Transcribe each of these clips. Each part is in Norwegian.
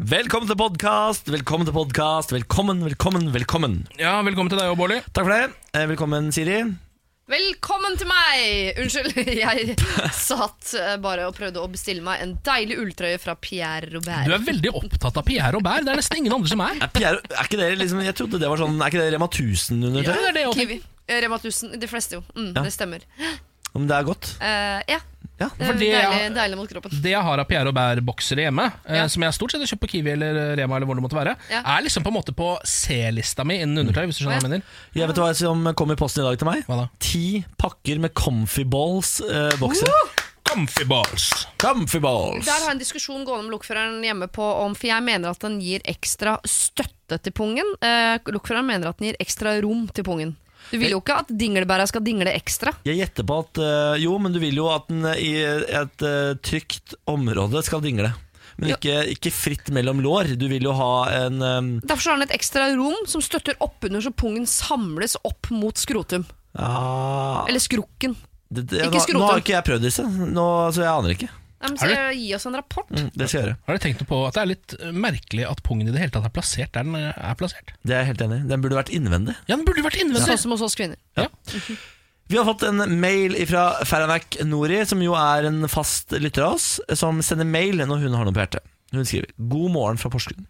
Velkommen til podkast, velkommen til podkast. Velkommen, velkommen, velkommen. Ja, Velkommen til deg òg, Bårdli. Takk for det. Eh, Velkommen, Siri. Velkommen til meg! Unnskyld, jeg satt eh, bare og prøvde å bestille meg en deilig ulltrøye fra Pierre Robert. Du er veldig opptatt av Pierre og Bær. Det er nesten ingen andre som er. Er, Pierre, er ikke det liksom Jeg trodde det var sånn Er ikke det Rema 1000 under Ja, det? det er det jeg Kiwi. Eh, Rema 1000. De fleste, jo. Mm, Ja. Det stemmer. Om det er godt? Eh, ja. Ja. Det For er det er- deilig, deilig mot kroppen. det jeg har av Pierre og Bær-boksere hjemme, eh, Ja. som jeg stort sett har kjøpt på Kiwi eller eh, Rema, eller hvor det måtte være, Ja. er liksom på en måte på C-lista mi innen undertøy. hvis du skjønner Å, ja. hva jeg mener. Jeg vet hva som kom i posten i dag til meg? Hva da? Ti pakker med Comfy Balls eh, boksere. Comfy balls. Comfy Balls! Der har jeg en diskusjon gående med lokføreren hjemme på om For jeg mener at den gir ekstra støtte til pungen. Eh, lokføreren mener at den gir ekstra rom til pungen. Du vil jo ikke at dinglebæra skal dingle ekstra. Jeg gjetter på at eh, Jo, men du vil jo at den eh, i et eh, trygt område skal dingle. Men Ja. ikke, ikke fritt mellom lår. Du vil jo ha en eh, Derfor så har den et ekstra rom som støtter oppunder, så pungen samles opp mot skrotum. ja, Eller skrukken. det, det, ikke nå, nå skrotum. har ikke jeg prøvd disse, nå, så jeg aner ikke. Nei, Er men så det- eh, Gi oss en rapport. Mm, det skal jeg gjøre. Har dere tenkt noe på at det er litt eh, merkelig at pungen i det hele tatt er plassert der den eh, er plassert? Det er jeg helt enig i. Den burde vært innvendig. Ja, den burde vært innvendig. Sånn som hos oss kvinner. Ja. Vi har fått en mail fra Faranak Nori, som jo er en fast lytter av oss, som sender mail når hun har noe på hjertet. Hun skriver God morgen fra Porsgrunn.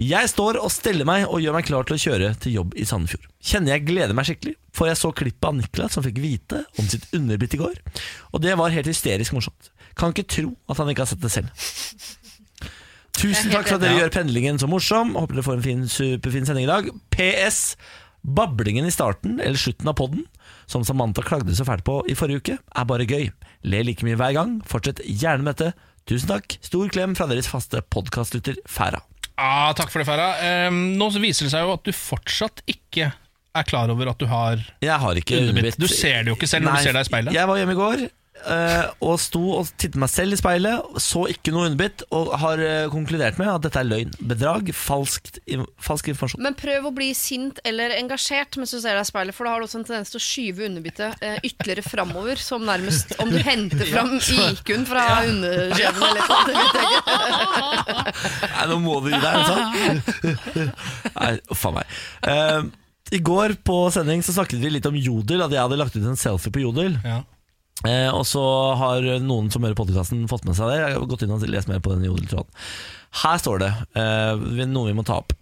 Jeg står og steller meg og gjør meg klar til å kjøre til jobb i Sandefjord. Kjenner jeg gleder meg skikkelig, for jeg så klippet av Niklas som fikk vite om sitt underbitt i går, og det var helt hysterisk morsomt. Kan ikke tro at han ikke har sett det selv. Tusen takk for at dere gjør pendlingen så morsom. Håper dere får en fin, superfin sending i dag. PS. Bablingen i starten eller slutten av podden, som Samantha klagde så fælt på i forrige uke, er bare gøy. Le like mye hver gang. Fortsett gjerne med dette. Tusen takk. Stor klem fra deres faste podkastlytter Færa. Ah, takk for det, Farah. Eh, nå så viser det seg jo at du fortsatt ikke er klar over at du har Jeg har ikke underbitt. Du ser det jo ikke selv når Nei, du ser deg i speilet. Jeg var hjemme i går eh, og sto og tittet meg selv i speilet, så ikke noe underbitt, og har eh, konkludert med at dette er løgn, bedrag, falskt, in- falsk informasjon. Men prøv å bli sint eller engasjert mens du ser deg i speilet, for da har du også en tendens til å skyve underbyttet eh, ytterligere framover, som nærmest om du henter fram IQ-en fra underkjeven eller noe. Det vet jeg ikke. Nei, nå må du gi deg, ikke sant? Nei, faen meg. Eh, I går på sending så snakket vi litt om Jodel, at jeg hadde lagt ut en selfie på Jodel. Ja. Eh, og så har noen som hører podkasten fått med seg det. Jeg har gått inn og lest mer på den jodeltråden. Her står det eh, vi- noe vi må ta opp.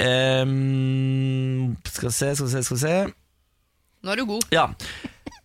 Eh, skal vi se, skal vi se, skal vi se. Nå er du god. Ja.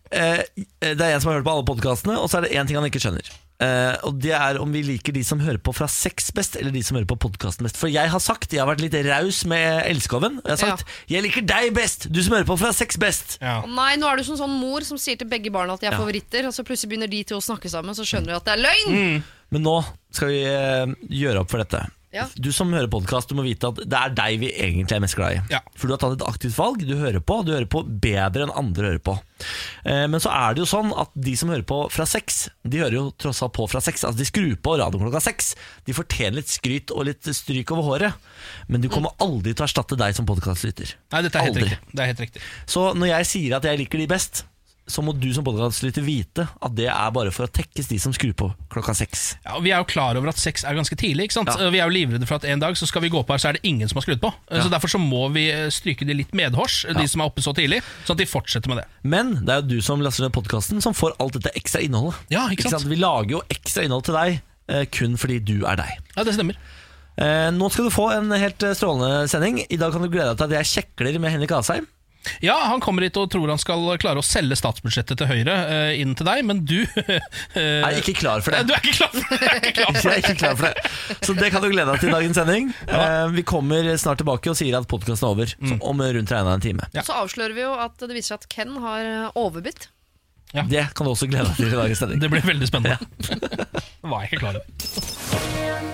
Eh, det er en som har hørt på alle podkastene, og så er det én ting han ikke skjønner. Eh, og Det er om vi liker de som hører på fra sex best, eller de som hører på podkasten best. For jeg har sagt, jeg har vært litt raus med elskoven. Jeg har sagt 'jeg liker deg best', du som hører på fra sex best. Ja. Å Nei, nå er du som sånn mor som sier til begge barna at de er Ja. favoritter, og så plutselig begynner de to å snakke sammen, så skjønner du at det er løgn! Men nå skal vi eh, gjøre opp for dette. Ja. Du som hører podkast, du må vite at det er deg vi egentlig er mest glad i. Ja. For du har tatt et aktivt valg. Du hører på, og du hører på bedre enn andre hører på. Eh, men så er det jo sånn at de som hører på fra seks, de hører jo tross alt på fra seks. Altså de skrur på radioen klokka seks. De fortjener litt skryt og litt stryk over håret. Men du kommer aldri til å erstatte deg som podkastlytter. Nei, dette er helt Aldri. riktig. Det er helt riktig. Så når jeg sier at jeg liker de best, så må du som podkastlytter vite at det er bare for å tekkes de som skrur på klokka seks. Ja, og vi er jo klar over at sex er ganske tidlig. ikke sant? Vi er jo livredde for at en dag så skal vi gå på her, så er det ingen som har skrudd på. Så Derfor så må vi eh, stryke de litt medhårs, de som er oppe så tidlig, sånn at de fortsetter med det. Men det er jo du som laster ned podkasten som får alt dette ekstra innholdet. Ja, ikke sant? Vi lager jo ekstra innhold til deg eh, kun fordi du er deg. Ja, det stemmer. Eh, nå skal du få en helt eh, strålende sending. I dag kan du glede deg til at jeg kjekler med Henrik Asheim. Ja, Han kommer hit og tror han skal klare å selge statsbudsjettet til Høyre eh, inn til deg, men du eh, Jeg er ikke klar for det. Du er ikke klar for det! Jeg er ikke klar for Jeg er ikke klar for det. Så det kan du glede deg til i dagens sending. Eh, vi kommer snart tilbake og sier at podkasten er over så Mm. om rundt regna en time. Ja. Så avslører vi jo at det viser seg at Ken har eh, overbitt. Det kan du også glede deg til i dagens det. sending. Det blir veldig spennende. Var jeg ikke klar over.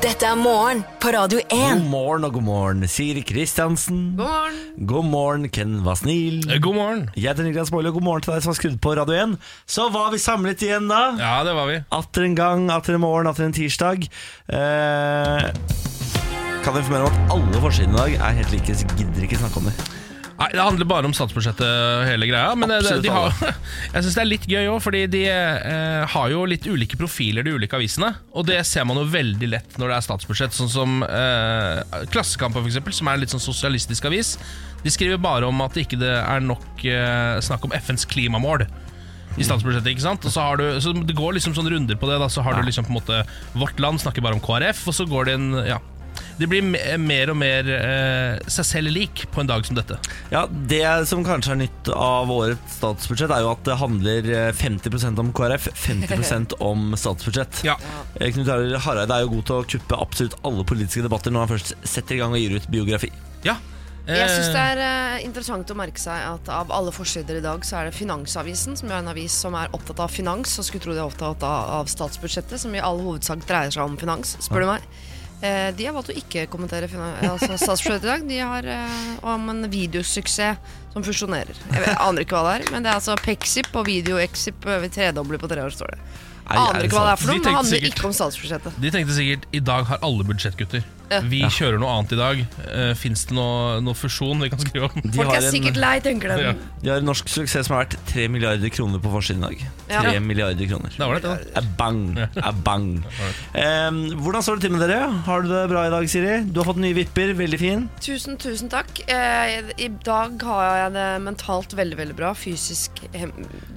Dette er morgen på Radio 1. God morgen og god morgen, Siri Kristiansen. God morgen! God morgen, Ken Vasnil. Eh, God morgen. Jeg heter Niklas Baarli, og god morgen til deg som har skrudd på Radio 1. Så var vi samlet igjen da. Ja, det var vi. Atter en gang, atter en morgen, atter en tirsdag. Eh, kan jeg informere om at alle forsidene i dag er helt like, så gidder ikke snakke om det. Nei, Det handler bare om statsbudsjettet, hele greia. Men eh, Absolutt de har, jeg syns det er litt gøy òg, fordi de eh, har jo litt ulike profiler, de ulike avisene. Og det ser man jo veldig lett når det er statsbudsjett. Sånn som eh, Klassekampen, f.eks., som er en litt sånn sosialistisk avis. De skriver bare om at ikke det ikke er nok eh, snakk om FNs klimamål. I statsbudsjettet, ikke sant? Og så, har du, så Det går liksom sånn runder på det. da Så har du liksom på en måte Vårt Land snakker bare om KrF, og så går det en Ja. De blir me- mer og mer eh, seg selv lik på en dag som dette. Ja, Det som kanskje er nytt av årets statsbudsjett, er jo at det handler eh, 50 om KrF, 50 om statsbudsjett. Ja. Eh, Knut Arild Hareide er jo god til å kuppe absolutt alle politiske debatter når han først setter i gang og gir ut biografi. ja. Jeg syns det er eh, interessant å merke seg at av alle forsider i dag, så er det Finansavisen, som jo er en avis som er opptatt av finans, og skulle tro de er opptatt av, av statsbudsjettet, som i all hovedsak dreier seg om finans, spør du meg. Eh, de har valgt å ikke kommentere finan altså statsbudsjettet i dag. De har eh, om en videosuksess som fusjonerer. Jeg vet, aner ikke hva det er, men det er altså Pexip og Videoexip eh, vi tredobler på tre år, står det. Nei, er Aner det ikke hva det sant? er for De noe, men tenkte handler sikkert- ikke om statsbudsjettet. De tenkte sikkert i dag har alle budsjettgutter. Ja. Vi kjører noe annet i dag. Uh, Fins det noe, noe fusjon vi kan skrive om? De Folk har, er sikkert en, lei, tenker de. Ja. de har en norsk suksess som har vært 3 milliarder kroner på forsiden i dag. 3 Ja. milliarder kroner. Da var det det. da. Abang. Abang. Em, hvordan står det til med dere? Har du det bra i dag, Siri? Du har fått nye vipper. Veldig fin. Tusen, tusen takk. Eh, I dag har jeg det mentalt veldig, veldig bra. Fysisk eh,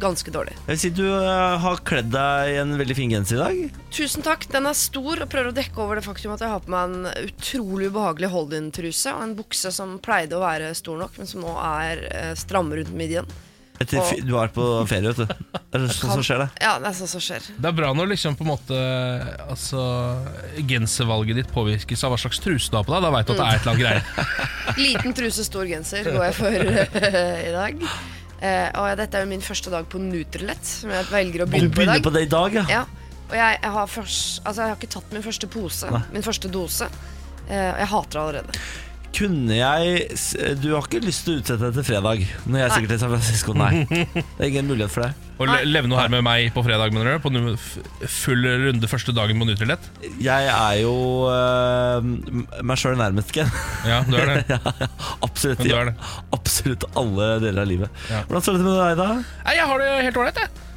ganske dårlig. Jeg vil si Du eh, har kledd deg i en veldig fin genser i dag. Tusen takk. Den er stor og prøver å dekke over det faktum at jeg har på meg en utrolig ubehagelig hold-in-truse og en bukse som pleide å være stor nok, men som nå er eh, stram rundt midjen. Etter, fi- du har vært på ferie, vet du. Det er sånn som skjer, det. Ja, det er sånt som skjer. Det er bra når liksom på en måte Altså genservalget ditt påvirkes av hva slags truse du har på deg. Da veit du at det er et eller annet greier. Liten truse, stor genser går jeg for i dag. Eh, og dette er jo min første dag på Nutrilett, som jeg velger å Du begynne på i begynner dag. på det i dag, ja. Ja, og jeg, jeg, har først, altså jeg har ikke tatt min første pose, min første dose. Eh, og jeg hater det allerede. Kunne jeg s- Du har ikke lyst til å utsette deg til fredag? Når jeg er sikkert i San Francisco, nei. Det er ingen mulighet for deg. Mm. Å le- levne noe her med meg på fredag, mener du? På nu- f- full runde første dagen på Nutrilett? Jeg er jo eh, m- meg sjøl nærmest, Ken. Ja, du er det. Ja, ja, absolutt, Men du er ja. det. absolutt alle deler av livet. Ja. Hvordan står det til med deg, da? Nei, jeg har det helt ålreit, jeg.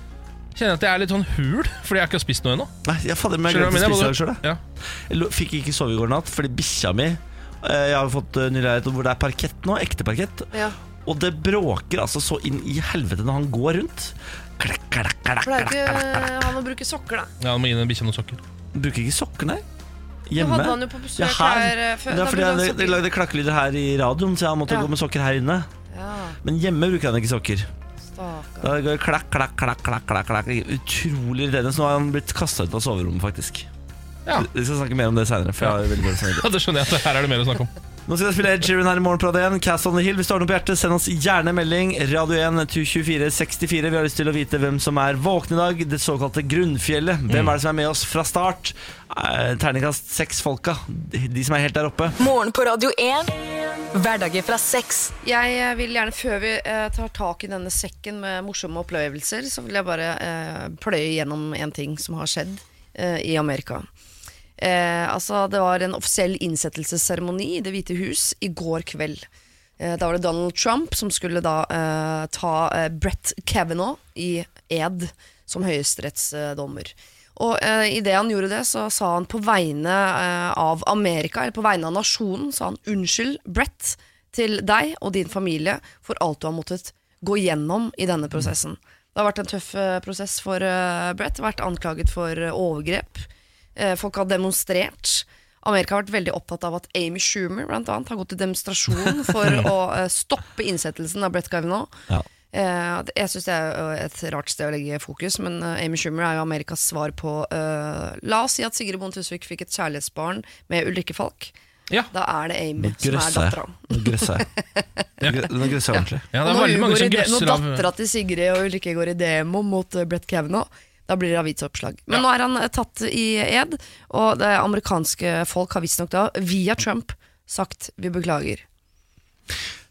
Kjenner at jeg er litt sånn hul fordi jeg ikke har spist noe ennå. Nei, jeg fader, men jeg Skjønner du glemte å hva jeg spise i mener? dag sjøl. Ja. Jeg lo- fikk ikke sove i går natt fordi bikkja mi eh, Jeg har jo fått eh, ny leilighet hvor det er parkett nå, ekte parkett. Ja. Og det bråker altså så inn i helvete når han går rundt. Klakk, klakk, klakk, Pleier klakk, ikke eh, klakk. han å bruke sokker, da? Ja, du må gi den bikkja noen sokker. Bruker ikke sokker, nei. Det Hjemme. hadde han jo på besøk Ja, her, her. eh, Det før. er fordi Da brukte jeg, han jeg sokker. lagde klakkelyder her i radioen, så jeg måtte Ja. gå med sokker her inne. Ja, Men hjemme bruker han ikke sokker. stakkar. Da går det klakk, klakk, klakk, klakk, klakk, klakk. Utrolig irriterende. Så nå har han blitt kasta ut av soverommet, faktisk. Ja. Vi skal snakke mer om det seinere. Nå ja, det skjønner jeg at her er det mer å snakke om. skal jeg spille Ed Sheeran her i morgen på Radio 1. Cast on the Hill. Hvis du har noe på hjertet, send oss gjerne en melding. Radio 1 2464. Vi har lyst til å vite hvem som er våken i dag. Det såkalte grunnfjellet. Hvem Mm. er det som er med oss fra start? Eh, Terningkast seks-folka. De som er helt der oppe. Morgen på Radio 1. Hverdager fra seks. Jeg eh, vil gjerne, før vi eh, tar tak i denne sekken med morsomme opplevelser, så vil jeg bare eh, pløye gjennom en ting som har skjedd eh, i Amerika. Eh, altså, det var en offisiell innsettelsesseremoni i Det hvite hus i går kveld. Eh, da var det Donald Trump som skulle da eh, ta eh, Brett Kavanaugh i ed som høyesterettsdommer. Og eh, idet han gjorde det, så sa han på vegne eh, av Amerika, eller på vegne av nasjonen, sa han unnskyld, Brett, til deg og din familie for alt du har måttet gå gjennom i denne prosessen. Det har vært en tøff eh, prosess for eh, Brett, vært anklaget for eh, overgrep. Eh, Folk har demonstrert. Amerika har vært veldig opptatt av at Amy Schumer blant annet, har gått til demonstrasjon for å eh, stoppe innsettelsen av Brett Kavanaugh. Ja. Eh, det- jeg syns det er jo et rart sted å legge fokus, men eh, Amy Schumer er jo Amerikas svar på eh, La oss si at Sigrid Bonde Tusvik fikk et kjærlighetsbarn med Ulrikke Falk. Ja. Da er det Amy Nå som er grøsser dattera. jeg. Nå grøsser jeg. Nå grø- nå grøsser jeg ordentlig. Ja, det er Og når veldig hun mange går i som de- grøsser av Når dattera til Sigrid og Ulrikke går i demo mot eh, Brett Kavanaugh, da blir det avisoppslag. Men Ja. nå er han eh, tatt i ed, og det amerikanske folk har visstnok da, via Trump, sagt vi beklager.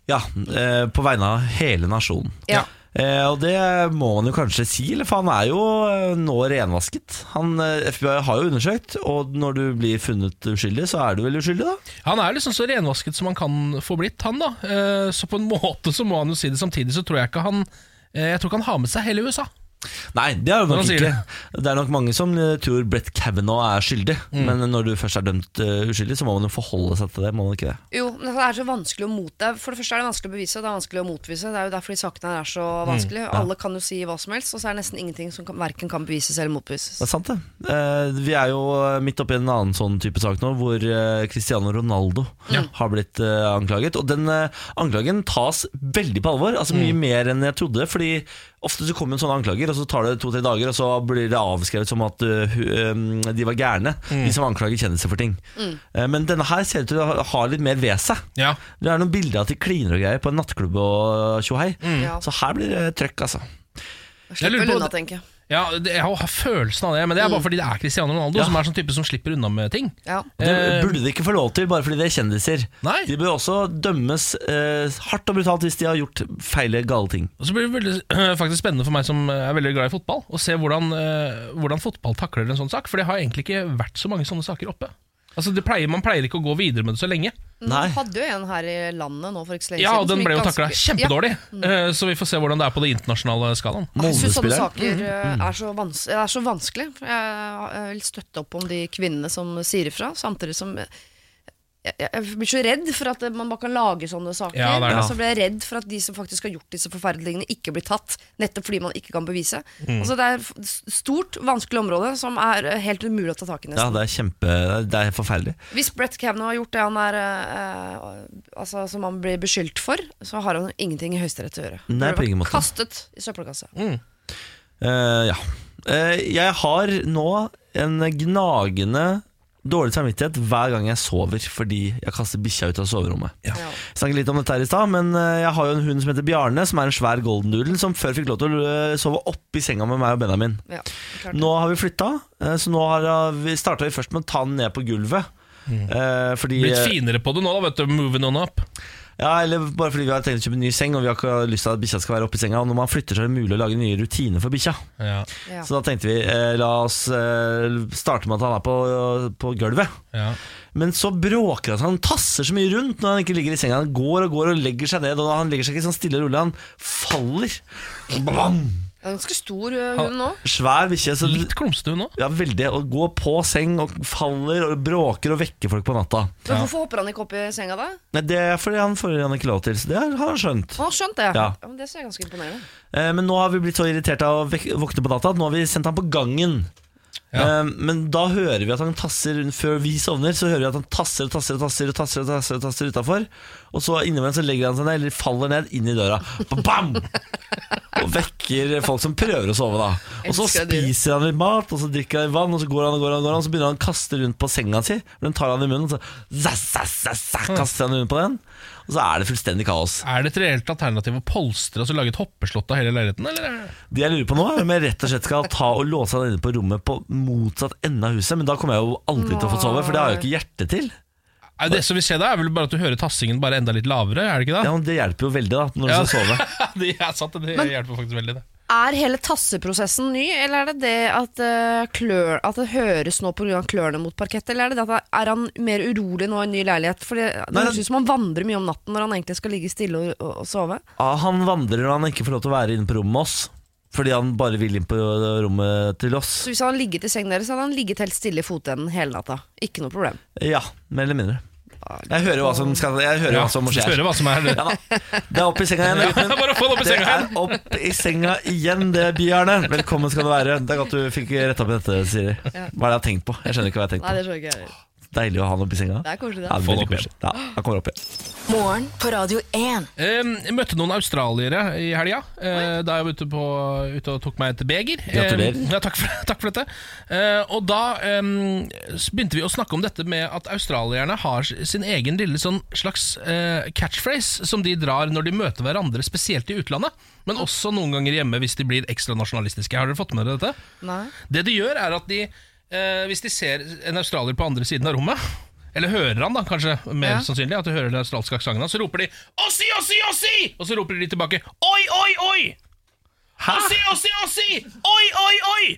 Ja, eh, på vegne av hele nasjonen. Ja. Eh, og det må man jo kanskje si, eller for han er jo eh, nå renvasket. Han, eh, FBI har jo undersøkt, og når du blir funnet uskyldig, så er du vel uskyldig, da? Han er liksom så renvasket som han kan få blitt, han da. Eh, Så på en måte så må han jo si det. Samtidig så tror jeg ikke han eh, Jeg tror ikke han har med seg hele USA. Nei, det er det nok Hvordan sier ikke. Det. er nok mange som eh, tror Brett Kavanaugh er skyldig, men når du først er dømt eh, uskyldig, så må man jo forholde seg til det, må man ikke det? Jo, men det er så vanskelig å mot det. er- For det første er det vanskelig å bevise, og det er vanskelig å motvise. Det er jo derfor de sakene her er så Mm. vanskelige. Alle kan jo si hva som helst, og så er det nesten ingenting som kan, verken kan bevises eller motbevises. Det er sant, det. Eh, vi er jo midt oppi en annen sånn type sak nå, hvor eh, Cristiano Ronaldo har blitt eh, anklaget. Og den eh, anklagen tas veldig på alvor, altså mye mer enn jeg trodde. Fordi ofte så kommer jo sånne anklager, og så tar det to-tre dager, og så blir det avskrevet som at eh, hu- eh, de var gærne, de som anklager kjendiser for ting. Eh, men denne her ser ut til å ha- ha litt mer ved seg. Ja. Det er noen bilder av at de kliner og greier på en nattklubb og tjohei. Ja. Så her blir det trøkk, altså. Jeg lurer Slipper på- unna, tenker jeg. Ja, det, jeg har følelsen av det, men det Mm. er bare fordi det er Cristiano Ronaldo Ja. som er sånn type som slipper unna med ting. Ja. Eh, Det burde de ikke få lov til, bare fordi de er kjendiser. Nei. De bør også dømmes eh, hardt og brutalt hvis de har gjort feile, gale ting. Og så blir det veldig, faktisk spennende for meg som er veldig glad i fotball, å se hvordan, eh, hvordan fotball takler en sånn sak. For det har egentlig ikke vært så mange sånne saker oppe. Altså, det pleier, Man pleier ikke å gå videre med det så lenge. Nei. Nå hadde jo en her i landet nå for ikke så lenge Ja, siden. og som den gikk ble jo ganske- Mm. takla kjempedårlig. Eh, Så vi får se hvordan det er på det internasjonale skalaen. Ja. Jeg syns sånne Molde-spilleren. saker eh, er så, vans er så vanskelig. Jeg jeg vil støtte opp om de kvinnene som sier ifra, samtidig som jeg, jeg- jeg blir så redd for at eh, man bare kan lage sånne saker. Ja, det er det. Og så blir jeg redd for at de som faktisk har gjort disse forferdelige tingene, ikke blir tatt. Nettopp fordi man ikke kan bevise. Mm. Altså, det er et stort, vanskelig område som er eh, helt umulig å ta tak i. Ja, nesten det er kjempe Det er forferdelig. Hvis Brett Kavanaugh har gjort det han er eh, altså, som han blir beskyldt for, så har han ingenting i Høyesterett å gjøre. Nei, Burde på ingen vært måte. Kastet i søppelkassa. Mm. Eh, ja. Eh, jeg har nå en gnagende dårlig samvittighet hver gang jeg sover fordi jeg kaster bikkja ut av soverommet. Ja. Jeg snakket litt om dette her i stad, men eh, jeg har jo en hund som heter Bjarne, som er en svær golden doodle, som før fikk lov til å eh, sove oppi senga med meg og Benjamin. Ja, klart. Nå har vi flytta, eh, så nå har vi starta vi først med å ta den ned på gulvet. Eh, fordi, Blitt finere på det nå, da, vet du. Moving on up. ja, eller bare fordi vi har tenkt å kjøpe en ny seng, og vi har ikke lyst til at bikkja skal være oppi senga. Og når man flytter, så er det mulig å lage nye rutiner for bikkja. Ja, Ja. Så da tenkte vi eh, la oss eh, starte med at han er på, på gulvet. ja. Men så bråker han, så han tasser så mye rundt når han ikke ligger i senga. Han går og går og legger seg ned, og han legger seg ikke sånn stille og rolig, han faller. Bam! Det er en ganske stor eh, hund nå. Svær bikkje. så- Litt klumsete hun nå. Ja, veldig. Og går på seng og faller og bråker og vekker folk på natta. Men Hvorfor hopper han ikke opp i senga da? Nei, Det er fordi han får han ikke lov til, så det har han skjønt. Han har skjønt det. Ja. men det ser jeg ganske imponerende. Eh, men nå har vi blitt så irritert av å vek- våkne på natta at nå har vi sendt han på gangen. Ja. Eh, men da hører vi at han tasser rundt- før vi sovner, så hører vi at han tasser og tasser og tasser og tasser og tasser, og tasser utafor. Og så innimellom så legger han seg ned, eller faller ned, inn i døra. Bam! Og vekker folk som prøver å sove, da. Og så Elsker dyr. spiser han litt mat, og så drikker han litt vann, og så går han og går han, og går han og så begynner han å kaste rundt på senga si. Men den tar han i munnen, og så za, za, za, za, kaster han rundt på den. Og så er det fullstendig kaos. Er det et reelt alternativ å polstre altså lage et hoppeslott av hele leiligheten? Eller? er det- Det jeg lurer på nå, er om jeg rett og slett skal ta og låse han inne på rommet på motsatt ende av huset. Men da kommer jeg jo aldri til å få sove, for det har jeg jo ikke hjerte til. Er det som vil skje da, er vel bare at du hører tassingen bare enda litt lavere, er det ikke Ja, det? men Det hjelper jo veldig, da, når du Ja. skal sove. det er sant, det hjelper faktisk veldig det. Er hele tasseprosessen ny, eller er det det at, eh, klør, at det høres nå pga. klørne mot parkettet? Eller er det det at er han mer urolig nå i en ny leilighet? For det det Nei, høres ut som han vandrer mye om natten når han egentlig skal ligge stille og, og, og sove. Ja, han vandrer når han ikke får lov til å være inne på rommet med oss. Fordi han bare vil inn på eh, rommet til oss. Så hvis han hadde ligget i sengen deres, hadde han ligget helt stille i fotenden hele natta. Ikke noe problem. Ja, mer eller mindre. Jeg hører jo hva som, skal, jeg hører jo hva som må skje. Hører hva som er det. Ja da. Det er opp i senga igjen. Ja, Espen. bare få det opp i senga igjen. Det er opp i senga igjen, det, Bjarne. Velkommen skal du være. Det er godt du fikk retta på dette, Siri. Hva er det jeg har tenkt på? Jeg skjønner ikke hva jeg har tenkt på. det tror jeg ikke. Deilig å ha han oppi senga. Det er koselig, det. Ja, Få veldig han opp koselig. Ja, han kommer opp igjen. Morgen på Radio 1. Um, jeg møtte noen australiere i helga, eh, da jeg var ute, på, ute og tok meg et beger. Gratulerer. Eh, ja, takk, for, takk for dette. Eh, og da em, s- begynte vi å snakke om dette med at australierne har s- sin egen lille sånn slags eh, catchphrase som de drar når de møter hverandre, spesielt i utlandet, men også noen ganger hjemme hvis de blir ekstra nasjonalistiske. Har dere fått med dere dette? Nei. Det de gjør er at de eh, Hvis de ser en australier på andre siden av rommet Eller hører han da, kanskje Mer Ja. sannsynlig at de hører den australske aksangen hans, Så roper de Ossi, Ossi, Ossi Og så roper de tilbake Oi, oi, oi Ossi, ossi, ossi! Oi, oi, oi!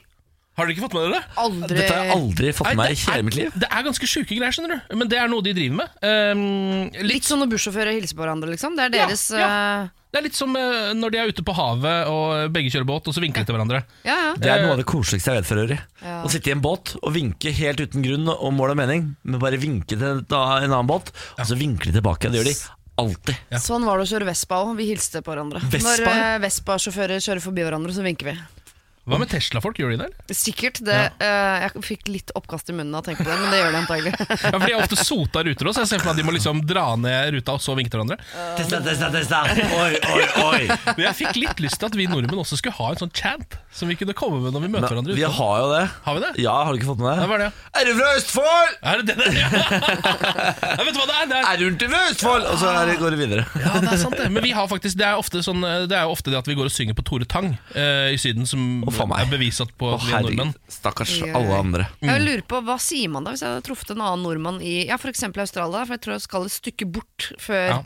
Har dere ikke fått med dere det? Aldri Dette har jeg aldri fått med Nei, meg i det hele er- mitt liv. Det er ganske sjuke greier, skjønner du. Men det er noe de driver med. Ehm, Litt litt, sånn når bussjåfører hilser på hverandre, liksom. Det er Ja, deres ja. eh, det er litt som eh, når de er ute på havet og begge kjører båt, og så vinker de til hverandre. ja, ja. Det er noe av det koseligste jeg vet for øvrig. Ja. Å sitte i en båt og vinke helt uten grunn og mål og mening, men bare vinke til da en annen båt, og så vinker de tilbake. Det gjør de alltid. Sånn var det å kjøre Vespa òg. Vi hilste på hverandre. Vespa, Når ja. eh, Vespa-sjåfører kjører forbi hverandre, så vinker vi. Hva med Tesla-folk? Gjør de det? eller? Sikkert. Det, eh, jeg fikk litt oppkast i munnen av å tenke på det, men det gjør det antagelig. Ja, for De har ofte sota ruter også, så jeg ser for meg at de må liksom dra ned ruta og så vinke til hverandre. Testa, testa, testa! Oi, oi, oi! Men jeg fikk litt lyst til at vi nordmenn også skulle ha en sånn chant som vi kunne komme med når vi møter Men, hverandre. vi ute. har jo det. Har vi det? Ja, har du ikke fått med Ja, hva deg? er det? Er du fra Østfold? Er det det der? Ja. Nei, vet du hva det er? Det er Er du ikke fra Østfold? Og så er det, går det videre. Ja, det er sant det. Men vi har faktisk, det er, ofte sånn, det er jo ofte det at vi går og synger på Tore Tang eh, i Syden, som Å, faen meg. er beviset på Å, at vi er nordmenn. herregud. Stakkars Oi, oi. alle andre. Mm. Jeg lurer på, Hva sier man da hvis jeg hadde truffet en annen nordmann i ja, f.eks. Australia? For jeg tror jeg skal et stykke bort før Ja.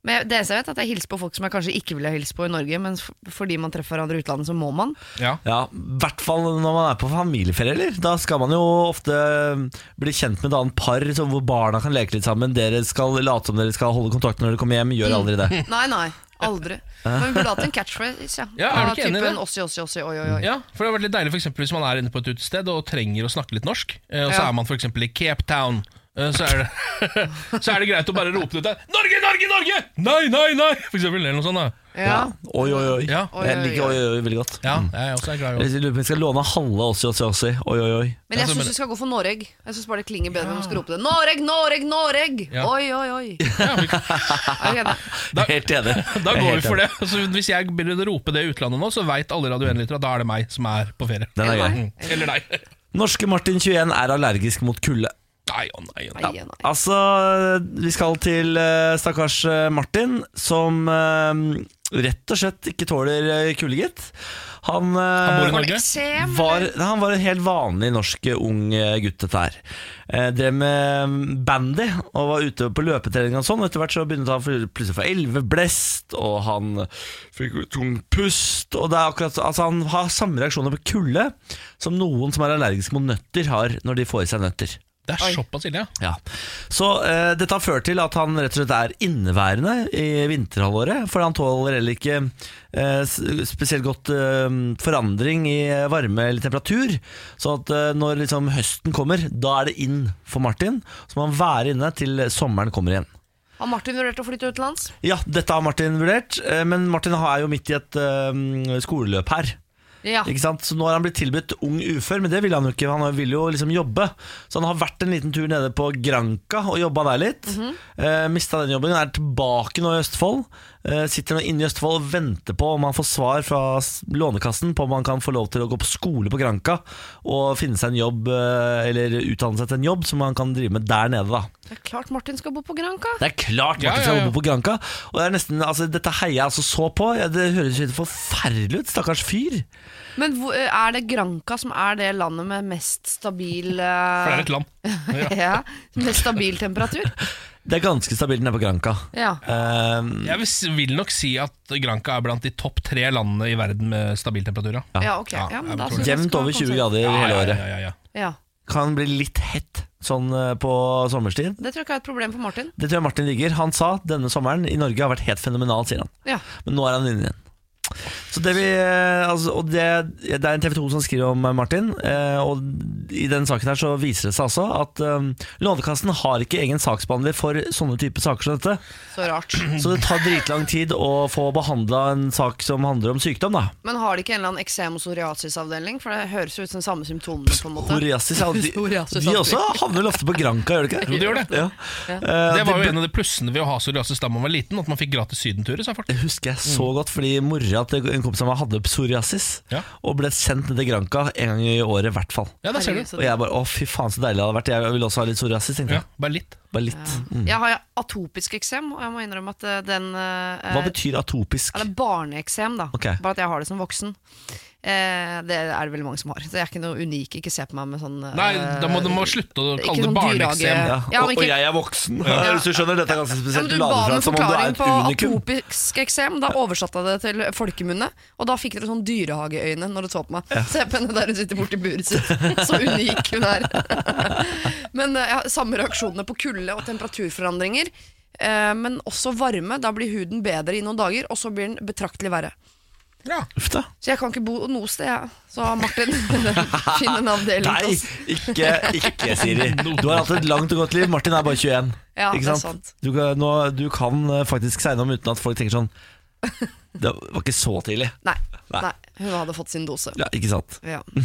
Men jeg- det eneste jeg vet, er at jeg hilser på folk som jeg kanskje ikke ville hilse på i Norge, men f fordi man treffer hverandre i utlandet, så må man. Ja. Ja, i hvert fall når man er på familieferie, eller? Da skal man jo ofte eh, bli kjent med et annet par, så hvor barna kan leke litt sammen. Dere skal late som dere skal holde kontakt når dere kommer hjem. Gjør aldri det. Nei, nei. Aldri. Men vi burde hatt en catchphrase. Ja, Ja, er du ikke enig i det? Typen ossi, ossi, ossi, oi, oi, oi. Ja, for det har vært litt deilig for eksempel, Hvis man er inne på et utested og trenger å snakke litt norsk, eh, og så Ja. er man f.eks. i Cape Town, eh, så er, det, så er det greit å bare rope det ut der. 'Norge, Norge, Norge!' Nei, nei, nei! For eksempel, eller noe sånt. Da. Ja. Oi, oi, oi. Ja. Oi, Jeg oi, liker oi. oi, oi, oi veldig godt. Ja, jeg er også glad i Jeg det. lurer på om vi skal låne halve Ossi, Ossi, Ossi. Oi, oi, oi. Men jeg Altså, syns men- vi skal gå for Noreg. Jeg synes bare det klinger bedre når man skal rope det. Noreg, Noreg, Noreg! Ja. Oi, oi, oi. Ja, vi- Er du enig? Da- Helt enig. da Jeg er går vi helt for enig. det. Så hvis jeg begynner å rope det i utlandet nå, så veit alle Radio 1-lyttere at da er det meg som er på ferie. Den er grei. Mm. Eller deg. Norske Martin21 er allergisk mot kulde. Nei, å nei, å nei. Nei, nei. Altså, vi skal til eh, stakkars eh, Martin, som eh, rett og slett ikke tåler eh, kulde, gitt. Han, eh, Han bor i Har du Norge? eksem? var, eller? nei, han var en helt vanlig norsk eh, ung eh, gutt, dette her. Eh, drev med mm, bandy og var ute på løpetrening og sånn. og Etter hvert så begynte han å få- plutselig å få elveblest, og han fikk tung pust. Og det er akkurat, så- altså, han har samme reaksjoner på kulde som noen som er allergisk mot nøtter, har når de får i seg nøtter. Det er såpass ille, ja. Ja. Så eh, dette har ført til at han rett og slett er inneværende i vinterhalvåret, for han tåler heller ikke eh, s- spesielt godt eh, forandring i varme eller temperatur. Så at eh, når liksom høsten kommer, da er det inn for Martin. Så må han være inne til sommeren kommer igjen. Har Martin vurdert å flytte utenlands? Ja, dette har Martin vurdert, eh, men Martin er jo midt i et eh, skoleløp her. Ja. Ikke sant? Så nå har han blitt tilbudt ung ufør, men det ville han jo ikke. Han ville jo liksom jobbe. Så han har vært en liten tur nede på Granca og jobba der litt. Mhm. eh, Mista den jobben, er tilbake nå i Østfold. Eh, sitter nå inne i Østfold og venter på om han får svar fra s- Lånekassen på om han kan få lov til å gå på skole på Granca og finne seg en jobb, eh, eller utdanne seg til en jobb som han kan drive med der nede, da. Det er klart Martin skal bo på Granca. Det er klart Martin Ja, ja, ja. skal jobbe på Granca. Og det er nesten, altså, dette heier jeg altså så på. Ja, det høres helt forferdelig ut. Stakkars fyr. Men hvor, eh, er det Granca som er det landet med mest stabil eh, For det er et land. ja, Mest stabil temperatur? Det er ganske stabilt nede på Granca. Ja. Ehm, Jeg vil s- vil nok si at Granca er blant de topp tre landene i verden med stabil temperatur. Ja. ja, ok. Ja, men da synes jeg jevnt skal over konsentrere- 20 grader hele ja, året. ja, ja, ja. Ja. Kan bli litt hett sånn eh, på sommerstid. Det tror jeg ikke er et problem for Martin. Det tror jeg Martin digger. Han sa denne sommeren i Norge har vært helt fenomenal, sier han. Ja. Men nå er han inne igjen. Så det, vi, eh, altså, og det, det er en TV 2 som skriver om eh, Martin, eh, og i den saken her så viser det seg altså at eh, Lånekassen har ikke egen saksbehandler for sånne type saker som dette. Så rart. Så det tar dritlang tid å få behandla en sak som handler om sykdom, da. Men har de ikke en eller annen eksem- og psoriasisavdeling? For det høres jo ut som samme symptomene, på en måte. Psoriasis, ja. De, Psoriasis, de alltid. også havner vel ofte på Granca, gjør de ikke? Jo, de gjør det. Ja. Eh, Det var jo en av de plussene ved å ha psoriasis da man var liten, at man fikk gratis sydenturer. sa folk. det husker jeg så godt, fordi mora til en kompis av meg hadde psoriasis. Ja. Og ble sendt ned til Granca en gang i året, i hvert fall. Ja, der ser du. Herregud, så Og jeg bare å, fy faen så deilig det hadde vært. Jeg ville også ha litt psoriasis, tenkte Ja, jeg. bare litt. Bare litt. Mm. Jeg har atopisk eksem, og jeg må innrømme at eh, den eh, Hva betyr atopisk? Ja, det er barneeksem, da. Ok. Bare at jeg har det som voksen. Eh, det er det veldig mange som har. Så jeg er ikke noe unik. Ikke se på meg med sånn eh, Nei, da må du må slutte å ikke kalle det sånn barneeksem. Ja. dyrehage- Ja, og, men og ikke- jeg er voksen. Ja. Hvis du skjønner, Dette er ganske Ja, men spesielt. du Du ba om lader en fra som om du er forklaring et på unikum. atopisk eksem. Da oversatte jeg det til folkemunne. Og da fikk dere sånn dyrehageøyne når dere så på meg. Se på henne der hun sitter borti buret sitt. Så unik hun er. Men eh, jeg har samme reaksjonene på kulde og temperaturforandringer. eh, Men også varme. Da blir huden bedre i noen dager, og så blir den betraktelig verre. Ja. Uff da. Så jeg kan ikke bo noe sted, jeg. Så Martin, finn en avdeling til Nei, oss. ikke, ikke Siri. Du har hatt et langt og godt liv. Martin er bare 21. Ja, ikke det er sant? sant. Du, kan, nå, du kan eh, faktisk segne om uten at folk tenker sånn Det var ikke så tidlig. Nei, Nei. nei, hun hadde fått sin dose. Ja, ikke sant? Ja.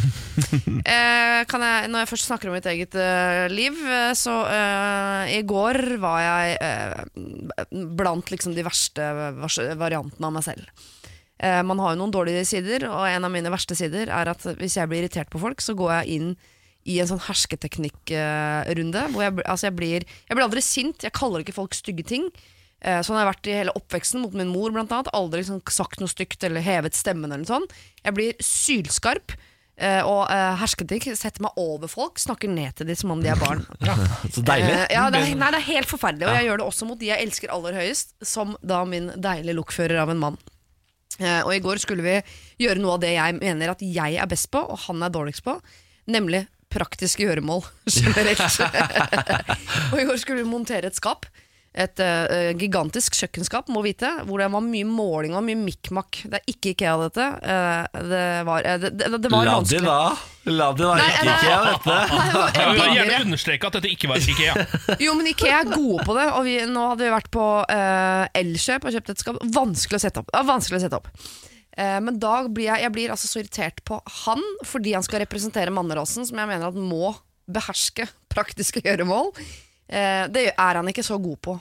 Eh, kan jeg, når jeg først snakker om mitt eget eh, liv, eh, så eh, i går var jeg eh, blant liksom de verste vers variantene av meg selv. Eh, man har jo noen dårlige sider, og en av mine verste sider er at hvis jeg blir irritert på folk, så går jeg inn i en sånn hersketeknikk-runde. hvor jeg, bl- altså jeg, blir, jeg blir aldri sint, jeg kaller ikke folk stygge ting. Eh, Sånn har jeg vært i hele oppveksten mot min mor, blant annet. Aldri liksom sagt noe stygt eller hevet stemmen. eller noe sånt. Jeg blir sylskarp eh, og eh, hersketing. Setter meg over folk, snakker ned til dem som om de er barn. Så deilig. Eh, Ja, det er, nei, det er helt forferdelig, og jeg gjør det også mot de jeg elsker aller høyest, som da min deilige lokfører av en mann. Eh, Og i går skulle vi gjøre noe av det jeg mener at jeg er best på, og han er dårligst på, nemlig praktiske gjøremål generelt. og i går skulle vi montere et skap. Et eh, gigantisk kjøkkenskap, må vite, hvor det var mye måling og mye mikk-makk. Det er ikke IKEA, dette. Eh, det var, eh, det, det, det var La de vanskelig. da. La de da. Ikke nei, IKEA, dette. Nei, det var Jeg vil billigere. gjerne understreke at dette ikke var IKEA. Jo, men IKEA er gode på det. Og vi, nå hadde vi vært på eh, Elkjøp og kjøpt et skap. Vanskelig å sette opp. Ja, vanskelig å sette opp. Eh, men da blir jeg, jeg blir altså så irritert på han fordi han skal representere mannerasen, som jeg mener at må beherske praktiske gjøremål. Eh, det er han ikke så god på.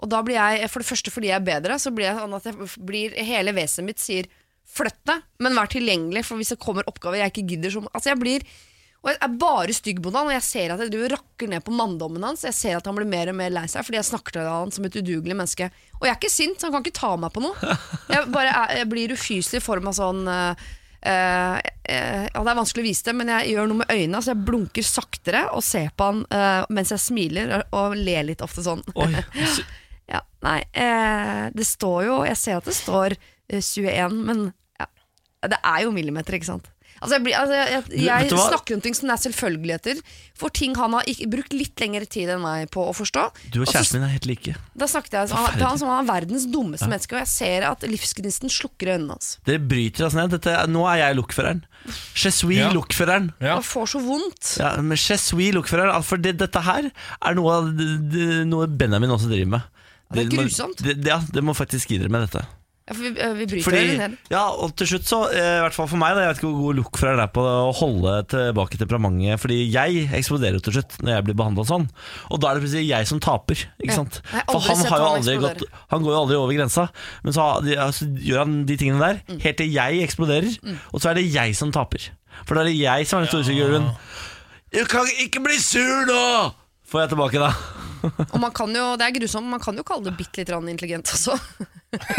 Og da blir jeg, for det første fordi jeg er bedre, så blir jeg sånn at jeg f- blir, hele vesenet mitt sier flytt deg, men vær tilgjengelig, for hvis det kommer oppgaver jeg ikke gidder, så må- Altså, jeg blir og jeg er bare stygg mot han, og jeg ser at jeg driver og rakker ned på manndommen hans. Jeg ser at han blir mer og mer lei seg fordi jeg snakker til han som et udugelig menneske. Og jeg er ikke sint, så han kan ikke ta meg på noe. Jeg, bare, er- jeg blir ufyselig i form av sånn eh, eh, eh, ja, Det er vanskelig å vise det, men jeg gjør noe med øynene. Så jeg blunker saktere og ser på han eh, mens jeg smiler og ler litt ofte sånn. Oi, sy- Ja, nei, eh, det står jo Jeg ser at det står eh, 21, men ja, det er jo millimeter, ikke sant? Altså Jeg, blir, altså jeg, jeg, vet jeg du hva? snakker om ting som det er selvfølgeligheter, for ting han har ikke, brukt litt lengre tid enn meg på å forstå. Du og så- kjæresten min er helt like. Da snakket jeg til han- til han som om han er verdens dummeste menneske, og jeg ser at livsgnisten slukker øynene hans. Dere bryter oss ned. Dette, nå er jeg lokføreren. Je suis Ja. lokføreren. Ja. Og får så vondt. Ja, men je suis lokfører, al- for det, dette her er noe, av det- det- noe Benjamin også driver med. det er må- grusomt. Det, det, ja, det må faktisk gi dere med dette. Ja, for vi, eh, vi bryter Fordi, øynene ned. ja, og til slutt så, eh, i hvert fall for meg, da, jeg vet ikke hvor god lokfører det er på å holde tilbake temperamentet, fordi jeg eksploderer jo til slutt når jeg blir behandlet sånn. Og da er det plutselig jeg som taper, ikke Ja. sant? Jeg har For aldri han, sett har jo han aldri eksplodere. gått, han går jo aldri over grensa, men så, har- de- altså, gjør han de tingene der, Mm. helt til jeg eksploderer, og så er det jeg som taper. For da er det jeg som er den store figuren. Jeg kan ikke bli sur nå! Får jeg tilbake da. Og man kan jo, det er grusomt, man kan jo kalle det bitte litt grann intelligent også.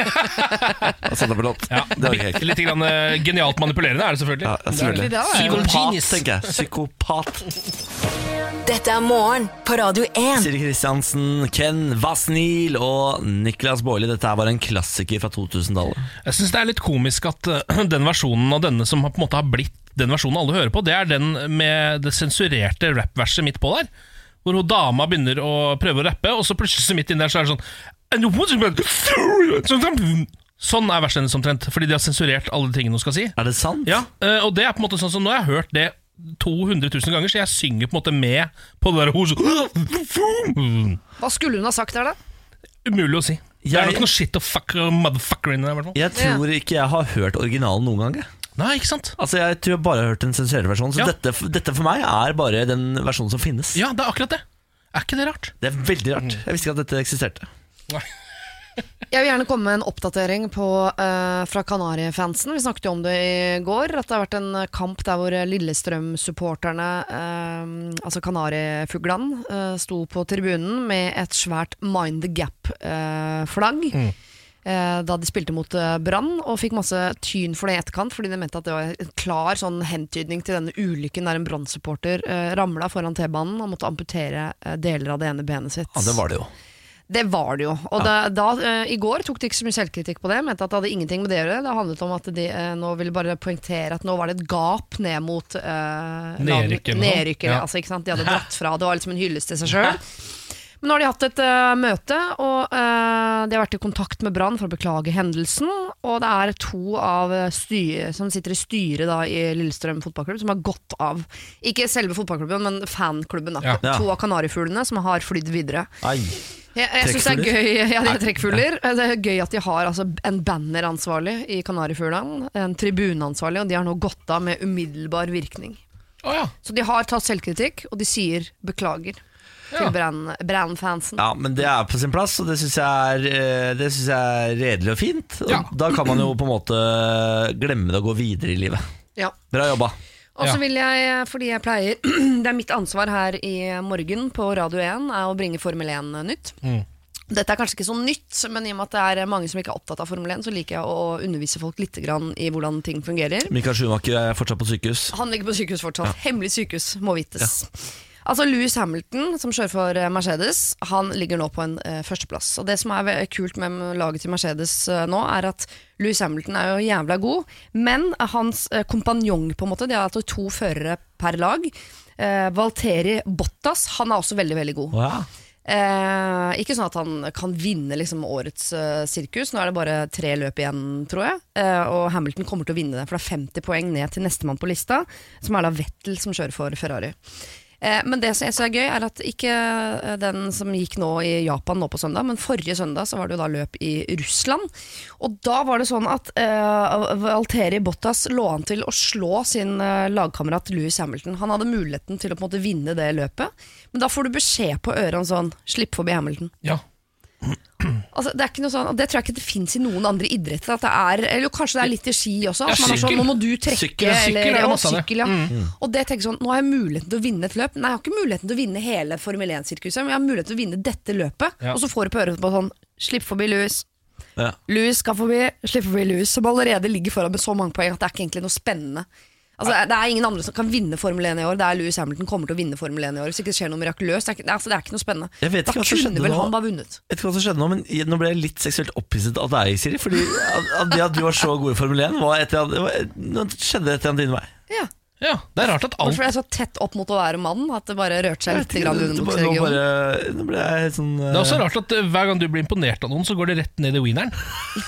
Og sette på låt. Ja. Det var ikke helt. Litt grann, eh, genialt manipulerende er det selvfølgelig. Ja, selvfølgelig. Egentlig det, da, ja. Psykopat, Genius. tenker jeg. Psykopat. Dette er morgen på Radio 1. Siri Kristiansen, Ken Vasnil og Niklas Baarli. Dette her var en klassiker fra 2000-tallet. Jeg syns det er litt komisk at eh, den versjonen av denne som har på en måte har blitt den versjonen alle hører på, det er den med det sensurerte rappverset midt på der. Hvor hun dama begynner å prøve å rappe, og så plutselig så midt inni der så er det sånn "And you want to-" Sånn er verset hennes omtrent, fordi de har sensurert alle tingene hun skal si. Er det sant? Ja, eh, og det er på en måte sånn som Nå har jeg hørt det 200 000 ganger, så jeg synger på en måte med på det der hos Hva skulle hun ha sagt der, da? Umulig å si. Det er Jeg- nok noe shit og fuck og motherfucker inni der. i hvert fall Jeg tror ikke jeg har hørt originalen noen gang. jeg. Nei, ikke sant? Altså Jeg tror jeg bare har hørt den sensuelle versjonen. Så Ja. dette, dette for meg er bare den versjonen som finnes. Ja, det er akkurat det. Er ikke det rart? Det er veldig rart. Jeg visste ikke at dette eksisterte. Jeg vil gjerne komme med en oppdatering på, eh, fra Kanariefansen. Vi snakket jo om det i går, at det har vært en kamp der hvor Lillestrøm-supporterne, eh, altså Kanariefuglene, Mm. eh, sto på tribunen med et svært Mind the Gap-flagg. eh, da de spilte mot eh, Brann, og fikk masse tyn for det i etterkant, fordi de mente at det var en klar sånn hentydning til denne ulykken der en Brann-supporter eh, ramla foran T-banen og måtte amputere eh, deler av det ene benet sitt. Ja, det var det jo. Det var det jo. Og da, da, eh, I går tok de ikke så mye selvkritikk på det. Mente at det hadde ingenting med det å gjøre. Det handlet om at de eh, nå ville bare poengtere at nå var det et gap ned mot eh, lag- Nedrykkerne. nedrykkere. Ja. Altså, ikke sant? De hadde dratt fra. Det var liksom en hyllest til seg sjøl. Men nå har de hatt et eh, møte, og eh, de har vært i kontakt med Brann for å beklage hendelsen. Og det er to av eh, styre, som sitter i styret da, i Lillestrøm fotballklubb, som har gått av. Ikke selve fotballklubben, men fanklubben. Da. Ja. To av kanarifuglene som har flydd videre. Ai. Jeg, jeg synes det er Trekkfugler? gøy Ja, de er trekkfugler. Det er gøy at de har altså, en banneransvarlig i Kanarifuglene, en tribuneansvarlig, og de har nå gått av med umiddelbar virkning. Å ja. Så de har tatt selvkritikk, og de sier beklager til Ja. Brann- Brann-fansen. Ja, men det er på sin plass, og det syns jeg, er, eh, det synes jeg er redelig og fint. Og Ja. Da kan man jo på en måte glemme det og gå videre i livet. Ja. Bra jobba. Og så Ja. vil jeg, fordi jeg pleier Det er mitt ansvar her i morgen på Radio 1 er å bringe Formel 1 nytt. Dette er kanskje ikke så nytt, men i og med at det er mange som ikke er opptatt av Formel 1, så liker jeg å undervise folk litt grann i hvordan ting fungerer. Mikael Schumacher er fortsatt på sykehus. Han ligger på sykehus fortsatt. Hemmelig sykehus, må vites. Altså Louis Hamilton, som kjører for eh, Mercedes, han ligger nå på en eh, førsteplass. Og Det som er ve- kult med laget til Mercedes eh, nå, er at Louis Hamilton er jo jævla god, men hans eh, kompanjong, på en måte, de har hatt to førere per lag. Eh, Valteri Bottas, han er også veldig, veldig god. Å ja. Eh, ikke sånn at han kan vinne liksom, årets eh, sirkus. Nå er det bare tre løp igjen, tror jeg. Eh, og Hamilton kommer til å vinne det, for det er 50 poeng ned til nestemann på lista, som er da Vettel, som kjører for Ferrari. Eh, men det som jeg synes er gøy, er at ikke eh, den som gikk nå i Japan nå på søndag, men forrige søndag så var det jo da løp i Russland. Og da var det sånn at eh, Valteri Bottas lå an til å slå sin eh, lagkamerat Louis Hamilton. Han hadde muligheten til å på en måte vinne det løpet, men da får du beskjed på øret om sånn 'slipp forbi Hamilton'. ja. Altså, det, er ikke noe sånn, og det tror jeg ikke det fins i noen andre idretter. At det er, eller jo, kanskje det er litt i ski også. Ja, At man er sånn, sykkel. nå må du trekke Sykkel, ja, sykkel er eller, det Mm. ja, masse av det. sykkel, ja. Og det tenker jeg sånn, Nå har jeg muligheten til å vinne et løp. Nei, jeg har ikke muligheten til å vinne hele Formel 1-sirkuset, men jeg har muligheten til å vinne dette løpet. Ja. Og så får du på øret på sånn Slipp forbi Louis. Ja. Louis skal forbi, slipp forbi Louis, som allerede ligger foran med så mange poeng at det er ikke egentlig noe spennende. Altså, det er- det er ingen andre som kan vinne Formel 1 i år. Det er Louis Hamilton kommer til å vinne Formel 1 i år. Hvis ikke det skjer noe mirakuløst. Det er ikke, altså, det er ikke noe spennende. Jeg vet da ikke hva som skjedde kunne vel nå. han bare vunnet. Vet ikke hva som skjedde Nå men jeg- nå ble jeg litt seksuelt opphisset av deg, Siri. Fordi at- at det at du var så god i Formel 1, var etter, at- det var- nå skjedde et eller annet din vei. Ja. ja. Det er rart at alt Hvorfor er jeg så tett opp mot å være mann at det bare rørte seg litt i Nå underbukseregionen? bare- nå ble jeg helt sånn det er også rart at eh, hver gang du blir imponert av noen, så går det rett ned i wieneren.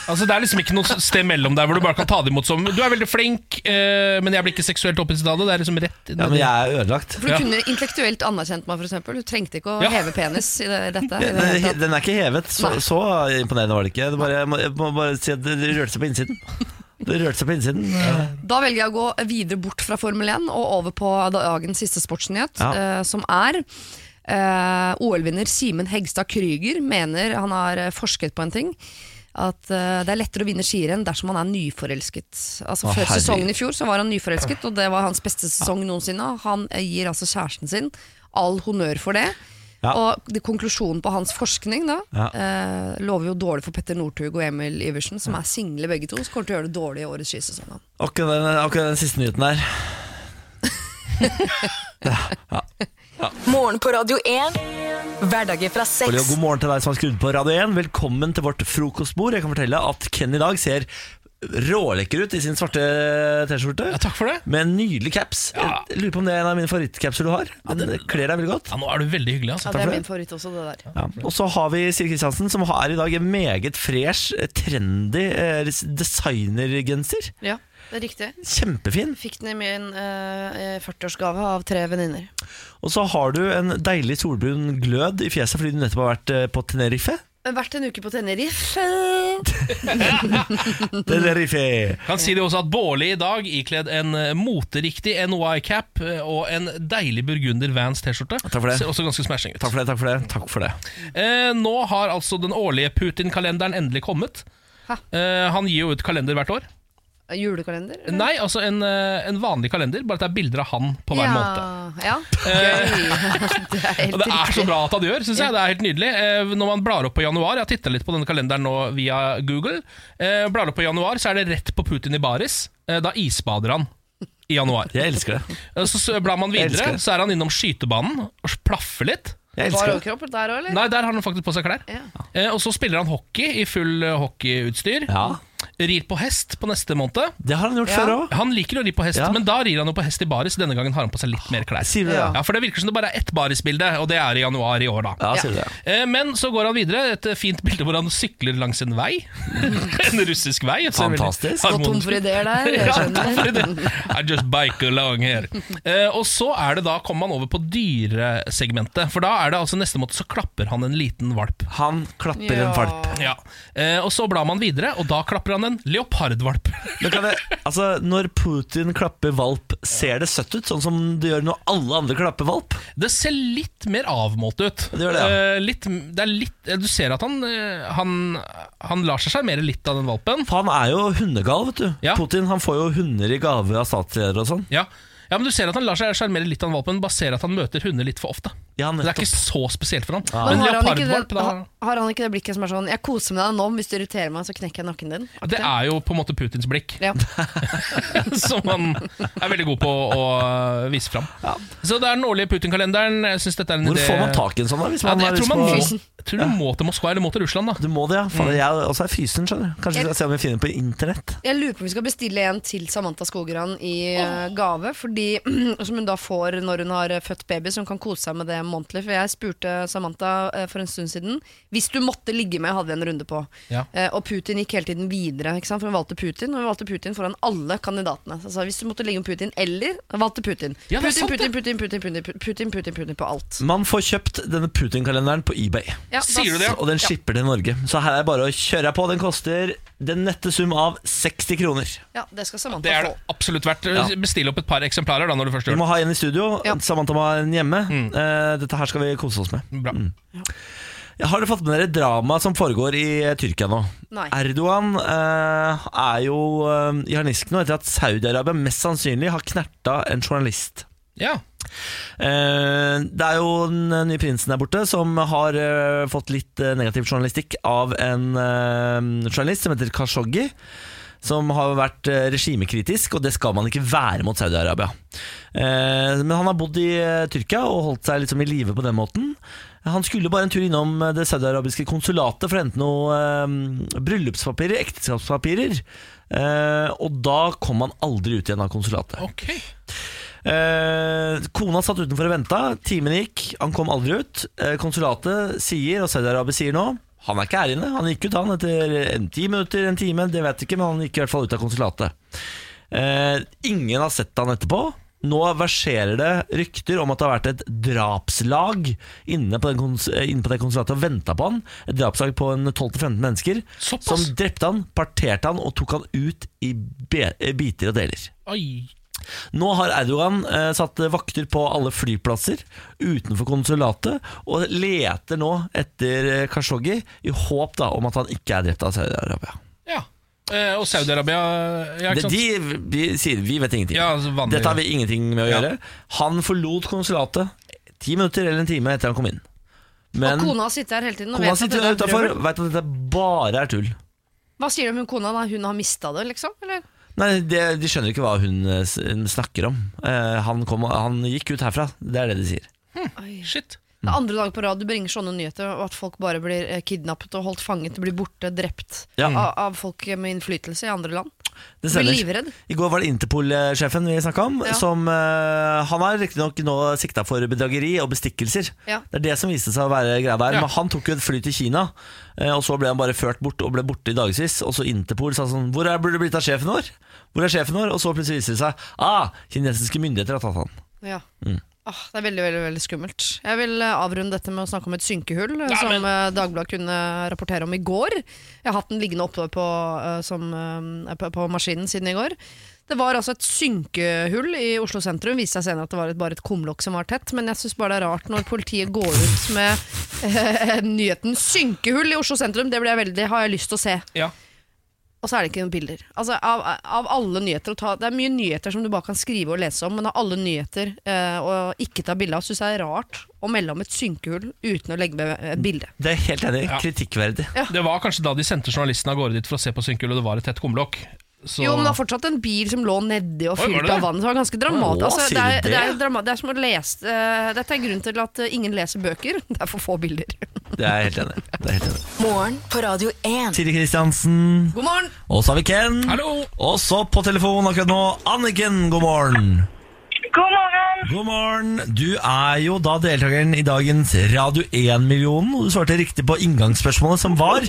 Altså, det er liksom ikke noe sted mellom der hvor du bare kan ta det imot som Du er veldig flink, eh, men jeg blir ikke seksuelt opphisset av det. Det er liksom rett Ja, ned men i- jeg er ødelagt. For du kunne intellektuelt anerkjent meg, f.eks. Du trengte ikke å Ja. heve penis i det, dette. I det hele Den, tatt. den er ikke hevet. Så, Nei. så imponerende var det ikke. Det bare, jeg, må, jeg må bare si at det det rørte seg på innsiden. Det rørte seg på innsiden. Da velger jeg å gå videre bort fra Formel 1 og over på dagens siste sportsnyhet, Ja. eh, som er eh, OL-vinner Simen Hegstad Krüger mener han har eh, forsket på en ting. At eh, det er lettere å vinne skirenn dersom man er nyforelsket. Altså Å, Før herregud. sesongen i fjor så var han nyforelsket, og det var hans beste sesong noensinne. Han eh, gir altså kjæresten sin all honnør for det. Ja. Og det, konklusjonen på hans forskning da Ja. eh, lover jo dårlig for Petter Northug og Emil Iversen, som er single begge to, som kommer til å gjøre det dårlig i årets skisesong. da. Akkurat den, akkurat den siste nyheten der. Morgen på Radio 1. Hverdager fra Olli, og seks. God morgen til deg som har skrudd på Radio 1. Velkommen til vårt frokostbord. Jeg kan fortelle at Ken i dag ser rålekker ut i sin svarte T-skjorte. Ja, takk for det. Med en nydelig caps. Ja. Jeg lurer på om det er en av mine favorittcapser du har. Den kler deg veldig godt. Ja, nå er du veldig hyggelig, altså. Ja, det for er det. min favoritt også, det der. Ja. Og så har vi Siri Kristiansen, som er i dag en meget fresh, trendy eh, designergenser. Ja, det er riktig. Kjempefin. Fikk den i min eh, 40-årsgave av tre venninner. Og så har du en deilig solbrun glød i fjeset fordi du nettopp har vært eh, på Tenerife. Vært en uke på Tenerife. Tenerife! Kan si det også at Bårli i dag ikledd en eh, moteriktig NY-cap eh, og en deilig burgunder Vans T-skjorte. Takk for det. Ser også ganske smashing ut. Takk for det, takk for det. takk for det Eh, nå har altså den årlige Putin-kalenderen endelig kommet. Hæ? Eh, han gir jo ut kalender hvert år. Julekalender? eller? Nei, altså en, eh, en vanlig kalender, bare at det er bilder av han på hver måned. Ja, ja. Gøy. det er helt Og det er så riktig. bra at han gjør, synes jeg. Det er helt nydelig. Eh, Når man blar opp på januar, jeg har titta litt på denne kalenderen nå via Google, eh, blar opp på januar, så er det rett på Putin i baris. Eh, Da isbader han i januar. Jeg elsker det. Eh, Så s- blar man Jeg elsker videre, det. så er han innom skytebanen og plaffer litt. Jeg Bar elsker det. overkropp der òg, eller? Nei, der har han faktisk på seg klær. Ja. Eh, Og så spiller han hockey i full eh, hockeyutstyr. Ja, Rir på hest på neste måned. Det har han gjort Ja. før òg. Han liker å ri på hest, Ja. men da rir han jo på hest i baris. Denne gangen har han på seg litt mer klær. Sier du det? Ja. Ja, For det virker som det bare er ett barisbilde, og det er i januar i år, da. Ja, sier du det. Eh, Men så går han videre. Et eh, fint bilde hvor han sykler langs en vei. en russisk vei. Det ser veldig Fantastisk. Gått tom for sånn. ideer der, jeg Ja, tom for skjønner. ideer. I just bike along here. Eh, og så er det da, kommer man over på dyresegmentet. For da er det altså neste måte så klapper han en liten valp. Han klapper en valp. Ja. Eh, og så blar man videre, og da klapper han en leopardvalp. Men kan jeg, altså, når Putin klapper valp, ser det søtt ut? Sånn som det gjør når alle andre klapper valp? Det ser litt mer avmålt ut. Det gjør det, ja. Eh, litt, det er litt, du ser at han, eh, han, han lar seg sjarmere litt av den valpen. For han er jo hundegal, vet du. Ja. Putin han får jo hunder i gave av statsledere og sånn. Ja. ja, men du ser at han lar seg sjarmere litt av en valpen, bare ser at han møter hunder litt for ofte. Ja, Så det er nettopp. ikke så spesielt for han. Men Men har han, ikke leopardvalp, det, da har- har han ikke det blikket som er sånn 'jeg koser med deg nå, men hvis du irriterer meg, så knekker jeg nakken din'? Det er jo på en måte Putins blikk, Ja. som han er veldig god på å å vise fram. Så det er den årlige Putin-kalenderen. Jeg synes dette er en Hvor idé- får man tak i en sånn, da? Hvis Ja, man det, har jeg, tror lyst man Mm. på- må, liksom jeg tror du må til Moskva eller må til Russland, da. Du må det, ja. Fader, jeg også er fysen, skjønner du. Kanskje vi skal se om vi finner på internett. Jeg lurer på om vi skal bestille en til Samantha Skogran i eh, gave, fordi, som hun da får når hun har eh, født baby, så hun kan kose seg med det månedlig. For jeg spurte Samantha eh, for en stund siden Hvis du måtte ligge med, hadde vi en runde på. Ja. Eh, Og Putin gikk hele tiden videre, ikke sant? for hun valgte Putin. Og hun valgte Putin foran alle kandidatene. Så jeg sa, hvis du måtte ligge med Putin eller valgte Putin. Ja, det er Putin, sant, Putin, Putin, Putin, Putin, Putin, Putin, Putin, Putin på alt. Man får kjøpt denne Putin-kalenderen på eBay. Ja, da- Sier du det, ja? Og den skipper til Norge. Så her er det bare å kjøre på. Den koster den nette sum av 60 kroner. Ja, det skal Samantha Det er det få. absolutt verdt. Ja. Bestill opp et par eksemplarer da når du først Vi gjør det. må ha en i studio. Ja. Samantha må ha en hjemme. Mm. Eh, dette her skal vi kose oss med. Bra. Har dere fått med dere dramaet som foregår i eh, Tyrkia nå? Nei. Erdogan eh, er jo eh, i harnisk nå etter at Saudi-Arabia mest sannsynlig har knerta en journalist. Ja. Eh, det er jo den nye prinsen der borte som har eh, fått litt eh, negativ journalistikk av en eh, journalist som heter Khashoggi. Som har vært eh, regimekritisk, og det skal man ikke være mot Saudi-Arabia. Eh, men han har bodd i eh, Tyrkia og holdt seg liksom i live på den måten. Han skulle bare en tur innom eh, det saudiarabiske konsulatet for å hente noe eh, bryllupspapirer, ekteskapspapirer. Eh, og da kom han aldri ut igjen av konsulatet. Ok. Eh, kona satt utenfor og venta. Timen gikk, han kom aldri ut. Eh, konsulatet sier, og Saudi-Arabia sier nå Han er ikke her inne. Han gikk ut han etter en ti minutter, en time, det vet jeg ikke, men han gikk i hvert fall ut av konsulatet. Eh, ingen har sett han etterpå. Nå verserer det rykter om at det har vært et drapslag inne på, den kons eh, inne på det konsulatet og venta på han. Et drapslag på en 12-15 mennesker. Såpass? Som drepte han, parterte han og tok han ut i be eh, biter og deler. Oi. Nå har Erdogan eh, satt vakter på alle flyplasser utenfor konsulatet og leter nå etter eh, Khashoggi i håp da, om at han ikke er drept av Saudi-Arabia. Ja. Eh, og Saudi-Arabia ja, De, ikke sant? de, de sier vi vet ingenting. Ja, altså, vanlig- Dette har vi ingenting med å Ja. gjøre. Han forlot konsulatet ti minutter eller en time etter han kom inn. Men Og kona sitter her hele tiden. Og kona vet at sitter det er utafor brøl. veit at dette bare er tull. Hva sier de om hun kona? da? Hun har mista det, liksom? Eller? Nei, de, de skjønner ikke hva hun eh, s- snakker om. Eh, han, kom, han gikk ut herfra, det er det de sier. Oi. Shit. Det er andre dager på rad du bringer sånne nyheter, og at folk bare blir eh, kidnappet og holdt fanget, blir borte, drept Ja. av, av folk med innflytelse i andre land. Mm. Det Mm. Blir stemmer. livredd. I går var det Interpol-sjefen vi snakka om. Ja. Som, eh, han er riktignok nå sikta for bedrageri og bestikkelser. Ja. Det er det som viste seg å være greia der. Ja. Men han tok jo et fly til Kina, eh, og så ble han bare ført bort og ble borte i dagevis. Og så Interpol sa sånn Hvor er, burde det blitt av sjefen vår? Hvor er sjefen vår? Og så plutselig viser det seg ah, kinesiske myndigheter har tatt han. Ja. Ah, det er veldig veldig, veldig skummelt. Jeg vil eh, avrunde dette med å snakke om et synkehull, eh, Ja, som men- eh, Dagbladet kunne rapportere om i går. Jeg har hatt den liggende oppe på, eh, som, eh, på, på maskinen siden i går. Det var altså et synkehull i Oslo sentrum. Viste seg senere at det var et, bare et kumlokk som var tett. Men jeg syns bare det er rart når politiet går ut med eh, nyheten 'synkehull i Oslo sentrum'. Det blir jeg veldig, har jeg lyst til å se. Ja. og så er det ikke noen bilder. Altså, av, av alle nyheter å ta, Det er mye nyheter som du bare kan skrive og lese om, men av alle nyheter eh, å ikke ta bilde av, syns jeg er rart å melde om et synkehull uten å legge med et bilde. Det er jeg helt enig. i. Kritikkverdig. Det var kanskje da de sendte journalisten av gårde dit for å se på synkehullet, og det var et tett kumlokk. Så- Jo, men det var fortsatt en bil som lå nedi Oi, og var fylt det av det? vann. Så det var ganske dramatisk. Å, Altså, sier det, er, du det? det, er drama det er som å lese eh, Dette er grunnen til at eh, ingen leser bøker. Det er for få bilder. Det er jeg helt enig. i. Det er jeg helt enig. i. Morgen på Radio 1. Siri Kristiansen. God morgen! Og så har vi Ken. Hallo! Og så på telefon akkurat nå, Anniken. God morgen. God morgen. God morgen. Du er jo da deltakeren i dagens Radio 1-millionen. og Du svarte riktig på inngangsspørsmålet som var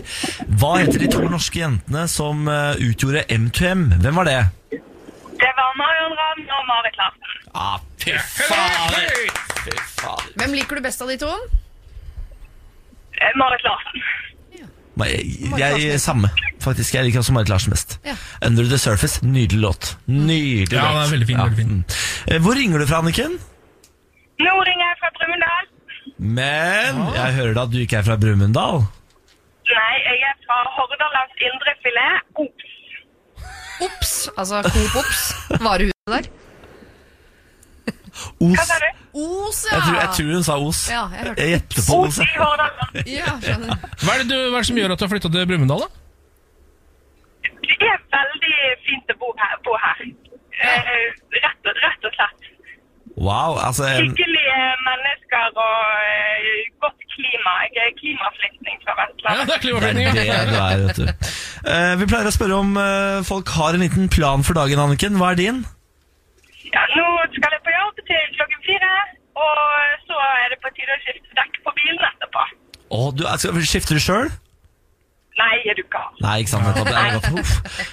Hva heter de to norske jentene som eh, utgjorde M2M? Hvem var det? Det var Marion Ravn og Marit Larsen. Ah, fy fader. Hvem liker du best av de to? Eh, Marit Larsen. Men Jeg, jeg, jeg samme, faktisk. Jeg liker også Marit Larsen best. Ja. 'Under the Surface'. Nydelig låt. Nydelig Ja, låt. den er veldig fin, veldig fin. mm. Eh, Hvor ringer du fra, Anniken? Nå ringer jeg fra Brumunddal. Men jeg hører da at du ikke er fra Brumunddal. Nei, jeg er fra Oh, Hordalands indre filet. Ops. Ops! Altså Coop Ops. Varehuset der. Hva Os. sa du? Os, ja! Jeg tror, jeg tror hun sa Os. Ja, jeg hørte det. Jeg gjetter på Os. Ops i jeg. Hordaland. Ja, skjønner. Hva er, det du, hva er det som gjør at du har flytta til Brumunddal, da? Det er veldig fint å bo her. Bo her. Eh, rett, og, rett og slett. Wow, altså em, Hyggelige mennesker og eh, godt klima. Jeg er klimaflyktning fra Ja, det Vestlandet. er Det er det klimaflyktninger. du er, vet du. Eh, vi pleier å spørre om eh, folk har en liten plan for dagen, Anniken. Hva er din? Ja, nå skal jeg på jobb til klokken fire, og så er det på tide å skifte dekk på bilen etterpå. Å, du, altså, skifter du sjøl? Nei, er du gal? Nei, ikke sant. nettopp. Det er godt. Uff.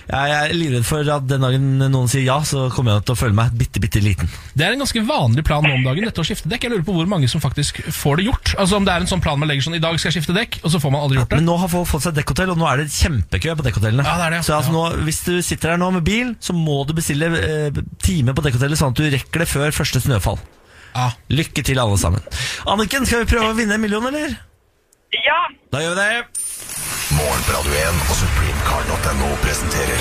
Jeg er livredd for at den dagen noen sier ja, så kommer jeg til å føle meg bitte, bitte liten. Det er en ganske vanlig plan nå om dagen, dette å skifte dekk. Jeg lurer på hvor mange som faktisk får det gjort. Altså om det er en sånn plan man legger sånn, i dag skal jeg skifte dekk, og så får man aldri gjort det. Men nå har folk fått seg dekkhotell, og nå er det kjempekø på dekkhotellene. Ja, det er det, ja. Så altså, nå, hvis du sitter her nå med bil, så må du bestille eh, time på dekkhotellet, sånn at du rekker det før første snøfall. Ja. Lykke til, alle sammen. Anniken, skal vi prøve å vinne en million, eller? Ja, Da gjør vi det. Morgen på Radio 1 og supremecard.no presenterer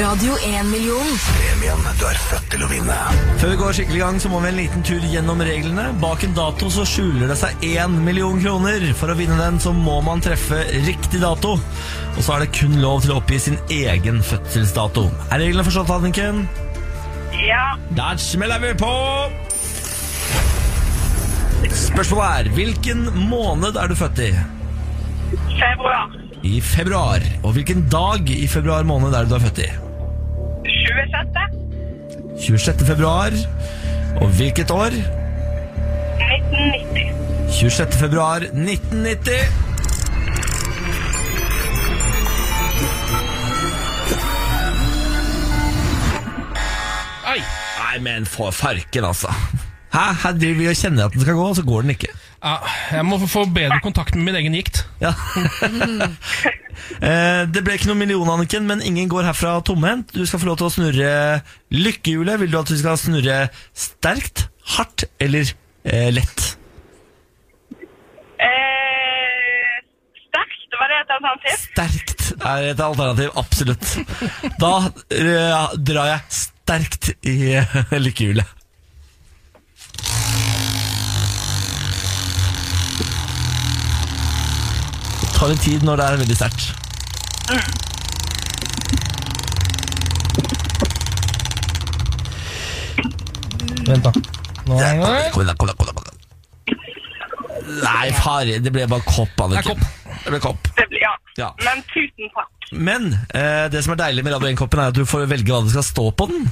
Radio 1-million. premien du er født til å vinne. Før vi går skikkelig i gang, så må vi en liten tur gjennom reglene. Bak en dato så skjuler det seg én million kroner. For å vinne den så må man treffe riktig dato. Og så er det kun lov til å oppgi sin egen fødselsdato. Er reglene forstått, Anniken? ja. Der smeller vi på! Spørsmålet er hvilken måned er du født i? Februar. I februar. Og hvilken dag i februar måned er det du er født i? 26. 26. februar. Og hvilket år? 1990. 26. februar 1990. Ai. Nei, men for farken, altså. Hæ? Her driver vi og kjenner at den skal gå, og så går den ikke. Ja, Ah, jeg må få bedre kontakt med min egen gikt. Ja. Eh, det ble ikke noen million, Anniken, men ingen går herfra tomhendt. Du skal få lov til å snurre lykkehjulet. Vil du at vi skal snurre sterkt, hardt eller eh, lett? Eh, sterkt, var det et alternativ? Sterkt er et alternativ, absolutt. Da eh, drar jeg sterkt i eh, lykkehjulet. Det tar litt tid når det er veldig sterkt. Vent, da. Nå Kom igjen, kom igjen, kom igjen, kom igjen, kom igjen. Nei, far, det ble bare kopp, Anniken. Det Det ble kopp. Det blir, ja. Ja. Men tusen takk. Men eh, det som er deilig med Radio 1-koppen, er at du får velge hva det skal stå på den.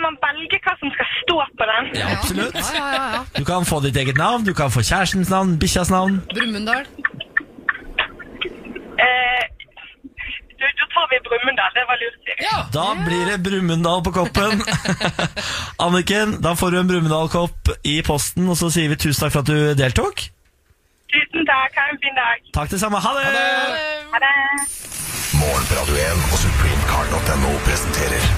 Man velger hva som skal stå på den. Ja, absolutt. Ja, ja, ja, ja. Du kan få ditt eget navn, du kan få kjærestens navn, bikkjas navn. Brumunddal. Eh, du, da tar vi Brumunddal. Det var lurt, Siri. Ja. Da blir det Brumunddal på koppen. Anniken, da får du en Brumunddal-kopp i posten, og så sier vi tusen takk for at du deltok. Tusen takk. Ha en fin dag. Takk det samme. Ha det! Ha det. Morgen på Radio 1 og supremecard.no presenterer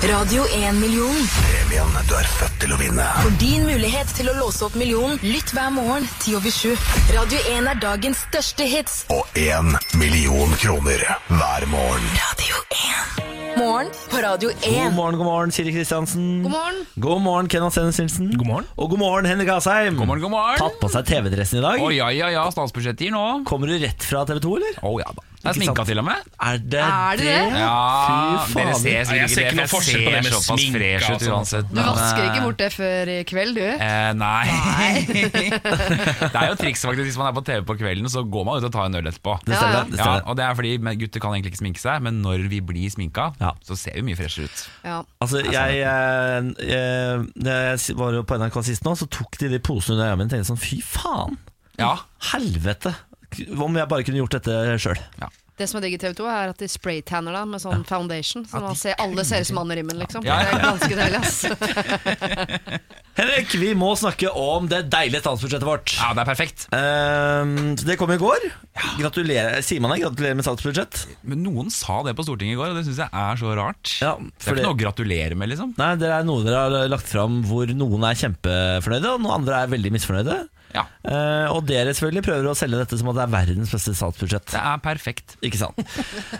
Radio 1-million. Premien du er født til å vinne. For din mulighet til å låse opp millionen, lytt hver morgen 10 over 7. Radio 1 er dagens største hits. Og én million kroner hver morgen. Radio 1. Morgen på Radio 1. God morgen, god morgen, Siri Kristiansen. God morgen. God morgen, Kenneth Sennes Nilsen. God morgen. Og god morgen, Henrik Asheim. God morgen, god morgen. Tatt på seg TV-dressen i dag. Å ja, ja, ja, statsbudsjettet gir nå. Kommer du rett fra TV 2, eller? Å ja da. Det er Ikke sminka sant? til og med. Er det Er det det? Ja, Fy dere faen. Nei, ser jeg sikkert ser ikke ikke det, noe for forskjell på det jeg med ser såpass sminke fresh og ut sånn. uansett. Du vasker ikke bort det før i kveld, du? Eh, nei. det er jo triks faktisk Hvis man er på TV på kvelden, så går man ut og tar en øl etterpå. Det stemmer. Ja, ja. det Ja, stemmer. og det er fordi men Gutter kan egentlig ikke sminke seg, men når vi blir sminka, Ja. så ser vi mye freshere ut. Ja. Altså, jeg, eh, eh, da jeg var jo på NRK sist nå, så tok de de posene under øynene mine og tenkte sånn Fy faen! Ja, Ah, Helvete! Om jeg bare kunne gjort dette sjøl. Det som er digg i TV 2, er at de spraytanner deg med sånn foundation. Så At man de ser, alle ser ut som Anne Rimmen, liksom. Ja, ja, Det er ganske deilig, ass. Henrik, vi må snakke om det deilige statsbudsjettet vårt. ja det er perfekt. Ehm, så det kom i går. Gratulerer, Sier man det? Gratulerer med statsbudsjett. Men noen sa det på Stortinget i går, og det syns jeg er så rart. Ja, det er fordi- ikke noe å gratulere med, liksom. Nei, det er noe dere har lagt fram hvor noen er kjempefornøyde, og noen andre er veldig misfornøyde. Ja, Eh, og dere selvfølgelig prøver å selge dette som at det er verdens beste statsbudsjett. det er perfekt. Ikke sant?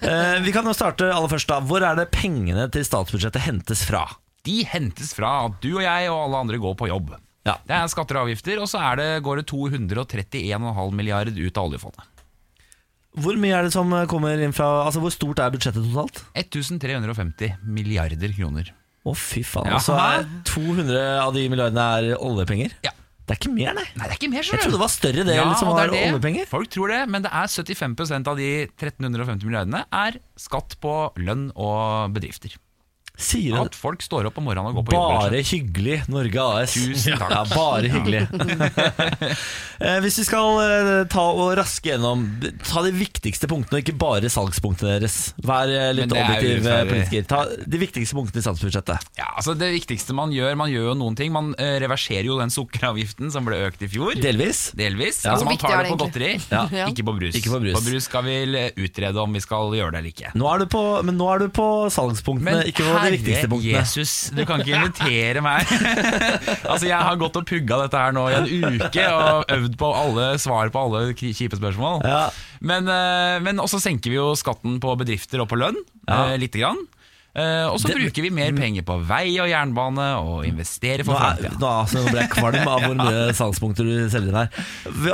Eh, vi kan jo starte aller først da. Hvor er det pengene til statsbudsjettet hentes fra? De hentes fra at du og jeg og alle andre går på jobb. Ja. Det er skatter og avgifter, og så er det, går det 231,5 milliard ut av oljefondet. Hvor mye er det som kommer inn fra Altså, hvor stort er budsjettet totalt? 1350 milliarder kroner. Å, fy faen. Ja. Altså, er 200 av de milliardene er oljepenger? Ja. Det er ikke mer, nei. Nei, det er ikke mer, Jeg trodde det var større del som og var det er det. oljepenger. Folk tror det, men det er 75 av de 1350 milliardene er skatt på lønn og bedrifter. Sier han At folk står opp om morgenen og går på jobb. rett og Bare hyggelig, Norge AS. Tusen takk. Ja, bare hyggelig. Eh, Hvis vi skal eh, ta og raske gjennom Ta de viktigste punktene, og ikke bare salgspunktene deres. Vær eh, litt Men det er objektiv eh, urettferdig. politiker. Ta de viktigste punktene i statsbudsjettet. slett. Ja, altså det viktigste man gjør, man gjør jo noen ting. Man eh, reverserer jo den sukkeravgiften som ble økt i fjor. Delvis. Delvis. Ja. Altså Hvor man viktig tar er det på det godteri, Ja. ikke på brus. Ikke på brus. På brus skal vi eh, utrede om vi skal gjøre det eller ikke. Nå er du på, men nå er du på salgspunktene, ikke på de viktigste punktene. Jesus, du kan ikke invitere meg. altså, Jeg har gått og pugga dette her nå i en uke og øvd på alle svar på alle kri- kjipe spørsmål. Ja. Men, eh, men også senker vi jo skatten på bedrifter og på lønn Ja. eh, lite grann. Eh, Og så Det- Mm. bruker vi mer penger på vei og jernbane og Nå, investerer for er, framtida. nå, altså, nå ble jeg kvalm av hvor mye salgspunkter du selger her.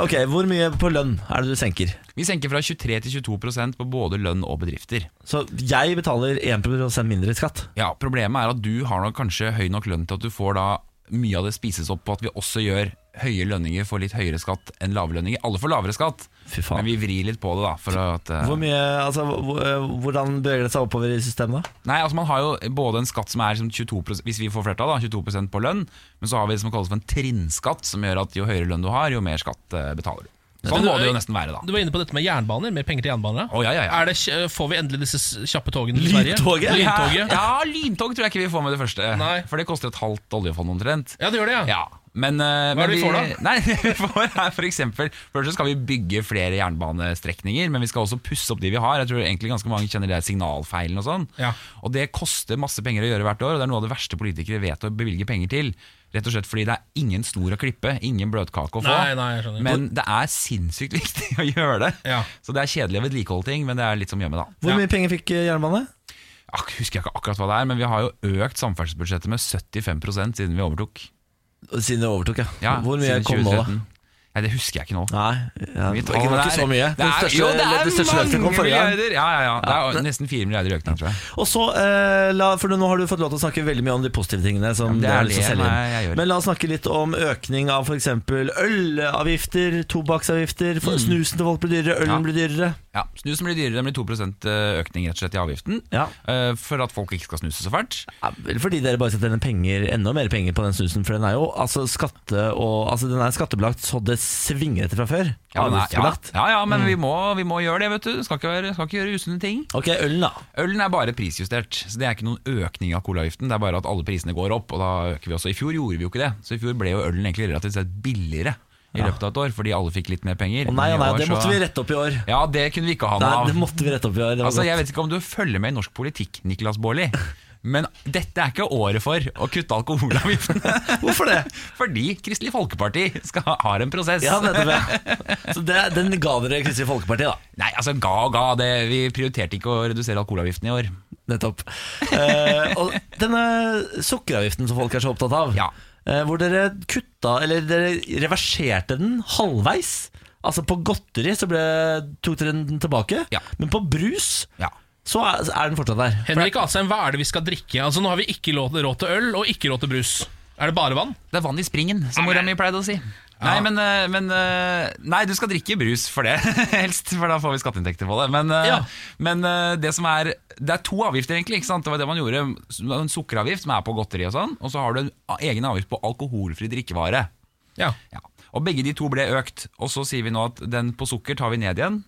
Ok, Hvor mye på lønn er det du senker? Vi senker fra 23 til 22 på både lønn og bedrifter. Så jeg betaler 1 mindre i skatt. Ja, Problemet er at du har nok kanskje høy nok lønn til at du får da mye av det spises opp på at vi også gjør høye lønninger for litt høyere skatt enn lave lønninger. Alle får lavere skatt, Fy faen. men vi vrir litt på det, da. For at, eh, Hvor mye, altså, hvor- eh, hvordan beveger det seg oppover i systemet? da? nei, altså Man har jo både en skatt som er liksom 22 hvis vi får flertall, da, 22 på lønn, men så har vi det som kalles for en trinnskatt, som gjør at jo høyere lønn du har, jo mer skatt eh, betaler du. Sånn må det jo nesten være, Du da. var inne på dette med jernbaner, mer penger til jernbaner. Å, ja, ja, ja. Er det, kj- eh, får vi endelig disse s- kjappe togene til Sverige? Lyntoget? Lyntoget? Ja. Ja, lyntog tror jeg ikke vi får med det første. Nei. For det koster et halvt oljefond omtrent. det gjør det, ja. Ja, men, eh, Hva er men det vi får da? Nei, vi får her for eksempel Først så skal vi bygge flere jernbanestrekninger Men vi skal også pusse opp de vi har Jeg tror egentlig ganske mange kjenner det er signalfeilen og sånn Ja. Og det koster masse penger å gjøre hvert år Og det er noe av det verste politikere vet å bevilge penger til Rett og slett fordi det er ingen snor å klippe Ingen bløtkake å få Nei, nei, jeg skjønner. Men det er sinnssykt viktig å gjøre det Ja. Så det er kjedelig å vedlikeholde ting Men det er litt som hjemme da Hvor Ja. mye penger fikk eh, jernbane? Ak, Husker jeg ikke akkurat hva det er Men vi har jo økt samferdselsbudsjettet med 75% siden vi overtok Siden jeg overtok, ja. ja, Hvor mye siden kom nå, da? 2013. Nei, det husker jeg ikke nå Nei, ja, Mye det tall var ikke der. så mye. Det Den er, største, jo, det er det største løftet kom mange forrige gang. milliarder. Ja, ja, ja. Det er nesten 4 milliarder i økning, tror jeg. Og så, eh, la, for Nå har du fått lov til å snakke veldig mye om de positive tingene. Som men det dere er har lyst til å det selge inn. jeg- jeg gjør. Men la oss snakke litt om økning av f.eks. ølavgifter, tobakksavgifter. for Snusen til folk blir dyrere, ølen Mm. Ja. blir dyrere. Ja, Snusen blir dyrere, det blir 2 økning rett og slett i avgiften. Ja. Eh, For at folk ikke skal snuse så fælt. Ja, vel fordi dere bare setter inn penger, enda mer penger på den snusen, for den er jo altså, skatte og, altså, den er skattebelagt så det svinger etter fra før. Ja, men, ja, Avgiftsbelagt. ja, ja, men vi, må, vi må gjøre det, vet du. Skal ikke, være, skal ikke gjøre usunne ting. Ok, ølen, da. Ølen er bare prisjustert, så det er ikke noen økning av colaavgiften. Det er bare at alle prisene går opp, og da øker vi også. I fjor gjorde vi jo ikke det, så i fjor ble jo ølen egentlig relativt sett billigere i løpet av et år, fordi alle fikk litt mer penger. Å nei, å Men i nei, år det så- måtte vi rette opp i år. Ja, det kunne vi ikke ha Nei, noe av. det måtte vi rette opp i år. Det var Altså, godt. jeg vet ikke om du følger med i norsk politikk, Niklas Baarli. Men dette er ikke året for å kutte alkoholavgiftene. Hvorfor det? Fordi Kristelig Folkeparti skal ha, har en prosess. Ja, nettopp. ja. Så det, den ga dere Kristelig Folkeparti, da. Nei, altså ga og ga. Det, vi prioriterte ikke å redusere alkoholavgiften i år. Nettopp. Eh, og denne sukkeravgiften som folk er så opptatt av, Ja. eh, hvor dere kutta, eller dere reverserte den halvveis. Altså På godteri så ble, tok dere den tilbake, Ja. men på brus Ja. så er, så er den fortsatt der. Henrik Asheim, hva er det vi skal drikke? Altså Nå har vi ikke lov- råd til øl, og ikke råd til brus. Er det bare vann? Det er vann i springen, som mora mi pleide å si. Nei, men, eh, men eh, Nei, du skal drikke brus for det, helst, for da får vi skatteinntekter på det. Men, eh, Ja. men eh, det som er Det er to avgifter, egentlig. ikke sant? Det var det man gjorde. En sukkeravgift, som er på godteri og sånn, og så har du en egen avgift på alkoholfri drikkevare. Ja. Ja. Og begge de to ble økt. Og så sier vi nå at den på sukker tar vi ned igjen,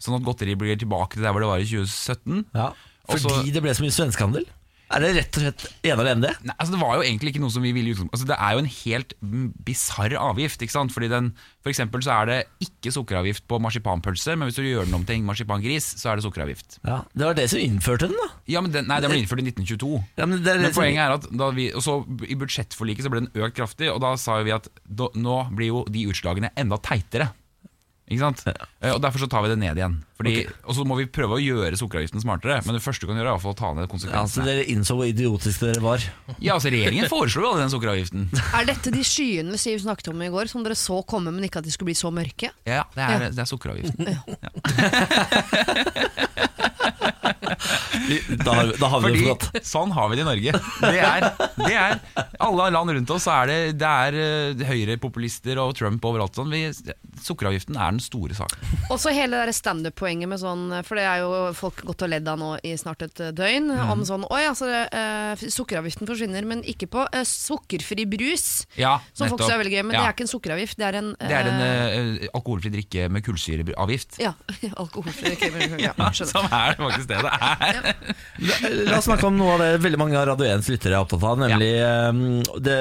sånn at godteri blir tilbake til der hvor det var i 2017. Ja. Og Fordi så- det ble så mye svenskehandel? Er det rett og slett ene og alene det? Nei, altså Det var jo egentlig ikke noe som vi ville i utgangspunktet. Altså Det er jo en helt mm, bisarr avgift. ikke sant? Fordi den, For eksempel så er det ikke sukkeravgift på marsipanpølser, men hvis du gjør den om til en marsipangris, så er det sukkeravgift. Ja, det var dere som innførte den, da. Ja, men den, Nei, den ble innført i 1922. Ja, men det er Men det som- poenget er at da vi, og så I budsjettforliket så ble den økt kraftig, og da sa jo vi at da, nå blir jo de utslagene enda teitere. Ikke sant? Eh, Og Derfor så tar vi det ned igjen. Fordi, Og så må vi prøve å gjøre sukkeravgiften smartere, men det første du kan gjøre, er i hvert fall å ta ja, altså ned så konsekvensene. dere innså hvor idiotiske dere var. Ja, altså Regjeringen foreslo jo aldri den sukkeravgiften. Er dette de skyene Siv snakket om i går, som dere så komme, men ikke at de skulle bli så mørke? Ja, det er, Ja. det er sukkeravgiften. Da, har- da har vi det Fordi for godt. sånn har vi det i Norge. Det er, det er Alle land rundt oss så er det, det er eh, høyrepopulister og Trump overalt sånn. Vi, sukkeravgiften er den store saken. Og så hele det der standup-poenget med sånn For det er jo folk gått og ledd av nå i snart et eh, døgn. Mm. Om sånn Oi, altså eh, sukkeravgiften forsvinner, men ikke på eh, sukkerfri brus. Ja, Som folk nettopp. syns er veldig gøy, men det Ja. er ikke en sukkeravgift, det er en, Det er en eh, eh, alkoholfri drikke med kullsyreavgift. Ja, alkoholfri krem. Ja, skjønner. Som er faktisk det det er. La, la oss snakke om noe av det veldig mange av Radio 1s lyttere er opptatt av, nemlig eh, det,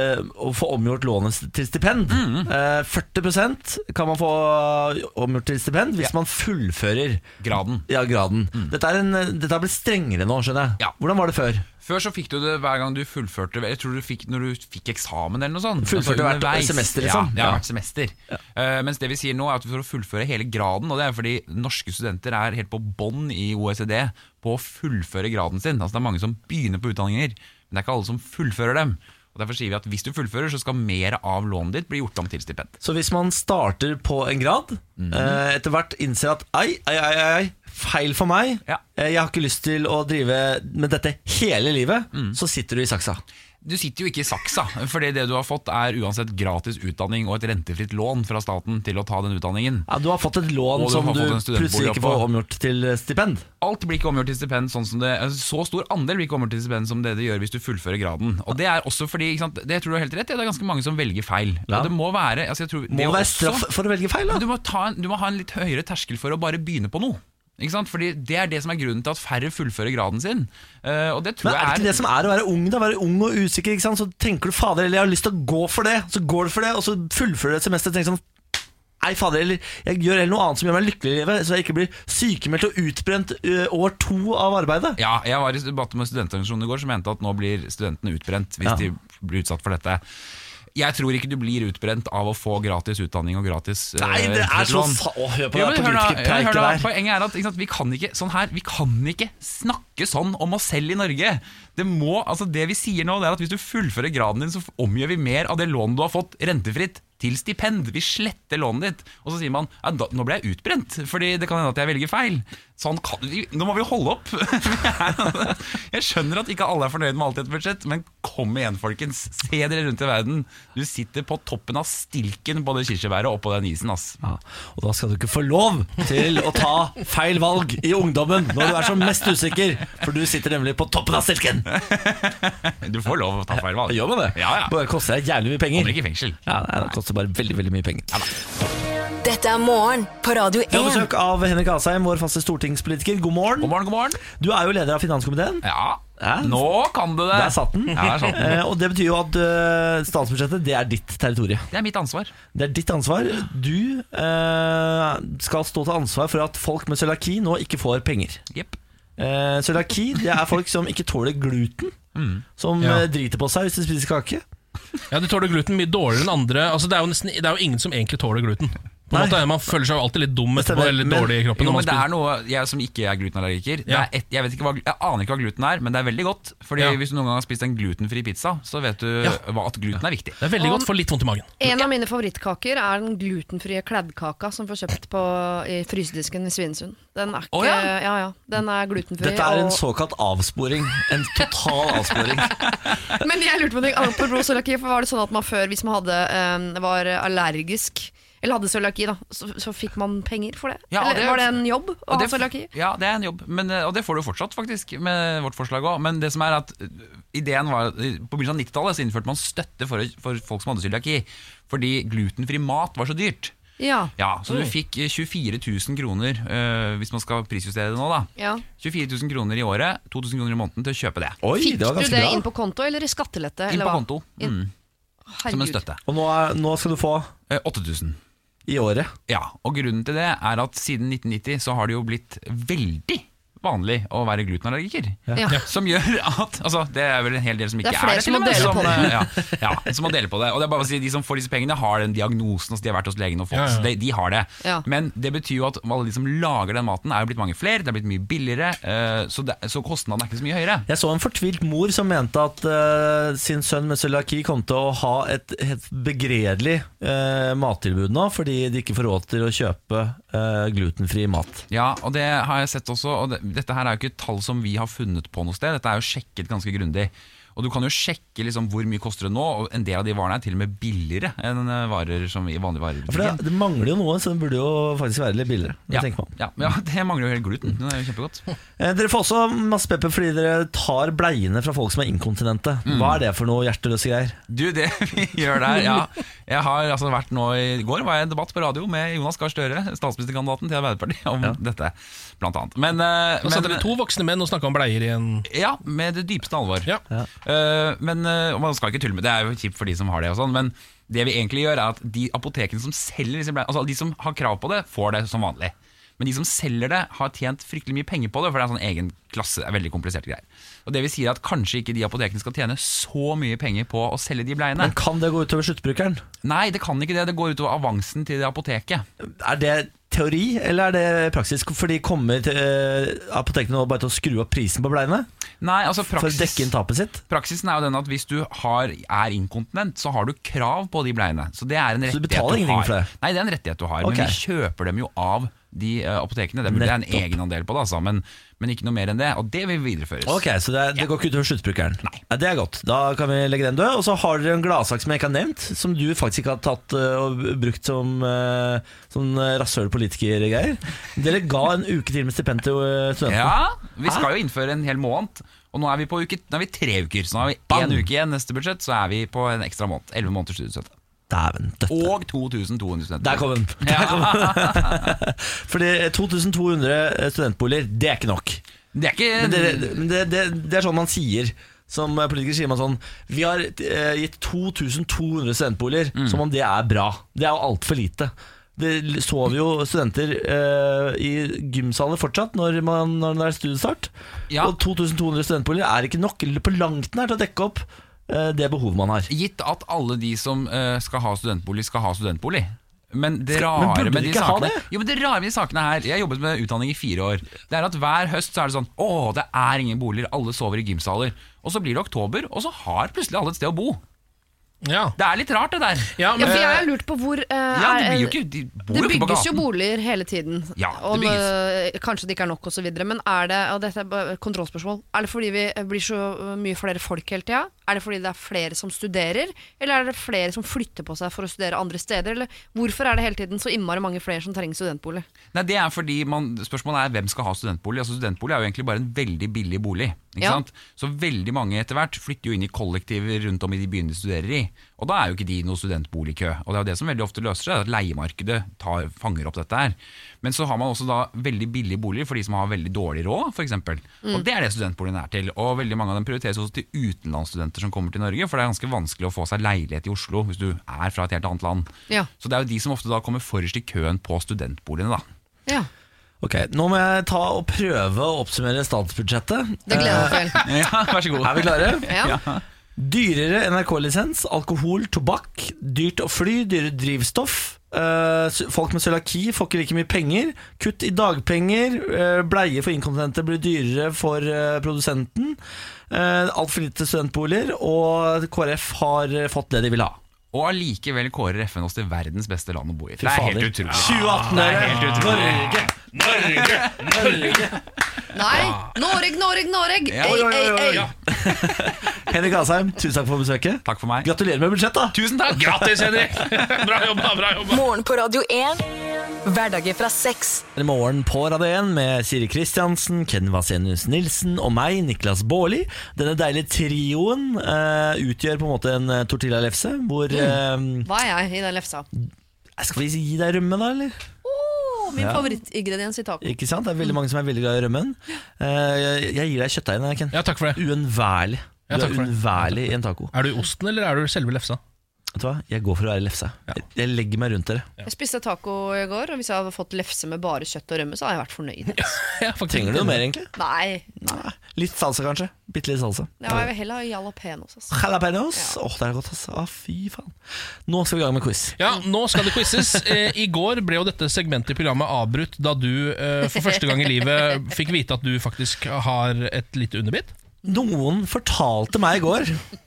å få omgjort lånet til stipend. Mm. Eh, 40 kan man få eh, omgjort til stipend hvis man fullfører Graden. Mm. ja, graden. Dette, er en, eh, dette har blitt strengere nå, skjønner jeg. Ja. Hvordan var det før? Før så fikk du det hver gang du fullførte Jeg tror du fikk når du fikk eksamen eller noe sånt. Fullførte hvert underveis. semester, liksom. Ja, ja, Ja. hvert semester. Eh, mens det vi sier nå, er at for å fullføre hele graden, og det er fordi norske studenter er helt på bånn i OECD på å fullføre graden sin. Altså Det er mange som begynner på utdanninger, men det er ikke alle som fullfører dem. Og Derfor sier vi at hvis du fullfører, så skal mer av lånet ditt bli gjort om til stipend. Så hvis man starter på en grad, Mm. eh, etter hvert innser at ei, ei, ei, ei, ei feil for meg, Ja. eh, jeg har ikke lyst til å drive med dette hele livet, Mm. så sitter du i saksa. Du sitter jo ikke i saksa, fordi det du har fått er uansett gratis utdanning og et rentefritt lån fra staten til å ta den utdanningen. Ja, du har fått et Og lån du som har du fått en studentbolig plutselig ikke oppå. får omgjort til eh, stipend. Alt blir ikke omgjort til stipend sånn som det altså, Så stor andel blir ikke omgjort til stipend som det det gjør hvis du fullfører graden. Og Det er også fordi, ikke sant, det tror du har helt rett, i, det er ganske mange som velger feil. Ja. Og det må være altså, jeg tror, Må det det være også- straff for å velge feil, da? Men du, må ta en, du må ha en litt høyere terskel for å bare begynne på noe. Ikke sant? Fordi Det er det som er grunnen til at færre fullfører graden sin. Eh, og det tror Men er det jeg ikke det som er å være ung, da? Være ung og usikker, ikke sant? Så tenker du fader, eller jeg har lyst til å gå for det, så går du for det, og så fullfører du et semester og tenker sånn Nei, fader, eller jeg gjør heller noe annet som gjør meg lykkelig i livet, så jeg ikke blir sykemeldt og utbrent ø, år to av arbeidet. Ja, jeg var i debatt med studentorganisasjonen i går som mente at nå blir studentene utbrent hvis Ja. de blir utsatt for dette. Jeg tror ikke du blir utbrent av å få gratis utdanning og gratis eh, Nei, det er så lån. sa... Å, hør på Jo, det men hør da, ja, men politikerpreiket hør da, der. Poenget er at ikke sant, vi, kan ikke, sånn her, vi kan ikke snakke sånn om oss selv i Norge. Det, må, altså det vi sier nå, det er at hvis du fullfører graden din, så omgjør vi mer av det lånet du har fått rentefritt, til stipend. Vi sletter lånet ditt. Og så sier man ja, da, nå ble jeg utbrent, fordi det kan hende at jeg velger feil. Sånn kan, vi- nå må vi holde opp. jeg skjønner at ikke alle er fornøyd med alt i et budsjett, men kom igjen, folkens. Se dere rundt i verden. Du sitter på toppen av stilken på det kirsebæret og på den isen, ass. Ja, og da skal du ikke få lov til å ta feil valg i ungdommen når du er som mest usikker, for du sitter nemlig på toppen av stilken. Du får lov å ta feil valg. Eh, Gjør man det? Ja, ja. Bare koster deg jævlig mye penger. Kommer ikke i fengsel. Ja, nei, det koster bare veldig, veldig mye penger. Dette er morgen på Radio Vi har 1. besøk av Henrik Asheim, vår faste stortingspolitiker. God morgen. God morgen, god morgen. Du er jo leder av finanskomiteen. Ja, Ja. nå kan du det. Der satt den. Ja, der satt den. Eh, og det betyr jo at eh, statsbudsjettet det er ditt territorium. Det er mitt ansvar. Det er ditt ansvar. Du eh, skal stå til ansvar for at folk med cøliaki nå ikke får penger. Eh, Jepp. Uh, cøliaki det er folk som ikke tåler gluten. Som Ja. eh, driter på seg hvis de spiser kake. Ja, De tåler gluten mye dårligere enn andre. Altså, det, er jo nesten, det er jo ingen som egentlig tåler gluten. På en Nei. måte, man føler seg jo alltid litt dum etterpå, stemmer, eller men- dårlig i kroppen. Jo, når men man det er spiser. noe jeg som ikke er glutenallergiker. Det Ja. er et, jeg, vet ikke hva, glu- jeg aner ikke hva gluten er, men det er veldig godt. Fordi Ja. Hvis du noen gang har spist en glutenfri pizza, så vet du Ja. hva, at gluten er viktig. det er veldig godt for litt vondt i magen. En av mine favorittkaker er den glutenfrie kladdkaka som får kjøpt på, i frysedisken i Svinesund. Den er ikke Å, ja. ja. Ja, Den er glutenfri. Dette er en og- såkalt avsporing. En total avsporing. Men jeg lurte på noe annet på blodcøliaki. For var det sånn at man før, hvis man hadde, eh, var allergisk eller hadde cøliaki, da, så, så fikk man penger for det? Ja, eller det- var det en jobb å Og ha det, cøliaki? ja, det er en jobb, men, eh, og det får du jo fortsatt, faktisk, med vårt forslag òg. Men det som er at øh, ideen var eh, på begynnelsen av 90-tallet så innførte man støtte for, for folk som hadde cøliaki. Fordi glutenfri mat var så dyrt. Ja. Ja, Så du fikk eh, 24 000 kroner, øh, hvis man skal prisjustere det nå, da. ja. 24 000 kroner i året, 2000 kroner i måneden til å kjøpe det. Oi, Fikk det var du ganske det bra. inn på konto eller i skattelette? Inn eller på hva? konto, Inn- mm, som en Herregud. støtte. Og nå, er, nå skal du få Eh, 8000. i året. Ja, og grunnen til det er at siden 1990 så har det jo blitt veldig vanlig å være glutenallergiker. Ja. Som gjør at Altså, det er vel en hel del som ikke Det er flere er det. til som må og med, dele på eh, Ja, ja, som må dele på det. Og det er bare å si De som får disse pengene, har den diagnosen. Altså de har vært hos legen og fått Ja, ja. så De, de har det. Ja. Men det betyr jo at alle de som lager den maten, er jo blitt mange flere. Det er blitt mye billigere, eh, så, det, så kostnaden er ikke så mye høyere. Jeg så en fortvilt mor som mente at eh, sin sønn med cøliaki kom til å ha et helt begredelig eh, mattilbud nå, fordi de ikke får råd til å kjøpe eh, glutenfri mat. Ja, og det har jeg sett også. Og det, dette her er jo ikke et tall som vi har funnet på noe sted. Dette er jo sjekket ganske grundig. Og du kan jo sjekke liksom hvor mye koster det nå, og en del av de varene er til og med billigere enn eh, varer som i vanlige varer. i For det, butikken. det mangler jo noe, så det burde jo faktisk være litt billigere. når Ja, jeg tenker meg om. ja, ja, det mangler jo helt gluten. Det er jo kjempegodt. Eh, Dere får også masse pepper fordi dere tar bleiene fra folk som er inkontinente. Mm. Hva er det for noe hjerteløse greier? Du, det vi gjør der ja. Jeg har altså vært nå I går var jeg i en debatt på radio med Jonas Gahr Støre, statsministerkandidaten til Arbeiderpartiet, om dette, blant annet. Men, eh, Da satt men- dere to voksne menn og snakka om bleier i en Ja, med det dypeste alvor. Ja. Eh, men eh, og Man skal ikke tulle med det, det er jo kjipt for de som har det, og sånn men det vi egentlig gjør, er at de apotekene som selger disse bleiene Altså de som har krav på det, får det som vanlig. Men de som selger det, har tjent fryktelig mye penger på det, for det er en sånn egen klasse. det er veldig kompliserte greier Og det vil si at kanskje ikke de apotekene skal tjene så mye penger på å selge de bleiene. Men kan det gå utover sluttbrukeren? Nei, det kan ikke det. Det går utover avansen til det apoteket. Er det teori, eller er det praksis? Fordi kommer eh, apotekene nå bare til å skru opp prisen på bleiene Nei, altså for å praksis dekke inn tapet sitt? Praksisen er jo den at hvis du har, er inkontinent, så har du krav på de bleiene. Så det er en Så rettighet du betaler ingenting har. for det? Nei, det er en rettighet du har, Ok. men vi kjøper dem jo av de eh, apotekene. Det er, det er en Nettopp. egenandel på det, altså, men, men ikke noe mer enn det. Og det vil videreføres. Ok, Så det, er- det går ikke utover sluttbrukeren? Nei. Det er godt. Da kan vi legge den død. Og så har dere en gladsak som jeg ikke har nevnt, som du faktisk ikke har tatt eh, og brukt som, eh, som eh, rasshøl politikergreier. Dere ga en uke til med stipend til eh, studentene. Ja, vi skal jo innføre en hel måned. Og nå er vi på uke, nå er vi tre uker, så nå har vi Bam! én uke igjen neste budsjett. Så er vi på en ekstra måned. Elleve måneders studiestøtte. Dæven døtte. Og 2200 studenter. Der kom den. Der kom den. Fordi eh, 2200 eh, studentboliger, det er ikke nok. Det er ikke Men det, men det, det, det er sånn man sier. Som politiker sier man sånn Vi har eh, gitt 2200 studentboliger, som om det er bra. Det er jo altfor lite. Det sover jo studenter eh, i gymsaler fortsatt når, man, når det er studiestart. Ja. Og 2200 studentboliger er ikke nok eller på langt nær til å dekke opp eh, det behovet man har. Gitt at alle de som eh, skal ha studentbolig, skal ha studentbolig. Men det Skal- men rare burde med de de ikke ha sakene det? Jo, men det rare med de sakene her Jeg har jobbet med utdanning i fire år. Det er at Hver høst så er det sånn Å, det er ingen boliger, alle sover i gymsaler. Og så blir det oktober, og så har plutselig alle et sted å bo. Ja, Det er litt rart, det der. ja Ja, men for jeg har lurt på hvor eh, Ja, det er- blir jo ikke De bor Det jo ikke på bygges jo gaten. boliger hele tiden. Ja, det om, eh, kanskje det ikke er nok osv. Men er det og dette er bare et kontrollspørsmål Er det fordi vi eh, blir så eh, mye flere folk hele tida? Er det fordi det er flere som studerer? Eller er det flere som flytter på seg for å studere andre steder? Eller hvorfor er det hele tiden så innmari mange flere som trenger studentbolig? Nei, det er fordi man, Spørsmålet er hvem skal ha studentbolig. Altså Studentbolig er jo egentlig bare en veldig billig bolig. Ikke Ja. sant? Så veldig mange etter hvert flytter jo inn i kollektiver rundt om i de byene de studerer i. Og da er jo ikke de i noe studentboligkø. Og det er jo det som veldig ofte løser seg, at leiemarkedet tar, fanger opp dette her. Men så har man også da veldig billige boliger for de som har veldig dårlig råd, f.eks. eksempel Mm. Og det er det studentboligen er til. Og veldig mange av dem prioriteres også til utenlandsstudenter som kommer til Norge, for det er ganske vanskelig å få seg leilighet i Oslo hvis du er fra et helt annet land. Ja. Så det er jo de som ofte da kommer forrest i køen på studentboligene, da. Ok, Nå må jeg ta og prøve å oppsummere statsbudsjettet. Eh, Det gleder jeg meg til. Ja, vær så god. Er vi klare? Ja. Dyrere NRK-lisens, alkohol, tobakk, dyrt å fly, dyrere drivstoff. eh, s- folk med cøliaki får ikke like mye penger. Kutt i dagpenger. eh, bleie for inkontinente blir dyrere for eh, produsenten. Uh, Altfor lite studentboliger. Og KrF har eh, fått det de vil ha. Og allikevel kårer FN oss til verdens beste land å bo i. Fy Det er helt fader. utrolig. 2018 Det er er helt utrolig. Norge! Norge! Norge! Nei, Noreg, Noreg, Noreg! Ja. Ei, ei, ei. Ja. Henrik Asheim, tusen takk for besøket. Takk for meg. Gratulerer med budsjettet! Tusen takk! Grattis, Henrik! Bra jobba, bra jobba. Morgen på Radio 1. Hverdager fra seks. I morgen på Radio 1 med Siri Kristiansen, Ken Vasenius Nilsen og meg, Niklas Baarli. Denne deilige trioen eh, utgjør på en måte en eh, tortillalefse. Hvor Mm. eh, Hva er jeg i den lefsa? Skal vi gi deg rømme, da? eller? Oh, min Ja. favorittingrediens i taco. Ikke sant? Det Mm. er veldig mange som er veldig glad i rømmen. Eh, jeg, jeg gir deg kjøttdeigen, Ken. Ja, takk for det. Uunnværlig. Ja, Du takk er for det. uunnværlig i en taco. Er du osten, eller er du selve lefsa? Vet du hva? Jeg går for å være lefse. Jeg, jeg legger meg rundt dere. Jeg spiste taco i går, og hvis jeg hadde fått lefse med bare kjøtt og rømme, så hadde jeg vært fornøyd. Ja, faktisk. Trenger du noe mer, egentlig? Nei, Litt salsa, kanskje. Bitte litt salsa. det var jeg vil heller ha jalapeños. Altså. Jalapeños. Åh, det er godt, altså. Ah, fy faen. Nå skal vi i gang med quiz. Ja, nå skal det quizes. Eh, I går ble jo dette segmentet i programmet avbrutt da du eh, for første gang i livet fikk vite at du faktisk har et lite underbitt. Noen fortalte meg i går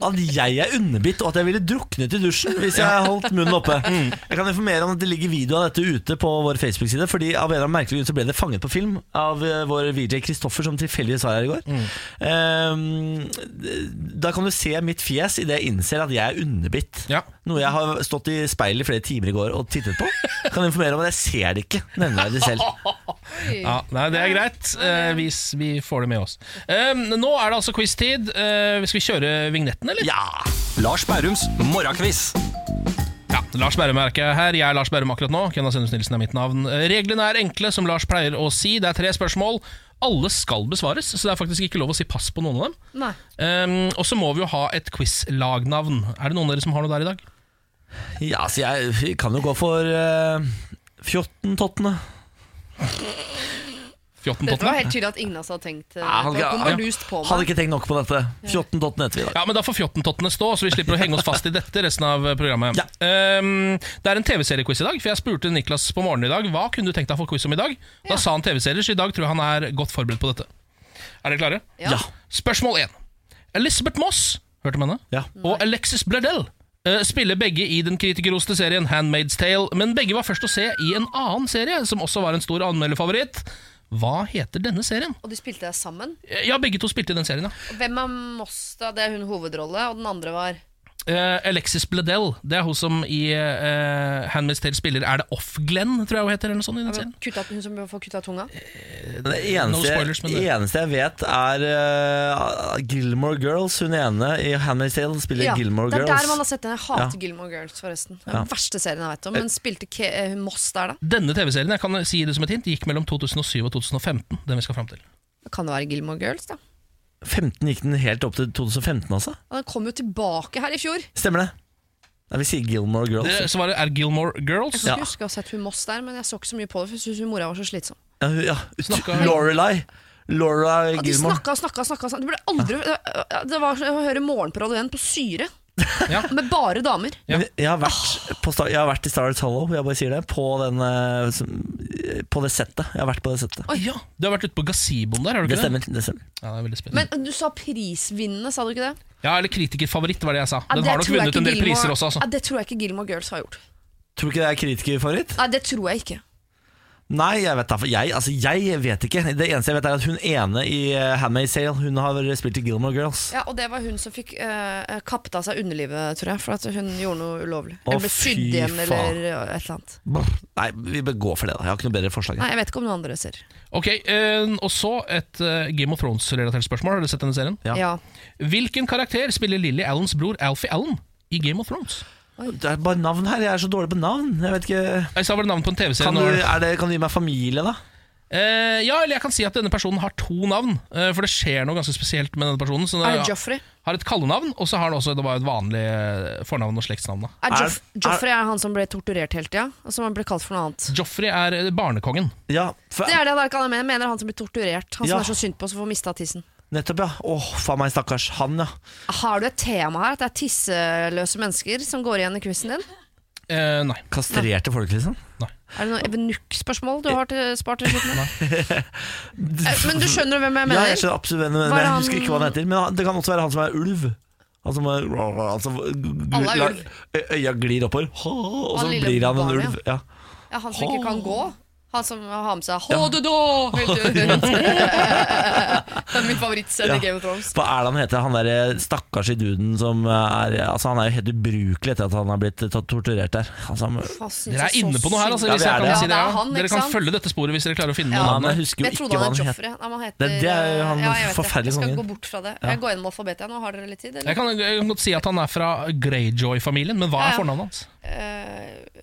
at jeg er underbitt, og at jeg ville druknet i dusjen hvis jeg holdt munnen oppe. Jeg kan informere om at det ligger video av dette ute på vår Facebook-side, fordi av en eller annen merkelig grunn så ble det fanget på film av eh, vår VJ Kristoffer, som tilfeldigvis var her i går. Ehm, da kan du se mitt fjes idet jeg innser at jeg er underbitt. Ja. Noe jeg har stått i speilet i flere timer i går og tittet på. Kan informere om at jeg ser det ikke nevneverdig selv. Ja, nei, Det er greit. Eh, vi, s- vi får det med oss. Eh, nå er det altså quiz-tid. Eh, skal vi kjøre vignetten, eller? Ja! Lars Bærums morgenkviss. Ja, Lars Berrum er ikke her. Jeg er Lars Berrum akkurat nå. Kenna Sennus Nilsen er mitt navn. Eh, Reglene er enkle, som Lars pleier å si. Det er tre spørsmål. Alle skal besvares, så det er faktisk ikke lov å si pass på noen av dem. Nei. Um, og så må vi jo ha et quiz-lagnavn. Er det noen av dere som har noe der i dag? Ja, så jeg kan jo gå for uh, 14 tottene. Dette var 14-tottene? helt tydelig at ingen av oss hadde tenkt eh, Ja, han- Det kom ja. bare lust på Hadde meg. ikke tenkt nok på dette. 14 dotten heter vi i dag. Ja, men Da får 14-tottene stå, så vi slipper å henge oss fast i dette resten av programmet. Ja. Um, det er en TV-seriequiz i dag, for jeg spurte Niklas på morgenen i dag hva kunne du tenkt deg å få quiz om i dag. Da sa han TV-serier, så i dag tror jeg han er godt forberedt på dette. Er dere klare? Ja. Spørsmål 1. Elizabeth Moss hørte om henne, Ja. og Alexis Bledel eh, spiller begge i den kritikerroste serien Handmaid's Tale, men begge var først å se i en annen serie, som også var en stor anmelderfavoritt. Hva heter denne serien? Og de spilte det sammen. Eh, Ja, begge to spilte i den serien, ja. Hvem er Moss, da? Det er hun hovedrolle, og den andre var Eh, Alexis Bledel, det er hun som i uh, Handmaid's Tale spiller Er det Off-Glenn, tror jeg hun heter, eller noe sånt i den serien? kutta, hun som får kutta tunga. Det No eneste, spoilers, men det- eneste jeg vet, er eh, Gilmore Girls. Hun ene i Handmaid's Tale spiller Ja, Gilmore det er der man Girls. har sett den. Jeg hater Gilmore Girls, forresten. Det er Den verste serien jeg vet om. Men spilte Ke eh, Moss der, da? Denne TV-serien jeg kan si det som et hint, gikk mellom 2007 og 2015. Den vi skal fram til. Kan det være Gilmore Girls, da? 15 gikk den helt opp til 2015, altså. Ja, Den kom jo tilbake her i fjor. Jeg Stemmer det? Nei, vi sier Gilmore Girls. Det, svaret er Gilmore Girls. Ja. skulle huske å ha sett hun Moss der, men jeg så ikke så mye på det, for jeg syntes hun mora var så slitsom. Ja, hun- ja. Snakka- Lorelei. Laura Ja, de Gilmore. snakka og snakka og snakka. og snakka. Det burde aldri Det var som å høre Morgen på Radio 1 på syre, Ja. Mm. med bare damer. Ja. Men Jeg, har vært på Star, jeg har vært i Star Wars Hollow, jeg bare sier det. På, den, eh, som- eh, på det settet. Jeg har vært på det settet. Oi, ja. Du har vært ute på gazeboen der, har du Det ikke det? stemmer. det stemmer Ja, det er veldig spennende. Men du sa prisvinnende, sa du ikke det? Ja, eller kritikerfavoritt, var det jeg sa. Ja, Den det har nok tror jeg vunnet ikke en del Gilmore- priser også, altså. Ja, det tror jeg ikke Gilmore Girls har gjort. Tror du ikke det er kritikerfavoritt? Nei, det tror jeg ikke. Nei, jeg vet, da, for jeg, altså, jeg vet ikke. Det eneste jeg vet, er at hun ene i eh, Handmaid's Tale Hun har spilt i Gilmore Girls. Ja, Og det var hun som fikk eh, kappet av seg underlivet, tror jeg. For at hun gjorde noe ulovlig. Å, Eller ble fy sydd igjen, faen. eller eh, et eller annet. Brr. Nei, vi bør gå for det. da Jeg har ikke noe bedre forslag. Nei, jeg vet ikke om noen andre ser. Ok, eh, Og så et eh, Game of Thrones-relatert spørsmål. Har dere sett denne serien? Ja. Ja. Hvilken karakter spiller Lilly Allens bror Alfie Allen i Game of Thrones? Det er bare navn her. Jeg er så dårlig på navn. Jeg vet ikke Jeg sa vel navnet på en TV-serie. Kan du, nå var det- er det, kan du gi meg familie, da? Eh, ja, eller jeg kan si at denne personen har to navn. eh, for det skjer noe ganske spesielt med denne personen. Så, Er det Joffrey? har et kallenavn, og så har han også det var et vanlig eh, fornavn og slektsnavn. da. Er Joff Er- Joffrey er han som ble torturert hele tida, og som han ble kalt for noe annet. Joffrey er eh, barnekongen. Ja, for, Det er det han ikke mener, mener han som blir torturert. Han Ja. som er så synd på oss og får mista tissen. nettopp, ja. Åh, faen meg, stakkars. Han, ja. Har du et tema her, at det er tisseløse mennesker som går igjen i quizen din? Eh, nei. Kastrerte folk, liksom. Er det noe evenukk-spørsmål du har til, spart til slutten? Eh, Men du skjønner hvem jeg Ja, jeg mener? skjønner absolutt hvem men Var jeg han- husker ikke hva han heter. Men han- det kan også være han som er ulv. Han som er, han som, Alle er la- ulv. ø- Øya glir oppover, og så Han lille blir han en barnet, ulv. Ja. Ja, han som ikke kan gå? Han som har med seg Ja. HDD! helt rundt. Det er min favorittscene Ja. i Game of Thrones. Hva er det han heter? Han derre stakkars i duden som er Altså, han er jo helt ubrukelig etter at han har blitt eh, tatt torturert der. Altså, han, Dere er inne på noe her. altså Ja, hvis vi er jeg kan det. si det, Ja, det er ja. han, Dere ikke kan sant? følge dette sporet hvis dere klarer å finne noen ja, men navn. jeg husker jo Jeg ikke trodde hva han han het het. Joffrey. Nei, men han heter, Det- det er jo han ja, jeg vet det. forferdelige Jeg kongen. skal gå bort fra det. Jeg går gjennom alfabetet igjen. nå. Har dere litt tid? sånn Jeg Eller? kan, jeg kan godt si at han er fra Greyjoy-familien, men hva Ja, er ja. fornavnet hans? Eh,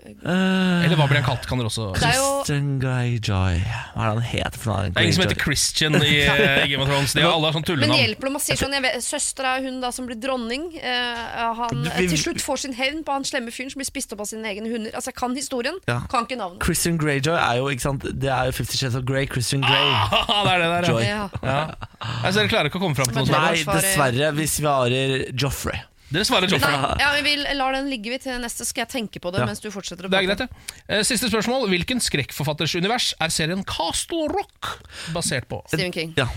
Eller hva blir han kalt? kan dere også... Det er jo- Eh, Christian Greyjoy. Hva er det han heter for noe? Det er ingen som heter Christian i, eh, i Game of Thrones. De har alle har sånn men tullenavn. hjelper det om man sier sånn jeg vet- Søstera er hun da som blir dronning. eh, han Du, eh, vi- til slutt får sin hevn på han slemme fyren som blir spist opp av sine egne hunder. Altså, Jeg kan historien, Ja. kan ikke navnet. Christian Greyjoy er jo ikke sant? Det er jo Fifty Shades of Grey. Christian Ah, Grey. det er det der, Joy. ja. Ja. ja. Altså, dere klarer ikke å komme fram til noe svar. Nei, dessverre. Vi svarer Joffrey. Dere svarer Joffrey. Nei, ja, men vi lar den ligge vi til neste, skal jeg tenke på det Ja. mens du fortsetter å Det er prate. greit, det. Eh, Siste spørsmål. Hvilken skrekkforfatters univers er serien Castle Rock basert på? Stephen King. Ja.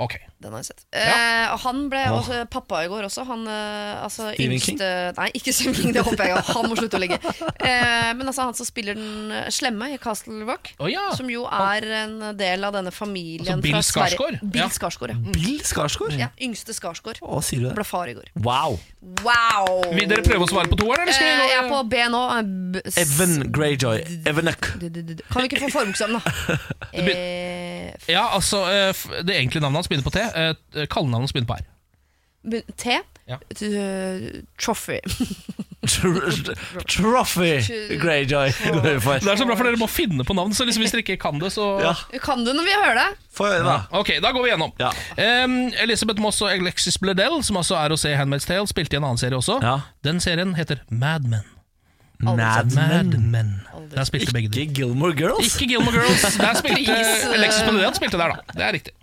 Ok, Den har jeg sett. Eh, og han ble også pappa i går også. Han eh, altså Stephen yngste Nei, ikke Stephen King, det håper jeg ikke. Han må slutte å ligge. Eh, men altså han som spiller den eh, slemme i Castle Rock, Å ja. som jo er en del av denne familien Altså, Bill fra Sverige. Skarsgård? Bill Ja. Skarsgård, ja. Bill Skarsgård? Mm. ja. Yngste Skarsgård. Å, sier du det? Ble far i går. Wow. Wow! Vil dere prøve å svare på toeren, eller Eh, skal vi jeg gå er på B nå. eh, b- s- Evan Greyjoy. Evanuck. d- d- d- Kan vi ikke få forbokstaven, da? Eh, f- Ja, altså, eh, f- Det egentlige navnet hans begynner på T. eh, Kallenavnet hans begynner på R. bu- T. Ja. T- Trophy. Tr- Trophy Greyjoy går vi Det for. er så bra, for dere må finne på navn. Så liksom hvis dere ikke kan det, så Ja, Kan du når vi hører det? Få høre, da. Ok, da går vi gjennom. Ja. Em, Elizabeth Moss og Alexis Bledel, som altså er å se i Handmaid's Tale, spilte i en annen serie også. Ja. Den serien heter Mad Men. Mad Mad Men. Men. Der spilte begge de. Ikke Gilmore Girls. Ikke Gilmore Girls. Der spilte Please, eh. Alexis Bledel spilte der, da. Det er riktig.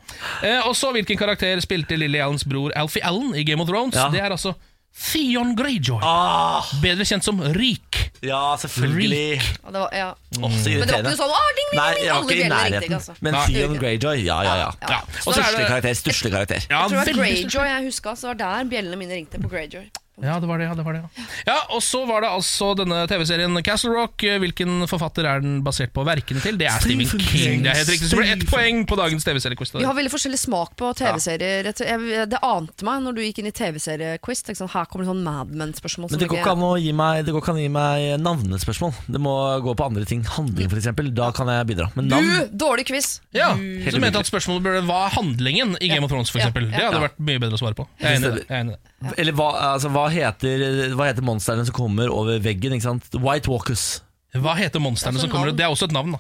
Eh, og så hvilken karakter spilte Lily Allens bror Alfie Allen i Game of Thrones? Ja. Det er altså Theon Greyjoy. Ah, Bedre kjent som Rik. ja, selvfølgelig. Ja, det var, ja. Åh, så Men det var ikke irriterende. noe sånn «Åh, ding, ding, Nei, ding, jeg var alle ikke i bjeller ringte», nærheten. altså. Men Nei. Theon Greyjoy, ja, ja, ja. Ja. Og så er Stusslig det karakter. stusslig karakter. ja, Jeg tror det var veldig stusslig. Greyjoy jeg huska, så det var der bjellene mine ringte på Greyjoy. Ja, det var det. Ja, det var det ja. ja, Og så var det altså denne TV-serien Castle Rock. Eh, Hvilken forfatter er den basert på verkene til? Det er Stephen Stephen King. King. Det er helt riktig Så ble det ett Stephen- poeng på dagens TV-seriequiz. Vi har veldig forskjellig smak på TV-serier. Jeg- jeg- Det ante meg når du gikk inn i TV-seriequiz. tenkte jeg Sånn, her kommer det sånn Mad Men-spørsmål. som Men det går ikke- ikke an å gi meg, det går ikke an å gi meg navnespørsmål. Det må gå på andre ting. Handling, f.eks. Da kan jeg bidra. Men navn Du! Dårlig quiz! Ja, Så mente jeg at spørsmålet burde Hva er handlingen i Game of Thrones? For Ja, eksempel ja, Det hadde vært mye bedre å svare på. Jeg er enig i det. Jeg er enig i det. Eller hva, altså, hva heter, hva heter monstrene som kommer over veggen? Ikke sant? White Walkers. Hva heter monstrene som kommer? Det er også et navn, da.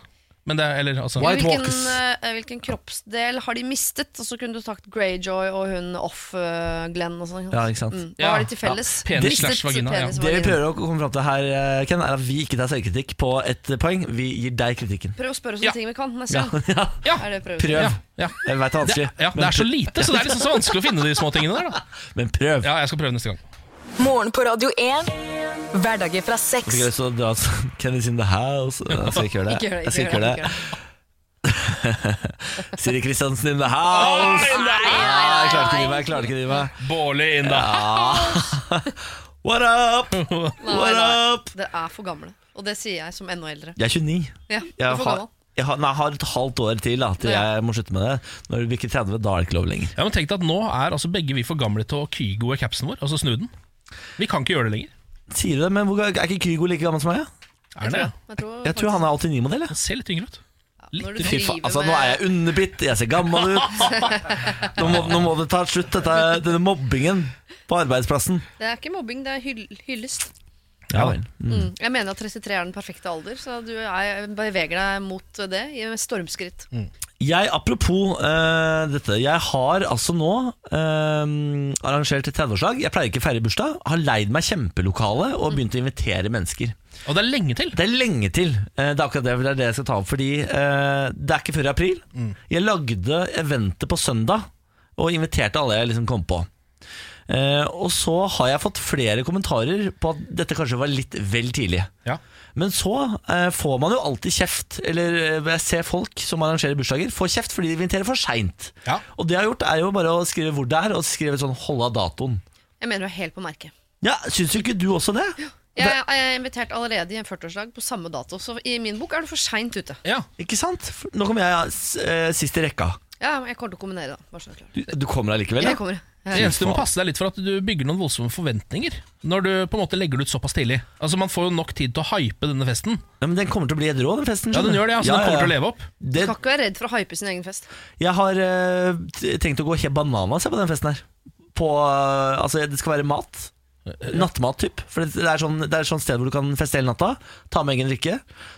Men det er, eller, altså, White Hvilken, Walkers. eh, hvilken kroppsdel har de mistet? Og så kunne du sagt Greyjoy og hun Off-Glenn og sånn. Ja, ikke sant? Mm. Hva Ja. har de til felles? Ja, penis Mistet slash vagina, ja. penis og Det vi vagina. prøver å komme fram til her, eh, Ken, er at vi ikke tar selvkritikk på ett poeng. Vi gir deg kritikken. Prøv å spørre oss om Ja. ting vi kan neste Ja, gang. ja. ja, Er det prøv? Prøv. ja, ja. Jeg veit det er Det, vanskelig, ja, det er så lite, så det er liksom så vanskelig å finne de små tingene der. Da. men prøv. Ja, jeg skal prøve neste gang. Morgen på Radio 1. Hverdager fra seks. Jeg har lyst til å dra sånn, Ken is in the house. altså." Jeg skal ikke gjøre det. Ikke gjør det, Jeg skal ikke ikke gjør det, gjøre det. Siri Kristiansen in the house. Ja, Jeg klarte ikke å dy meg. Jeg klarte ikke å dy meg. Bårli inn, da. What up? Mm. What up? Dere er for gamle. Og det sier jeg som enda eldre. Jeg er 29. Ja, du er Jeg for har, gammel. jeg har, nei, jeg har et halvt år til da, til Ja. jeg må slutte med det. Når du bikker 30, da er det ikke lov lenger. Ja, men tenk deg at Nå er altså begge vi for gamle til å kygoe capsen vår, altså snu den. Vi kan ikke gjøre det lenger. Sier du det, men hvor- Er ikke Kygo like gammel som meg? ja? Er det? Jeg tror, Jeg tror han er 89-modell. jeg. Han ser litt yngre ut. Når du Fy faen, driver altså med- Nå er jeg underbitt, jeg ser gammel ut. Nå må, nå må det ta slutt, dette, denne mobbingen på arbeidsplassen. Det er ikke mobbing, det er hyll hyllest. Ja vel. Mm. Jeg Mm. mener at 33 er den perfekte alder, så du er, beveger deg mot det i stormskritt. Jeg, apropos eh, dette Jeg har altså nå eh, arrangert et 30-årslag. Jeg pleier ikke å feire bursdag. Har leid meg kjempelokale og begynt å invitere mennesker. Og det er lenge til. Det er lenge til. Eh, Det er akkurat det, det, er det jeg skal ta opp. Fordi eh, det er ikke før i april. Jeg lagde eventet på søndag og inviterte alle jeg liksom kom på. Eh, og så har jeg fått flere kommentarer på at dette kanskje var litt vel tidlig. Ja. Men så eh, får man jo alltid kjeft, eller eh, jeg ser folk som arrangerer bursdager, får kjeft fordi de inviterer for seint. Ja. Og det jeg har gjort, er jo bare å skrive hvor det er, og skrive sånn 'hold av datoen'. Jeg mener du er helt på merket. Ja, Syns jo ikke du også det? Jeg er invitert allerede i en 40-årsdag på samme dato, så i min bok er du for seint ute. Ja. Ikke sant? Nå kommer jeg eh, sist i rekka. Ja, men Jeg kommer til å kombinere, da. Bare så det er klart. Du, du kommer allikevel, Jeg kommer. Det eneste du må passe deg litt for at du bygger noen voldsomme forventninger når du på en måte legger det ut såpass tidlig. Altså Man får jo nok tid til å hype denne festen. Ja, men den kommer til å bli et rå, den festen. Ja, den gjør det, altså. Den kommer til å leve opp. Du skal ikke være redd for å hype sin egen fest. jeg har eh, t- tenkt å gå helt bananas jeg, på den festen her. På, eh, altså, det skal være mat. Nattmat, typ. For det det er, sånn, det er sånn sted hvor du kan feste hele natta. Ta med egen drikke.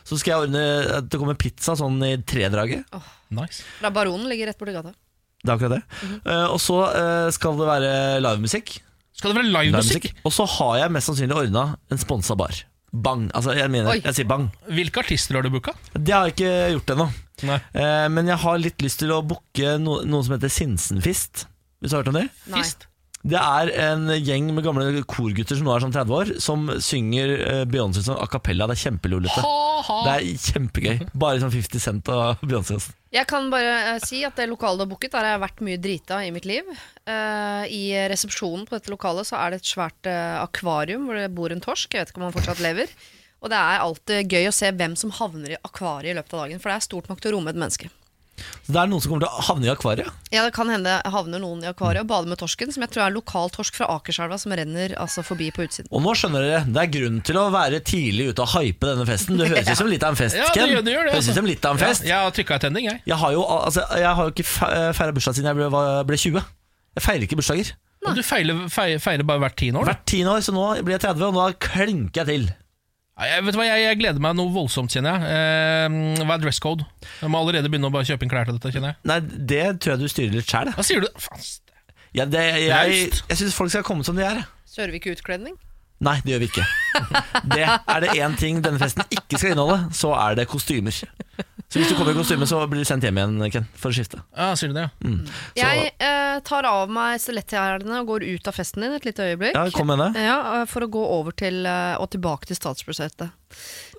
Så skal jeg ordne at det kommer pizza sånn i tredraget. Nice. Da Baronen ligger rett borti gata. Det er akkurat det. Eh, og så eh, skal det være livemusikk. Skal det være livemusikk? Livemusikk. Og så har jeg mest sannsynlig ordna en sponsa bar. Bang. Altså, jeg mener, Oi. jeg sier bang. Hvilke artister har du booka? Det har jeg ikke gjort ennå. Nei. Eh, men jeg har litt lyst til å booke no noe som heter Sinsenfist. Hvis du har hørt om det? Nei. Fist? Det er en gjeng med gamle korgutter som nå er sånn 30 år, som synger eh, Beyoncé som a cappella. Det er kjempelollete. Det er kjempegøy. Bare sånn 50 Cent og Beyoncé. altså. Jeg kan bare eh, si at det lokalet du har booket, der har jeg vært mye drita i mitt liv. Eh, I resepsjonen på dette lokalet så er det et svært eh, akvarium hvor det bor en torsk. Jeg vet ikke om han fortsatt lever. Og det er alltid gøy å se hvem som havner i akvariet i løpet av dagen, for det er stort nok til å romme et menneske. Så det er noen som kommer til å havne i akvariet. Ja, Det kan hende havner noen i akvariet og bader med torsken, som jeg tror er lokal torsk fra Akerselva som renner altså, forbi på utsiden. Og nå skjønner dere, det er grunn til å være tidlig ute og hype denne festen. Det høres ut som litt av en fest, Ja, det Ken. gjør det. Gjør det Høres ut som litt av en fest. Ja, jeg har trykka i tenning, jeg. Jeg har jo, altså, jeg har jo ikke feira bursdag siden jeg ble, var- ble 20. Jeg feirer ikke bursdager. Og du feiler, fei- feiler bare hvert tiende år. du. Hvert tiende år, så nå blir jeg 30, og nå klinker jeg til. Nei, Jeg, vet du hva, jeg, jeg gleder meg noe voldsomt, kjenner jeg. Eh, hva er dress code? Jeg må allerede begynne å bare kjøpe inn klær til dette, kjenner jeg. Nei, det tror jeg du styrer litt sjæl. Hva sier du? Faen, Jeg, det- jeg, Raust. jeg syns folk skal komme som de er. jeg. Sører vi ikke utkledning? Nei, det gjør vi ikke. Det Er det én ting denne festen ikke skal inneholde, så er det kostymer. Så hvis du kommer i kostyme, så blir du sendt hjem igjen, Ken, for å skifte. Ja, sier du det, ja. Jeg eh, tar av meg stiletthælene og går ut av festen din et lite øyeblikk. Ja, kom med det. Ja, eh, for å gå over til eh, og tilbake til statsbudsjettet.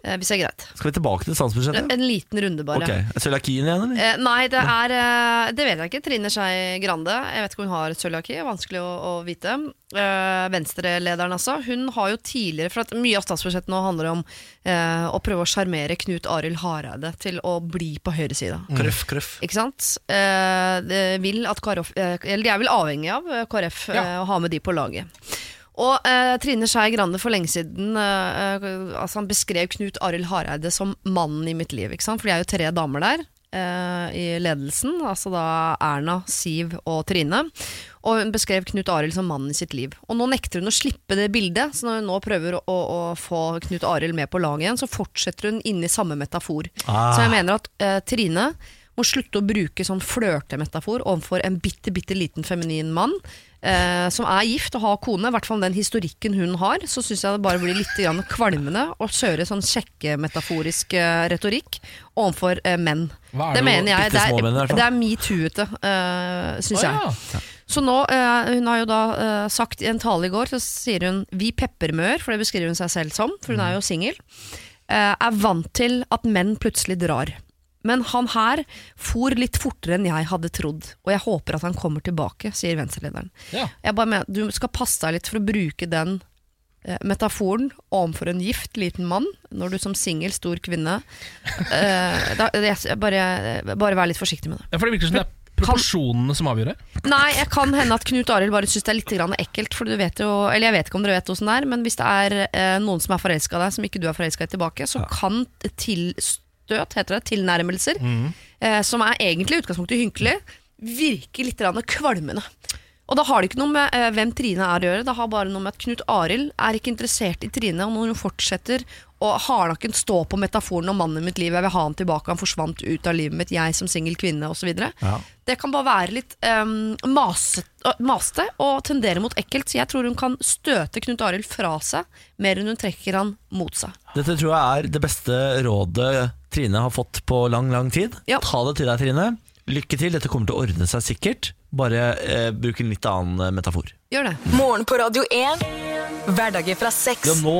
Eh, Hvis det er greit. Skal vi tilbake til statsbudsjettet? En liten runde, bare. Ok, Cøliakien igjen, eller? Eh, Nei, det er eh, Det vet jeg ikke. Trine Skei Grande. Jeg vet ikke om hun har cøliaki. Vanskelig å, å vite. Eh, Venstre-lederen, altså. Hun har jo tidligere For at mye av statsbudsjettet nå handler om eh, å prøve å sjarmere Knut Arild Hareide til å bli på høyresida. Mm. Krøff, krøff. Ikke sant? Eh, det vil at KrF, eh, eller de er vel avhengig av eh, KrF eh, å ha med de på laget. Og eh, Trine Skei Grande for lenge siden eh, eh, altså han beskrev Knut Arild Hareide som mannen i mitt liv. Ikke sant? For de er jo tre damer der eh, i ledelsen. Altså da Erna, Siv og Trine. Og hun beskrev Knut Arild som mannen i sitt liv. Og nå nekter hun å slippe det bildet. Så når hun nå prøver å, å få Knut Arild med på laget igjen, så fortsetter hun inni samme metafor. Så jeg mener at eh, Trine må slutte å bruke sånn flørtemetafor overfor en bitte, bitte liten feminin mann eh, som er gift og har kone. I hvert fall den historikken hun har. Så syns jeg det bare blir litt grann kvalmende å kjøre sånn sjekkemetaforisk eh, retorikk overfor eh, menn. Hva er Det det mener jeg. Det bittesmå menn i hvert er, fall? det er metoo-ete, eh, syns jeg. Å, ja. Så nå, eh, hun har jo da eh, sagt i en tale i går, så sier hun vi peppermøer, for det beskriver hun seg selv som, for hun er jo singel, eh, er vant til at menn plutselig drar. Men han her for litt fortere enn jeg hadde trodd, og jeg håper at han kommer tilbake, sier venstrelederen. Ja. Jeg bare mener, du skal passe deg litt for å bruke den eh, metaforen overfor en gift liten mann, når du som singel stor kvinne eh, da, jeg, bare, bare vær litt forsiktig med det. ja, for det virker som det er proporsjonene som avgjør det. Nei, jeg kan hende at Knut Arild bare syns det er litt grann ekkelt. For du vet jo, eller jeg vet ikke om dere vet åssen det er, men hvis det er eh, noen som er forelska i deg, som ikke du er forelska i tilbake, så kan tilstøt, heter det, tilnærmelser, eh, som er egentlig i utgangspunktet hynkelig, virke litt grann kvalmende. Og da har det ikke noe med eh, hvem Trine er å gjøre, det har bare noe med at Knut Arild er ikke interessert i Trine, og når hun fortsetter å hardnakken stå på metaforen om mannen i mitt liv, jeg vil ha han tilbake, han forsvant ut av livet mitt, jeg som singel kvinne, osv. Ja. Det kan bare være litt um, masete og tendere mot ekkelt, så jeg tror hun kan støte Knut Arild fra seg mer enn hun trekker han mot seg. Dette tror jeg er det beste rådet Trine har fått på lang, lang tid. Ja. Ta det til deg, Trine. Lykke til, dette kommer til å ordne seg sikkert. Bare eh, bruk en litt annen eh, metafor. Gjør det. Morgen på Radio 1. Hverdager fra seks. Ja, nå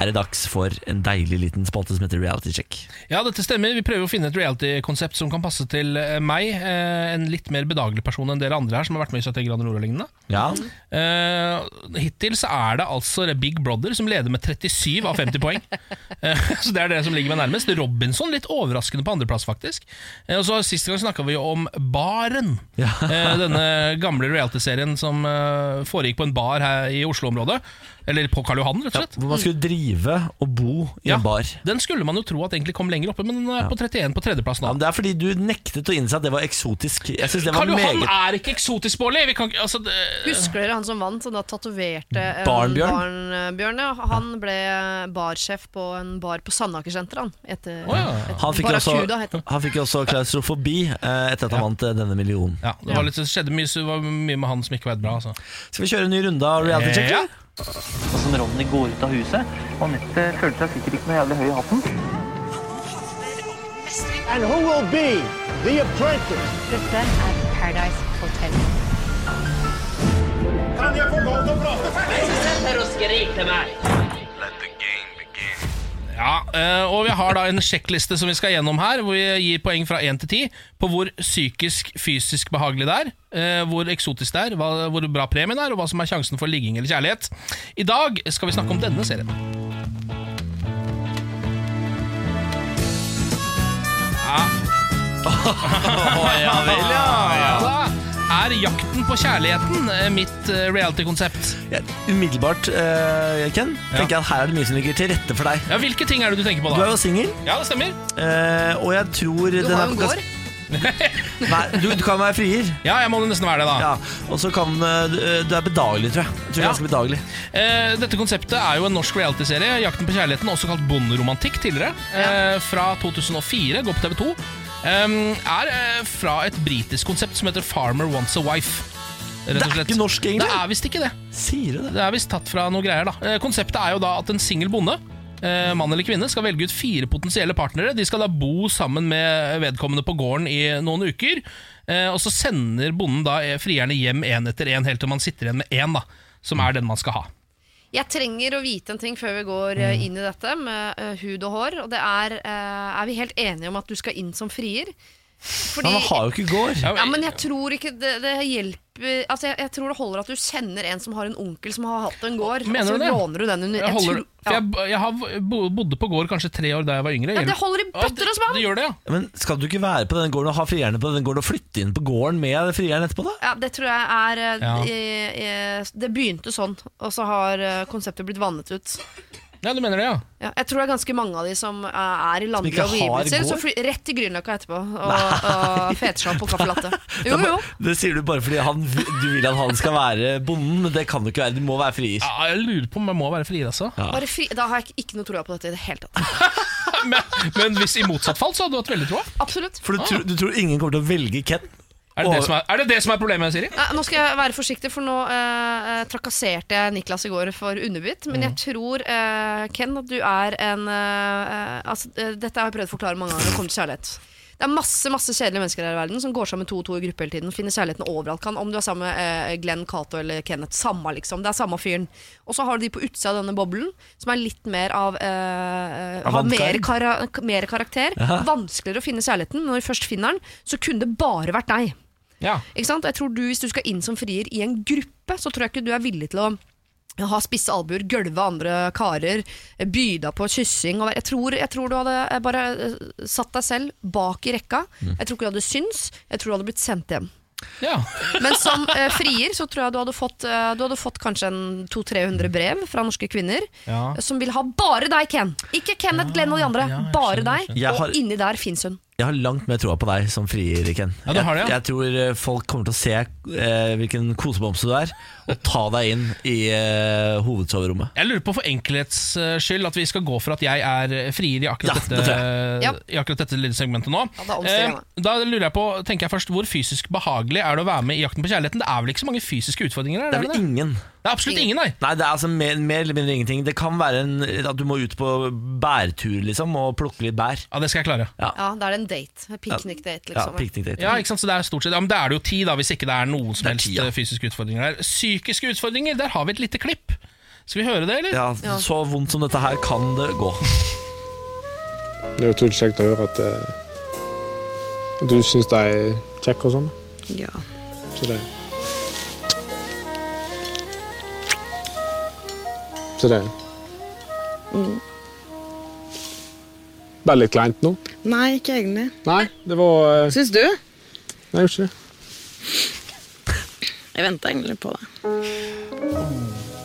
er det dags for en deilig liten spalte som heter Reality Check. Ja, dette stemmer. Vi prøver å finne et reality-konsept som kan passe til eh, meg. eh, En litt mer bedagelig person enn dere andre her som har vært med i 71 grader nord og lignende. Ja, Eh, hittil så er det altså Big Brother som leder med 37 av 50 poeng. Eh, så det er det som ligger meg nærmest. Robinson litt overraskende på andreplass, faktisk. Eh, og så Sist gang snakka vi jo om Baren. Ja. Eh, denne gamle reality-serien som eh, foregikk på en bar her i Oslo-området. Eller på Karl Johan, rett og slett. Hvor man skulle drive og bo i en bar. Den skulle man jo tro at egentlig kom lenger oppe, men den er på 31 på tredjeplass Ja, nå. men det er fordi du nektet å innse at det var eksotisk. Jeg synes det var Karl Johan meget er ikke eksotisk, Bårli! Vi kan ikke altså, det- Husker dere han som vant, som da tatoverte eh, Barnbjørn? Barnbjørn, ja. Han ble barsjef på en bar på Sandaker-senteret, han. Etter, Å, ja. etter han fikk, jo også, Barracuda, het den. han fikk jo også klaustrofobi eh, etter at han vant eh, denne millionen. ja, det var litt, det skjedde mye, så det var mye med han som ikke var helt bra. Altså. Skal vi kjøre en ny runde av reality check? Ja. eller? som Ronny går ut av huset. Og Anette føler seg sikkert ikke noe jævlig høy i hatten. And who will be the apprentice? Dette er Paradise Hotel. Kan jeg få lov til å prate ferdig? Ja, eh, og vi har da en sjekkliste som vi skal gjennom her, hvor vi gir poeng fra 1 til 10 på hvor psykisk, fysisk behagelig det er, eh, hvor eksotisk det er, hva, hvor bra premien er, og hva som er sjansen for ligging eller kjærlighet. I dag skal vi snakke om denne serien. Ja. ja vel, ja. Da er Jakten på kjærligheten eh, mitt eh, reality-konsept. Ja, umiddelbart, eh, Ken, tenker jeg at her er det mye som ligger til rette for deg. Ja, Hvilke ting er det du tenker på Du er da? jo singel, Ja, det stemmer. eh, og jeg tror Du har jo en gård. Nei, du, du kan være frier. Ja, jeg må nesten være det, da. Ja, og så kan eh, du, du er bedagelig, tror jeg. jeg tror du Ja. er ganske bedagelig. Eh, dette konseptet er jo en norsk realityserie, 'Jakten på kjærligheten', også kalt bonderomantikk tidligere. Eh, fra 2004, går på TV2. Um, er eh, fra et britisk konsept som heter 'Farmer Wants a Wife'. Rett Det og er slett. ikke norsk, egentlig. Det er visst ikke det. Sier du det? Det er visst tatt fra noe greier, da. Eh, konseptet er jo da at en singel bonde eh, mann eller kvinne skal velge ut fire potensielle partnere. De skal da bo sammen med vedkommende på gården i noen uker. Eh, Og så sender bonden da eh, frierne hjem én etter én, helt til man sitter igjen med én, da, som er den man skal ha. Jeg trenger å vite en ting før vi går eh, Mm. inn i dette med eh, hud og hår. Og det er eh, Er vi helt enige om at du skal inn som frier? Fordi Men han har jo ikke gård. Ja, ja, men jeg tror ikke det, det hjelper Altså, jeg, jeg tror det holder at du kjenner en som har en onkel som har hatt en gård. Mener og så du det? låner du den under Jeg, holder, tror- for ja. jeg, jeg har bo- bodde på gård kanskje tre år da jeg var yngre. Ja, det holder i Ja, bøtter og Det, spann! det gjør det, ja. Men skal du ikke være på den gården og ha frierne på den gården og flytte inn på gården med frieren etterpå, da? Ja, det tror jeg er eh, Ja. eh, eh, Det begynte sånn, og så har eh, konseptet blitt vannet ut. ja. Du mener det, ja. Ja, jeg tror det er ganske mange av de som eh, er i ikke landlige har omgivelser. gård? Så fly, rett til Grünerløkka etterpå og, og fetesjapp og caffè latte. Jo, jo. Det sier du bare fordi han, du vil at han skal være bonden, men det kan du ikke være. Du må være frier. ja. Jeg lurer på om jeg må være frier, altså. Bare fri, da har jeg ikke noe troa på dette i det hele tatt. Men, men hvis i motsatt fall, så hadde du hatt veldig troa. Absolutt. For du, tror- du tror ingen kommer til å velge Ken? Er, det det Og- som er, er det det som er problemet, Siri? Nei, nå skal jeg være forsiktig, for nå eh, eh, trakasserte jeg Niklas i går for underbitt. Men jeg tror, eh, Ken, at du er en eh, eh, altså, eh, Dette har jeg prøvd å forklare mange ganger når det kommer til kjærlighet. Det er masse masse kjedelige mennesker her i verden som går sammen to og to i gruppe hele tiden. Finner kjærligheten overalt. Kan, om du er sammen med eh, Glenn, Cato eller Kenneth. Samme, liksom. Det er samme fyren. Og så har du de på utsida av denne boblen, som er litt mer av eh, Har mer, Avantgarde. kara mer karakter. Vanskeligere å finne kjærligheten. Når du først finner den, så kunne det bare vært deg. Ja. Ikke sant? Jeg tror du, Hvis du skal inn som frier i en gruppe, så tror jeg ikke du er villig til å ha spisse albuer, gølve andre karer, by deg på kyssing. Og være- jeg, tror, jeg tror du hadde bare eh, satt deg selv bak i rekka. Mm. Jeg tror ikke du hadde syns. Jeg tror du hadde blitt sendt hjem. ja. Men som eh, frier så tror jeg du hadde fått, eh, du hadde fått kanskje en 200-300 brev fra norske kvinner Ja. som vil ha bare deg, Ken. Ikke Kenneth, Glenn og de andre. ja, jeg bare skjønner, deg. skjønner. Og inni der fins hun. Jeg har langt mer troa på deg som frier, Ken. Ja, du har det, ja. jeg, jeg tror eh, folk kommer til å se eh, hvilken kosebamse du er, og ta deg inn i eh, hovedsoverommet. Jeg lurer på for enkelhets eh, skyld at vi skal gå for at jeg er frier i akkurat, Ja, det dette, tror jeg. Ja. i akkurat dette lille segmentet nå. Ja, da omstiller jeg meg. Eh, da lurer jeg på, tenker jeg først, Hvor fysisk behagelig er det å være med i Jakten på kjærligheten? Det er vel ikke så mange fysiske utfordringer? her, Det er vel det? ingen. Det er absolutt ingen, nei. Nei, det er altså mer, mer eller mindre ingenting. Det kan være en, at du må ut på bærtur, liksom, og plukke litt bær. Ja, det skal jeg klare. Ja, Ja, da er det en date. En Piknik-date, ja liksom. piknikdate. Ja, ikke sant? Så det er stort sett, ja, men det er det jo ti, da, hvis ikke det er noen som Det er helst ti, ja. eh, fysiske utfordringer der. Psykiske utfordringer, der har vi et lite klipp. Skal vi høre det, eller? Ja, så vondt som dette her kan det gå. Det er utrolig kjekt å høre at eh, du syns de er kjekke og sånn. Ja. Så det Så det Mm. Ble litt kleint nå? Nei, ikke egentlig. Nei, det var eh, Syns du? Nei, gjorde ikke det. Jeg venta egentlig på det.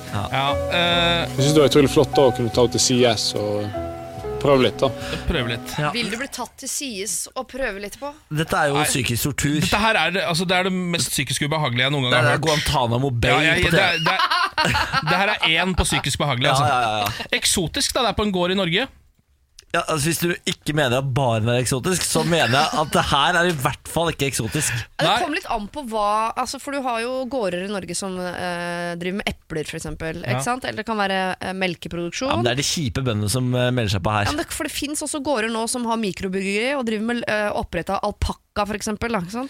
Ja, eh, Jeg syns det var utrolig flott da, å kunne ta ut til CS og prøve litt, da. prøve litt. Vil du bli tatt til sides og prøve litt på? Dette er jo Nei. psykisk tortur. Dette her er, det- altså, det er det mest psykisk ubehagelige jeg noen gang Det har er hørt. Guantánamo Bay Ja, jeg- på TV. det, er- det, er- det her er én på psykisk behagelig. Altså. Eksotisk, da. Det er på en gård i Norge. Ja, altså Hvis du ikke mener at baren er eksotisk, så mener jeg at det her er i hvert fall ikke eksotisk. Ja, Det kommer litt an på hva altså For du har jo gårder i Norge som eh, driver med epler, f.eks. Ja. sant? Eller det kan være eh, melkeproduksjon. Ja, men Det er de kjipe bøndene som eh, melder seg på Ja, her. men det, for det fins også gårder nå som har mikrobryggeri og driver med uh, oppdrett av alpakka f.eks.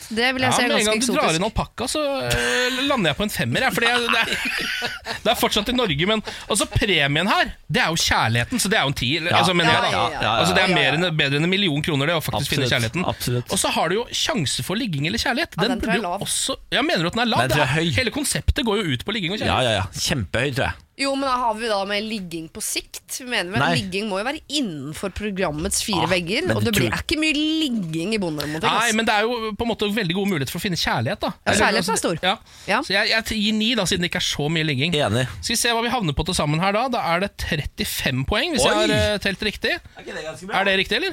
Det vil jeg ja, si er med en gang ganske du drar inn eksotisk. alpakka, så eh, lander jeg på en femmer. Jeg, fordi jeg, det, er, det er fortsatt i Norge, men altså, premien her, det er jo kjærligheten. Så det er jo en tier. Ja. Altså, mener jeg, da. Ja, ja, ja, ja, ja. altså, det er mer enn, bedre enn en million kroner, det å faktisk finne Absolutt, kjærligheten. Og så har du jo sjanse for ligging eller kjærlighet. den tror burde jeg er jo lav. Også, ja, mener du at den er lav? Den tror jeg er Det er- Hele konseptet går jo ut på ligging og Ja, kjærlighet. ja, ja. Kjempehøy, tror jeg. Jo, men da har vi da med ligging på sikt. Vi mener vel Nei. Ligging må jo være innenfor programmets fire Ah, vegger. men Og det det blir, tror- er ikke mye ligging i bonderomantikk. Nei, ass. men det er jo på en måte veldig gode muligheter for å finne kjærlighet. da Ja, Eller, kjærligheten er stor. Ja. Så jeg, jeg gir ni, da, siden det ikke er så mye ligging. Skal vi se hva vi havner på til sammen her, da. Da er det 35 poeng, hvis Oi! jeg har eh, telt riktig. Er, det riktig, eller?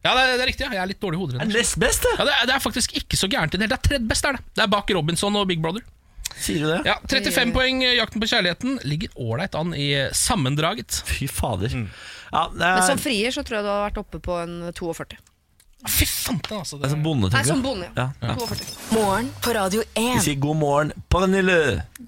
Ja, det er, det er riktig. ja Jeg er litt dårlig i hodet. rett og Er det slett. nest best, det? Ja, det, er, det er faktisk ikke så gærent i det hele. Det er tredje best, er det. Det er bak Robinson og Big Brother. Sier du det? Ja, 35 poeng. eh, Jakten på kjærligheten ligger ålreit an i eh, sammendraget. Fy fader. Mm. Men som frier så tror jeg du har vært oppe på en 42. Fy fante, altså. Det er som bonde, Nei, tenker som du? bonde, ja. Ja, ja. 42. Morgen på Radio 1. Vi sier god morgen, Pernille.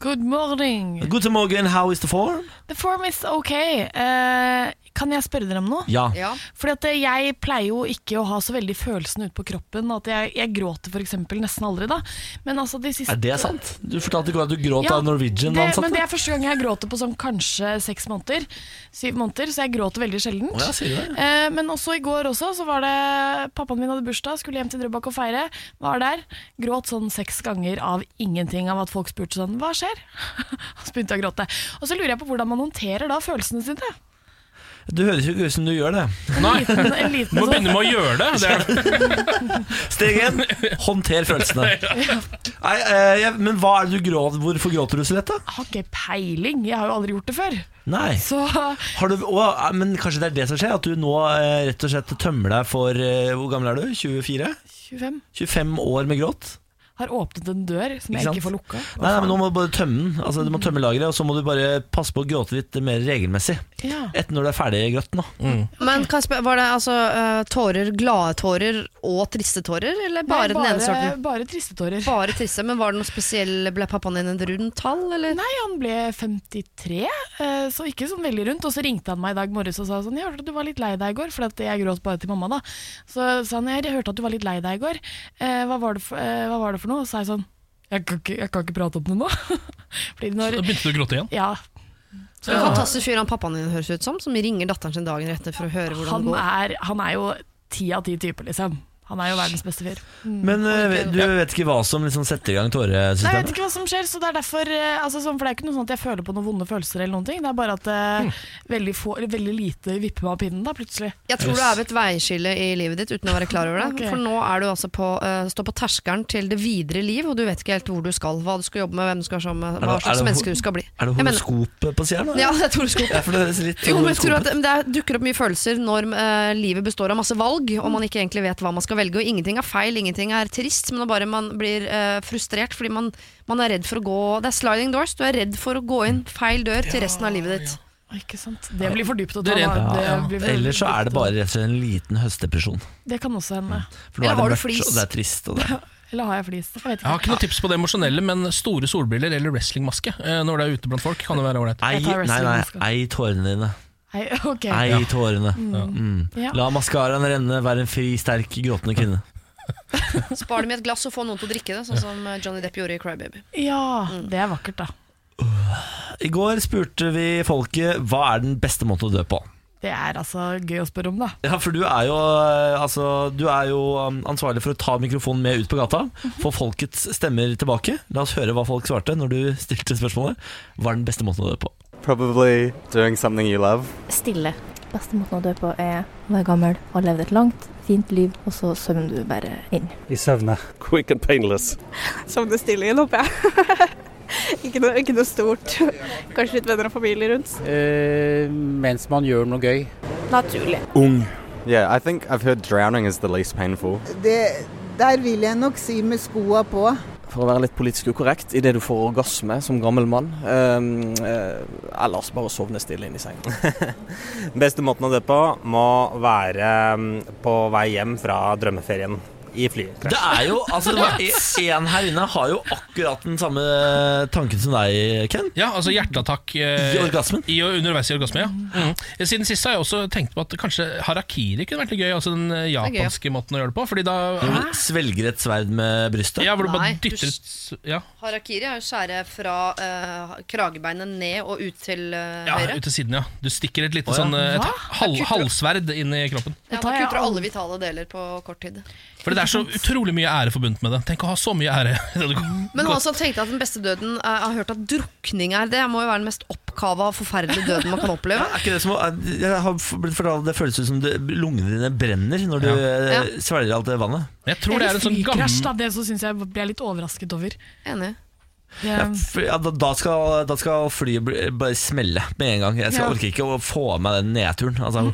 Good morning. God morgen, how is the form? The form is ok. Eh, kan jeg spørre dere om noe? Ja. Ja. Fordi at eh, jeg pleier jo ikke å ha så veldig følelsen ute på kroppen. At jeg, jeg gråter for eksempel nesten aldri da. Men altså de siste... Er det sant? Du fortalte i går at du gråt Ja, av det, men det Norwegian-ansatte. er første gang jeg gråter på sånn kanskje seks måneder. Syv måneder, så jeg gråter veldig sjeldent. Å ja, sier du det? Eh, men også i går også, så var det Pappaen min hadde bursdag, skulle hjem til Drøbak og feire. Var der. Gråt sånn seks ganger av ingenting, av at folk spurte sånn Hva skjer? Og så begynte jeg å gråte. Og så lurer jeg på hvordan man håndterer da følelsene sine. Du høres jo ikke ut som du gjør det. Nei. liten- en liten Må sånn- begynne med å gjøre det. det er Steg én håndter følelsene. Nei, eh, jeg- men hva er det du gråter Hvorfor gråter du så lett, da? Jeg har ikke peiling, jeg har jo aldri gjort det før. Nei. Har du, å, eh, men kanskje det er det som skjer? At du nå eh, rett og slett tømmer deg for eh, Hvor gammel er du? 24? 25. 25 år med gråt? Har åpnet en dør som Ikke jeg ikke sant? får lukka. Nei, nei, men nå må du bare tømme den. Altså, du må tømme lageret, og så må du bare passe på å gråte litt mer regelmessig. Ja. Etter når du er ferdig grått nå. Men kan jeg spørre, var det altså eh, tårer, glade tårer og triste tårer, eller bare, Nei, bare- den ene sorten? Bare triste tårer. Bare triste, men var det noe spesiell, ble pappaen din et rundt tall, eller? Nei, han ble 53, eh, så ikke sånn veldig rundt. Og så ringte han meg i dag morges og sa sånn Jeg hørte at du var litt lei deg i går, for at jeg gråt bare til mamma, da. Så sa han jeg hørte at du var litt lei deg i går, eh, hva var det for, eh, hva var det for noe? Og så sa jeg sånn jeg kan, ikke, jeg kan ikke prate om det nå. Fordi når, Da begynte du å gråte igjen? Ja. Så en fantastisk fyr han pappaen din høres ut som, som ringer datteren sin dagen etter for å høre hvordan han det går. er, han er jo ti av ti typer, liksom. Han er jo verdens beste fyr. Mm. Men Han er eh, ikke- du vet ikke hva som liksom setter i gang Nei, jeg vet tåresystemet? ikke hva som skjer, så det er derfor eh, altså, sånn, For det er ikke noe sånn at jeg føler på noen vonde følelser eller noen ting. Det er bare at Hmm. eh, veldig, få, eller veldig lite vipper meg av pinnen da, plutselig. Jeg tror du er ved et veiskille i livet ditt uten å være klar over det. Ok. For nå er du altså på, eh, står på terskelen til det videre liv, og du vet ikke helt hvor du skal, hva du skal jobbe med, hvem du skal være sammen med, hva slags menneske du skal bli. Er det Jeg mener- horoskopet på sida, Ja, det er horoskopet. Ja, for det høres litt Jo, men jeg tror at horoskopet. Det er- dukker opp mye følelser når eh, livet består av masse valg, og man ikke egentlig vet hva man skal velge. Og ingenting er feil, ingenting er trist, men det er bare man blir eh, frustrert fordi man, man er redd for å gå Det er sliding doors. Du er redd for å gå inn feil dør til resten av livet ditt. Ikke sant? Det blir for dypt å ta. Det er da. rent- Det, ja. blir sånn- for- Ellers så er det bare rett og slett en liten høstdepresjon. det kan også hende. For nå er det mørkt, og det er trist. Og det. Eller har jeg flis? Jeg vet Jeg har ikke noe tips på det emosjonelle, men store solbriller eller wrestlingmaske eh, når det er ute blant folk, kan det være ålreit. Ei, nei, nei, ei tårene dine. Hei, ok. Ei Ja. tårene. Mm. Mm. Ja. La maskaraen renne, vær en fri, sterk, gråtende kvinne. Spar dem i et glass og få noen til å drikke det, sånn som eh, Johnny Depp gjorde i Cry Baby. Ja, Mm. det er vakkert, da. I går spurte vi folket hva er den beste måten å dø på. Det er altså gøy å spørre om, da. Ja, for du er jo, eh, altså, du er jo um, ansvarlig for å ta mikrofonen med ut på gata. Få folkets stemmer tilbake. La oss høre hva folk svarte når du stilte spørsmålet. Hva er den beste måten å dø på? Probably doing something you love. Stille. Beste måten å dø på er å være gammel og ha levd et langt, fint liv, og så svømmer du bare inn. I søvne. Quick and painless. Sovne stille igjen, håper jeg. ikke, noe, ikke noe stort. Kanskje litt venner og familie rundt. mens man gjør noe gøy. Naturlig. Ung. Yeah, I think I've heard drowning is the least painful. Det, der vil jeg nok si med skoa på. For å være litt politisk ukorrekt, idet du får orgasme som gammel mann. ehm, eh, ellers bare sovne stille inn i sengen. Beste måten å dø på må være mm, på vei hjem fra drømmeferien i flyet. Det er jo, altså det var En her inne har jo akkurat den samme tanken som deg, Ken. Ja, altså hjerteattakk eh, I orgasmen? I, underveis i orgasme, ja. Mm. Siden sist har jeg også tenkt på at kanskje harakiri kunne vært litt gøy. Altså den eh, er gøy, ja. Mm. japanske måten å gjøre det på. Fordi da Du Svelger et sverd med brystet? Ja, hvor du bare Nei, du dytter et s- ja. Harakiri er jo skjære fra eh, kragebeinet ned og ut til eh, ja, høyre. ut til siden, ja. Du stikker et Å, lite ja. sånn eh, Hva? Et hal halvsverd inn i kroppen. Ja, da kutter du alle vitale deler på kort tid. Fordi det er så utrolig mye ære forbundet med det. Tenk å ha så mye ære. Men han som tenkte at den beste døden eh, Jeg har hørt at drukning er det. Det må jo være den mest oppkava og forferdelige døden man kan oppleve. Er ikke det som å- Jeg har blitt fortalt Det føles ut som det, lungene dine brenner når du Ja. eh, svelger alt det vannet. Jeg Eller sånn flykrasj, da. Det sånn så syns jeg ble jeg litt overrasket over. Enig. ja, f- ja, da, da, skal, da skal flyet bli- bare smelle med en gang. Jeg skal Ja. orker ikke å få av meg den nedturen. Altså,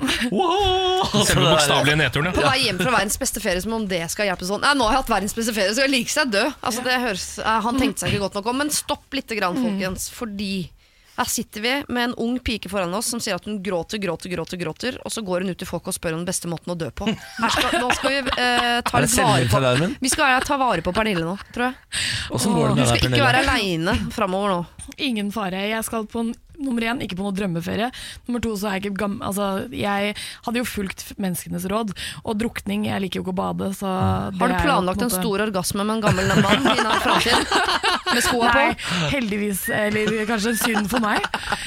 wow! Altså, Selve bokstavelige nedturen, På vei hjem fra verdens beste ferie, som om det skal hjelpe sånn. Nei, nå har jeg hatt verdens beste ferie, så jeg liker seg død. Altså, det høres, eh, han tenkte seg ikke godt nok om. Men stopp litt, Mm. grann, folkens, fordi her sitter vi med en ung pike foran oss som sier at hun gråter, gråter, gråter, gråter og så går hun ut til folk og spør om den beste måten å dø på. Her skal, nå skal vi eh, ta Er det litt vare på selvmordsalarmen? Vi skal eh, ta vare på Pernille nå, tror jeg. Åssen går det med Hun deg, skal ikke være Pernille? aleine framover nå. Ingen fare. Jeg skal på en, nummer én, ikke på noen drømmeferie. Nummer to, så er jeg ikke gam... Altså, jeg hadde jo fulgt menneskenes råd. Og drukning, jeg liker jo ikke å bade, så Har du planlagt en stor orgasme med en gammel mann i nær framtid? Med skoa på? Nei, heldigvis. Eller kanskje en synd for meg.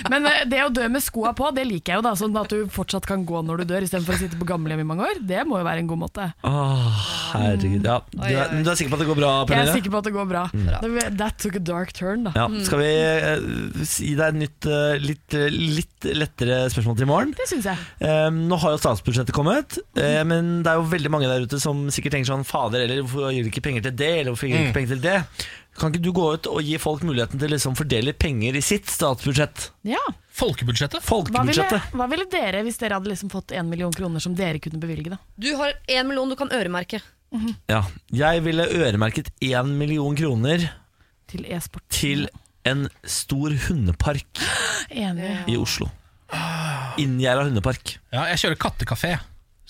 Men eh, det å dø med skoa på, det liker jeg jo, da. Sånn at du fortsatt kan gå når du dør, istedenfor å sitte på gamlehjem i mange år. Det må jo være en god måte. Åh, herregud. Ja, du, Mm. Oi, oi, er, men du er sikker på at det går bra, Jeg er Pernille? sikker på Mm. at det går bra. Mm. Det- That took a dark turn, da. Ja, skal vi eh, gi deg et nytt, eh, litt, eh, litt lettere spørsmål til i morgen? Det syns jeg. Eh, nå har jo statsbudsjettet kommet, eh, men det er jo veldig mange der ute som sikkert tenker sånn Fader, eller hvorfor gir de ikke penger til det, eller hvorfor gir de Mm. ikke penger til det? Kan ikke du gå ut og gi folk muligheten til å liksom fordele penger i sitt statsbudsjett? Ja. Folkebudsjettet? Hva ville, Folkebudsjettet. hva ville dere, hvis dere hadde liksom fått en million kroner som dere kunne bevilge, da? Du har én million du kan øremerke. Ja. Jeg ville øremerket én million kroner Til e-sport. til en stor hundepark Enig. i Oslo. Inngjerda hundepark. Ja, jeg kjører kattekafé.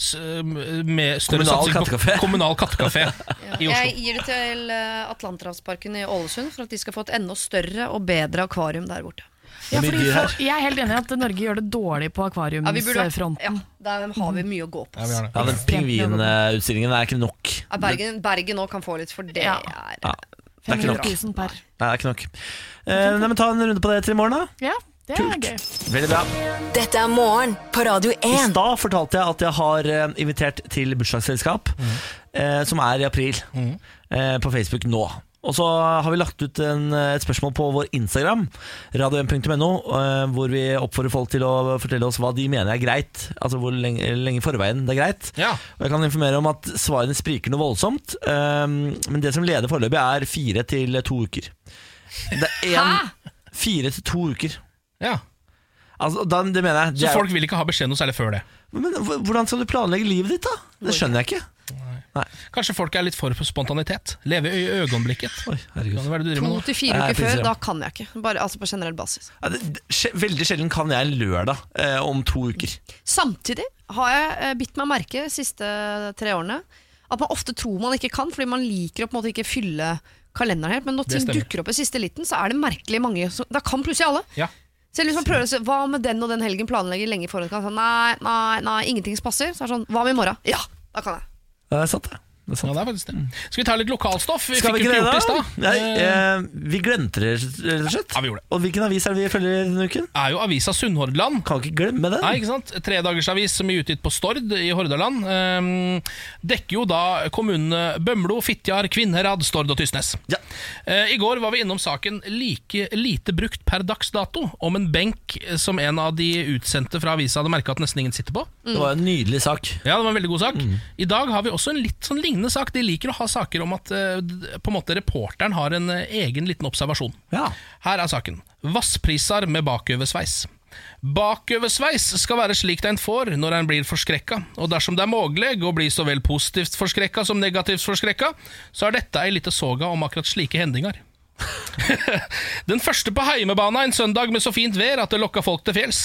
S eh, med større Kommunal satsing på kattekafé. Kommunal kattekafé i Jeg Oslo. gir det til eh, Atlanterhavsparken i Ålesund for at de skal få et enda større og bedre akvarium der borte. Ja, Det blir fordi dyr her. folk- jeg er helt enig i at Norge gjør det dårlig på Ja, vi burde- akvariumsfronten. Ja, der har vi mye å gå på. Ja, den pingvinutstillingen er ikke nok. Ja, Bergen, Bergen nå kan få litt, for det er Ja, det er ikke nok. 500 000 per. Nei, det er ikke nok. Eh, nei, men ta en runde på det til i morgen, da. Ja, Det er gøy. Veldig bra. Dette er morgen på Radio I 1. stad fortalte jeg at jeg har eh, invitert til bursdagsselskap, Mm. eh, som er i april, eh, på Facebook nå. Og så har vi lagt ut en, eh, et spørsmål på vår Instagram, radio1.no, eh, hvor vi oppfordrer folk til å fortelle oss hva de mener er greit. Altså hvor lenge, lenge i forveien det er greit. Og jeg kan informere om at svarene spriker noe voldsomt, eh, men det som leder foreløpig, er fire til to uker. Det er én Fire til to uker. Ja. Altså, da, det mener jeg. det Så er jo- folk vil ikke ha beskjed noe særlig før det. men h- hvordan skal du planlegge livet ditt, da? Det skjønner jeg ikke. Kanskje folk er litt for på spontanitet. Leve i øyeblikket. Kan det være du driver med To nå? til fire uker før, da kan jeg ikke. Bare, altså på generell basis. Ja, det, det- sj- veldig sjelden kan jeg en lørdag eh, om to uker. Samtidig har jeg eh, bitt meg merke de siste tre årene at man ofte tror man ikke kan, fordi man liker å på en måte ikke fylle kalenderen helt. Men når Det ting stemmer. dukker opp i siste liten, så er det merkelig mange som Da kan plutselig alle. Ja. Selv hvis man prøver å se Hva med den og den helgen planlegger lenge i forhånd? Kan jeg si, nei, nei, nei, ingenting som passer. Så er det sånn Hva med i morgen? Ja, da kan jeg. Det er sant, det. Ja, det er faktisk det. Skal vi ta litt lokalstoff? Vi Skal vi fikk jo ikke det, gjort da? i stad. Nei, Eh, eh, vi glemte det, rett og slett. Ja, vi gjorde det. Og hvilken avis er det vi følger denne uken? er jo avisa Sunnhordland. Kan ikke glemme den. Nei, ikke sant? Tredagersavis som er utgitt på Stord i Hordaland. ehm, dekker jo da kommunene Bømlo, Fitjar, Kvinnherad, Stord og Tysnes. Eh, I går var vi innom saken like lite brukt per dags dato om en benk som en av de utsendte fra avisa hadde merka at nesten ingen sitter på. Det var en nydelig sak. Ja, det var en veldig god sak. I dag har vi også en litt sånn lignende sak. De liker å ha saker om at eh, d- på en måte reporteren har en eh, egen liten observasjon. Her er saken. Vasspriser med bakøversveis. Bakøversveis skal være slik den får når en blir forskrekka, og dersom det er mulig å bli så vel positivt forskrekka som negativt forskrekka, så er dette ei lita soga om akkurat slike hendingar. Den første på heimebana en søndag med så fint vær at det lokka folk til fjells.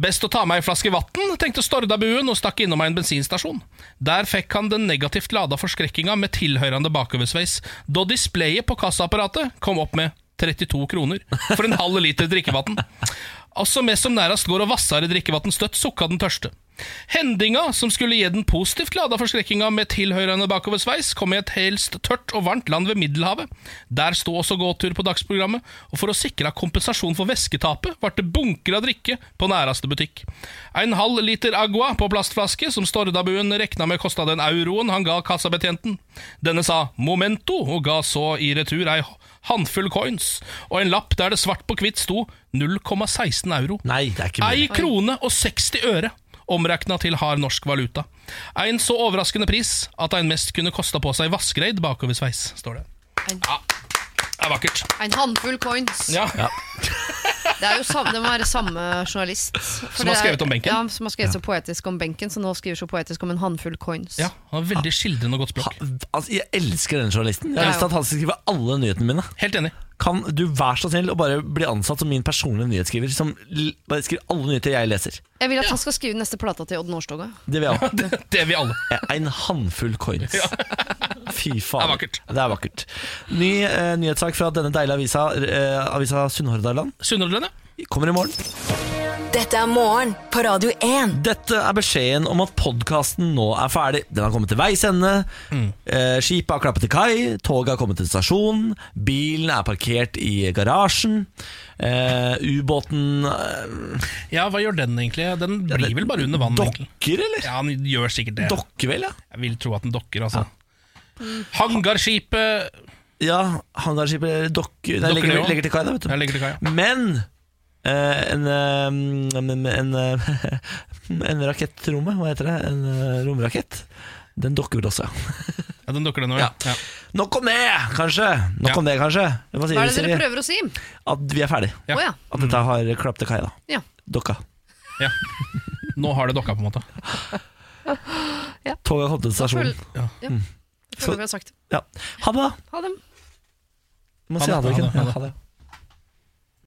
Best å ta med ei flaske vann, tenkte Stordabuen og stakk innom en bensinstasjon. Der fikk han den negativt lada forskrekkinga med tilhørende bakoversveis, da displayet på kassaapparatet kom opp med 32 kroner for en halv liter drikkevann. Altså mest som nærest går og vasser i drikkevann støtt, sukka den tørste. Hendinga som skulle gi den positivt lada forskrekkinga med tilhørende bakoversveis, kom i et helst tørt og varmt land ved Middelhavet. Der sto også gåtur på dagsprogrammet, og for å sikre kompensasjon for væsketapet ble det bunker av drikke på næreste butikk. En halv liter agua på plastflaske, som Stordabuen rekna med kosta den euroen han ga kassabetjenten. Denne sa 'momento', og ga så i retur ei handfull coins og en lapp der det svart på hvitt sto 0,16 euro. Nei, det er ikke Ei mulig. krone og 60 øre omrekna til hard norsk valuta. En så overraskende pris at en mest kunne kosta på seg vaskereid bakoversveis, står det. Ja, det er vakkert. En håndfull coins. Ja. Det, er jo samme, det må være samme journalist. For Som har det er- skrevet om benken. Ja, som har skrevet så poetisk om benken, så nå skriver så poetisk om en håndfull coins. Ja, han har veldig skildrende og godt språk. Altså, jeg elsker denne journalisten. Jeg Ja, har lyst til ja. at han skal skrive alle nyhetene mine. Helt enig Kan du vær så snill å bare bli ansatt som min personlige nyhetsskriver, som l- bare skriver alle nyheter jeg leser? Jeg vil at han skal skrive neste plata til Odd Nordstoga. Det vil jeg ha. det vil alle. En handfull coins. Fy faen. Det er vakkert. Det er vakkert. Ny eh, nyhetssak fra denne deilige avisa, eh, avisa Sunnhordland. Sunnhordland, ja. Kommer i morgen. Dette er morgen på Radio 1. Dette er beskjeden om at podkasten nå er ferdig. Den har kommet til veis ende. Mm. Eh, skipet har klappet til kai, toget har kommet til stasjonen, bilen er parkert i garasjen, eh, ubåten eh, Ja, hva gjør den egentlig? Den blir vel bare under vann. Dokker, eller? Ja, den gjør sikkert det. Dokker vel, ja. Jeg vil tro at den dokker, altså. Hangarskipet Ja, hangarskipet dokker Nei, Dokker det legger, også? legger til kai, da, vet du. Ja, legger til kai, Men eh, en, eh, en, en, en rakettromme, hva heter det? En eh, romrakett. Den dokker vel også, Ja, den dokker den òg, ja. ja. Nok om det, kanskje. Nok om det, kanskje. Hva sier Hva du, er det Siri? dere prøver å si? At vi er ferdig. Ja. Å, ja. At dette har klappet til kai, da. Ja. Dokka. Ja. Nå har det dokka, på en måte. Toget har kommet til stasjonen. Føl- Ja. Mm. Jeg føler vi har sagt det. Ja. Ha det, da. Ha det. Du må si ha det. ikke? Ja, ha det.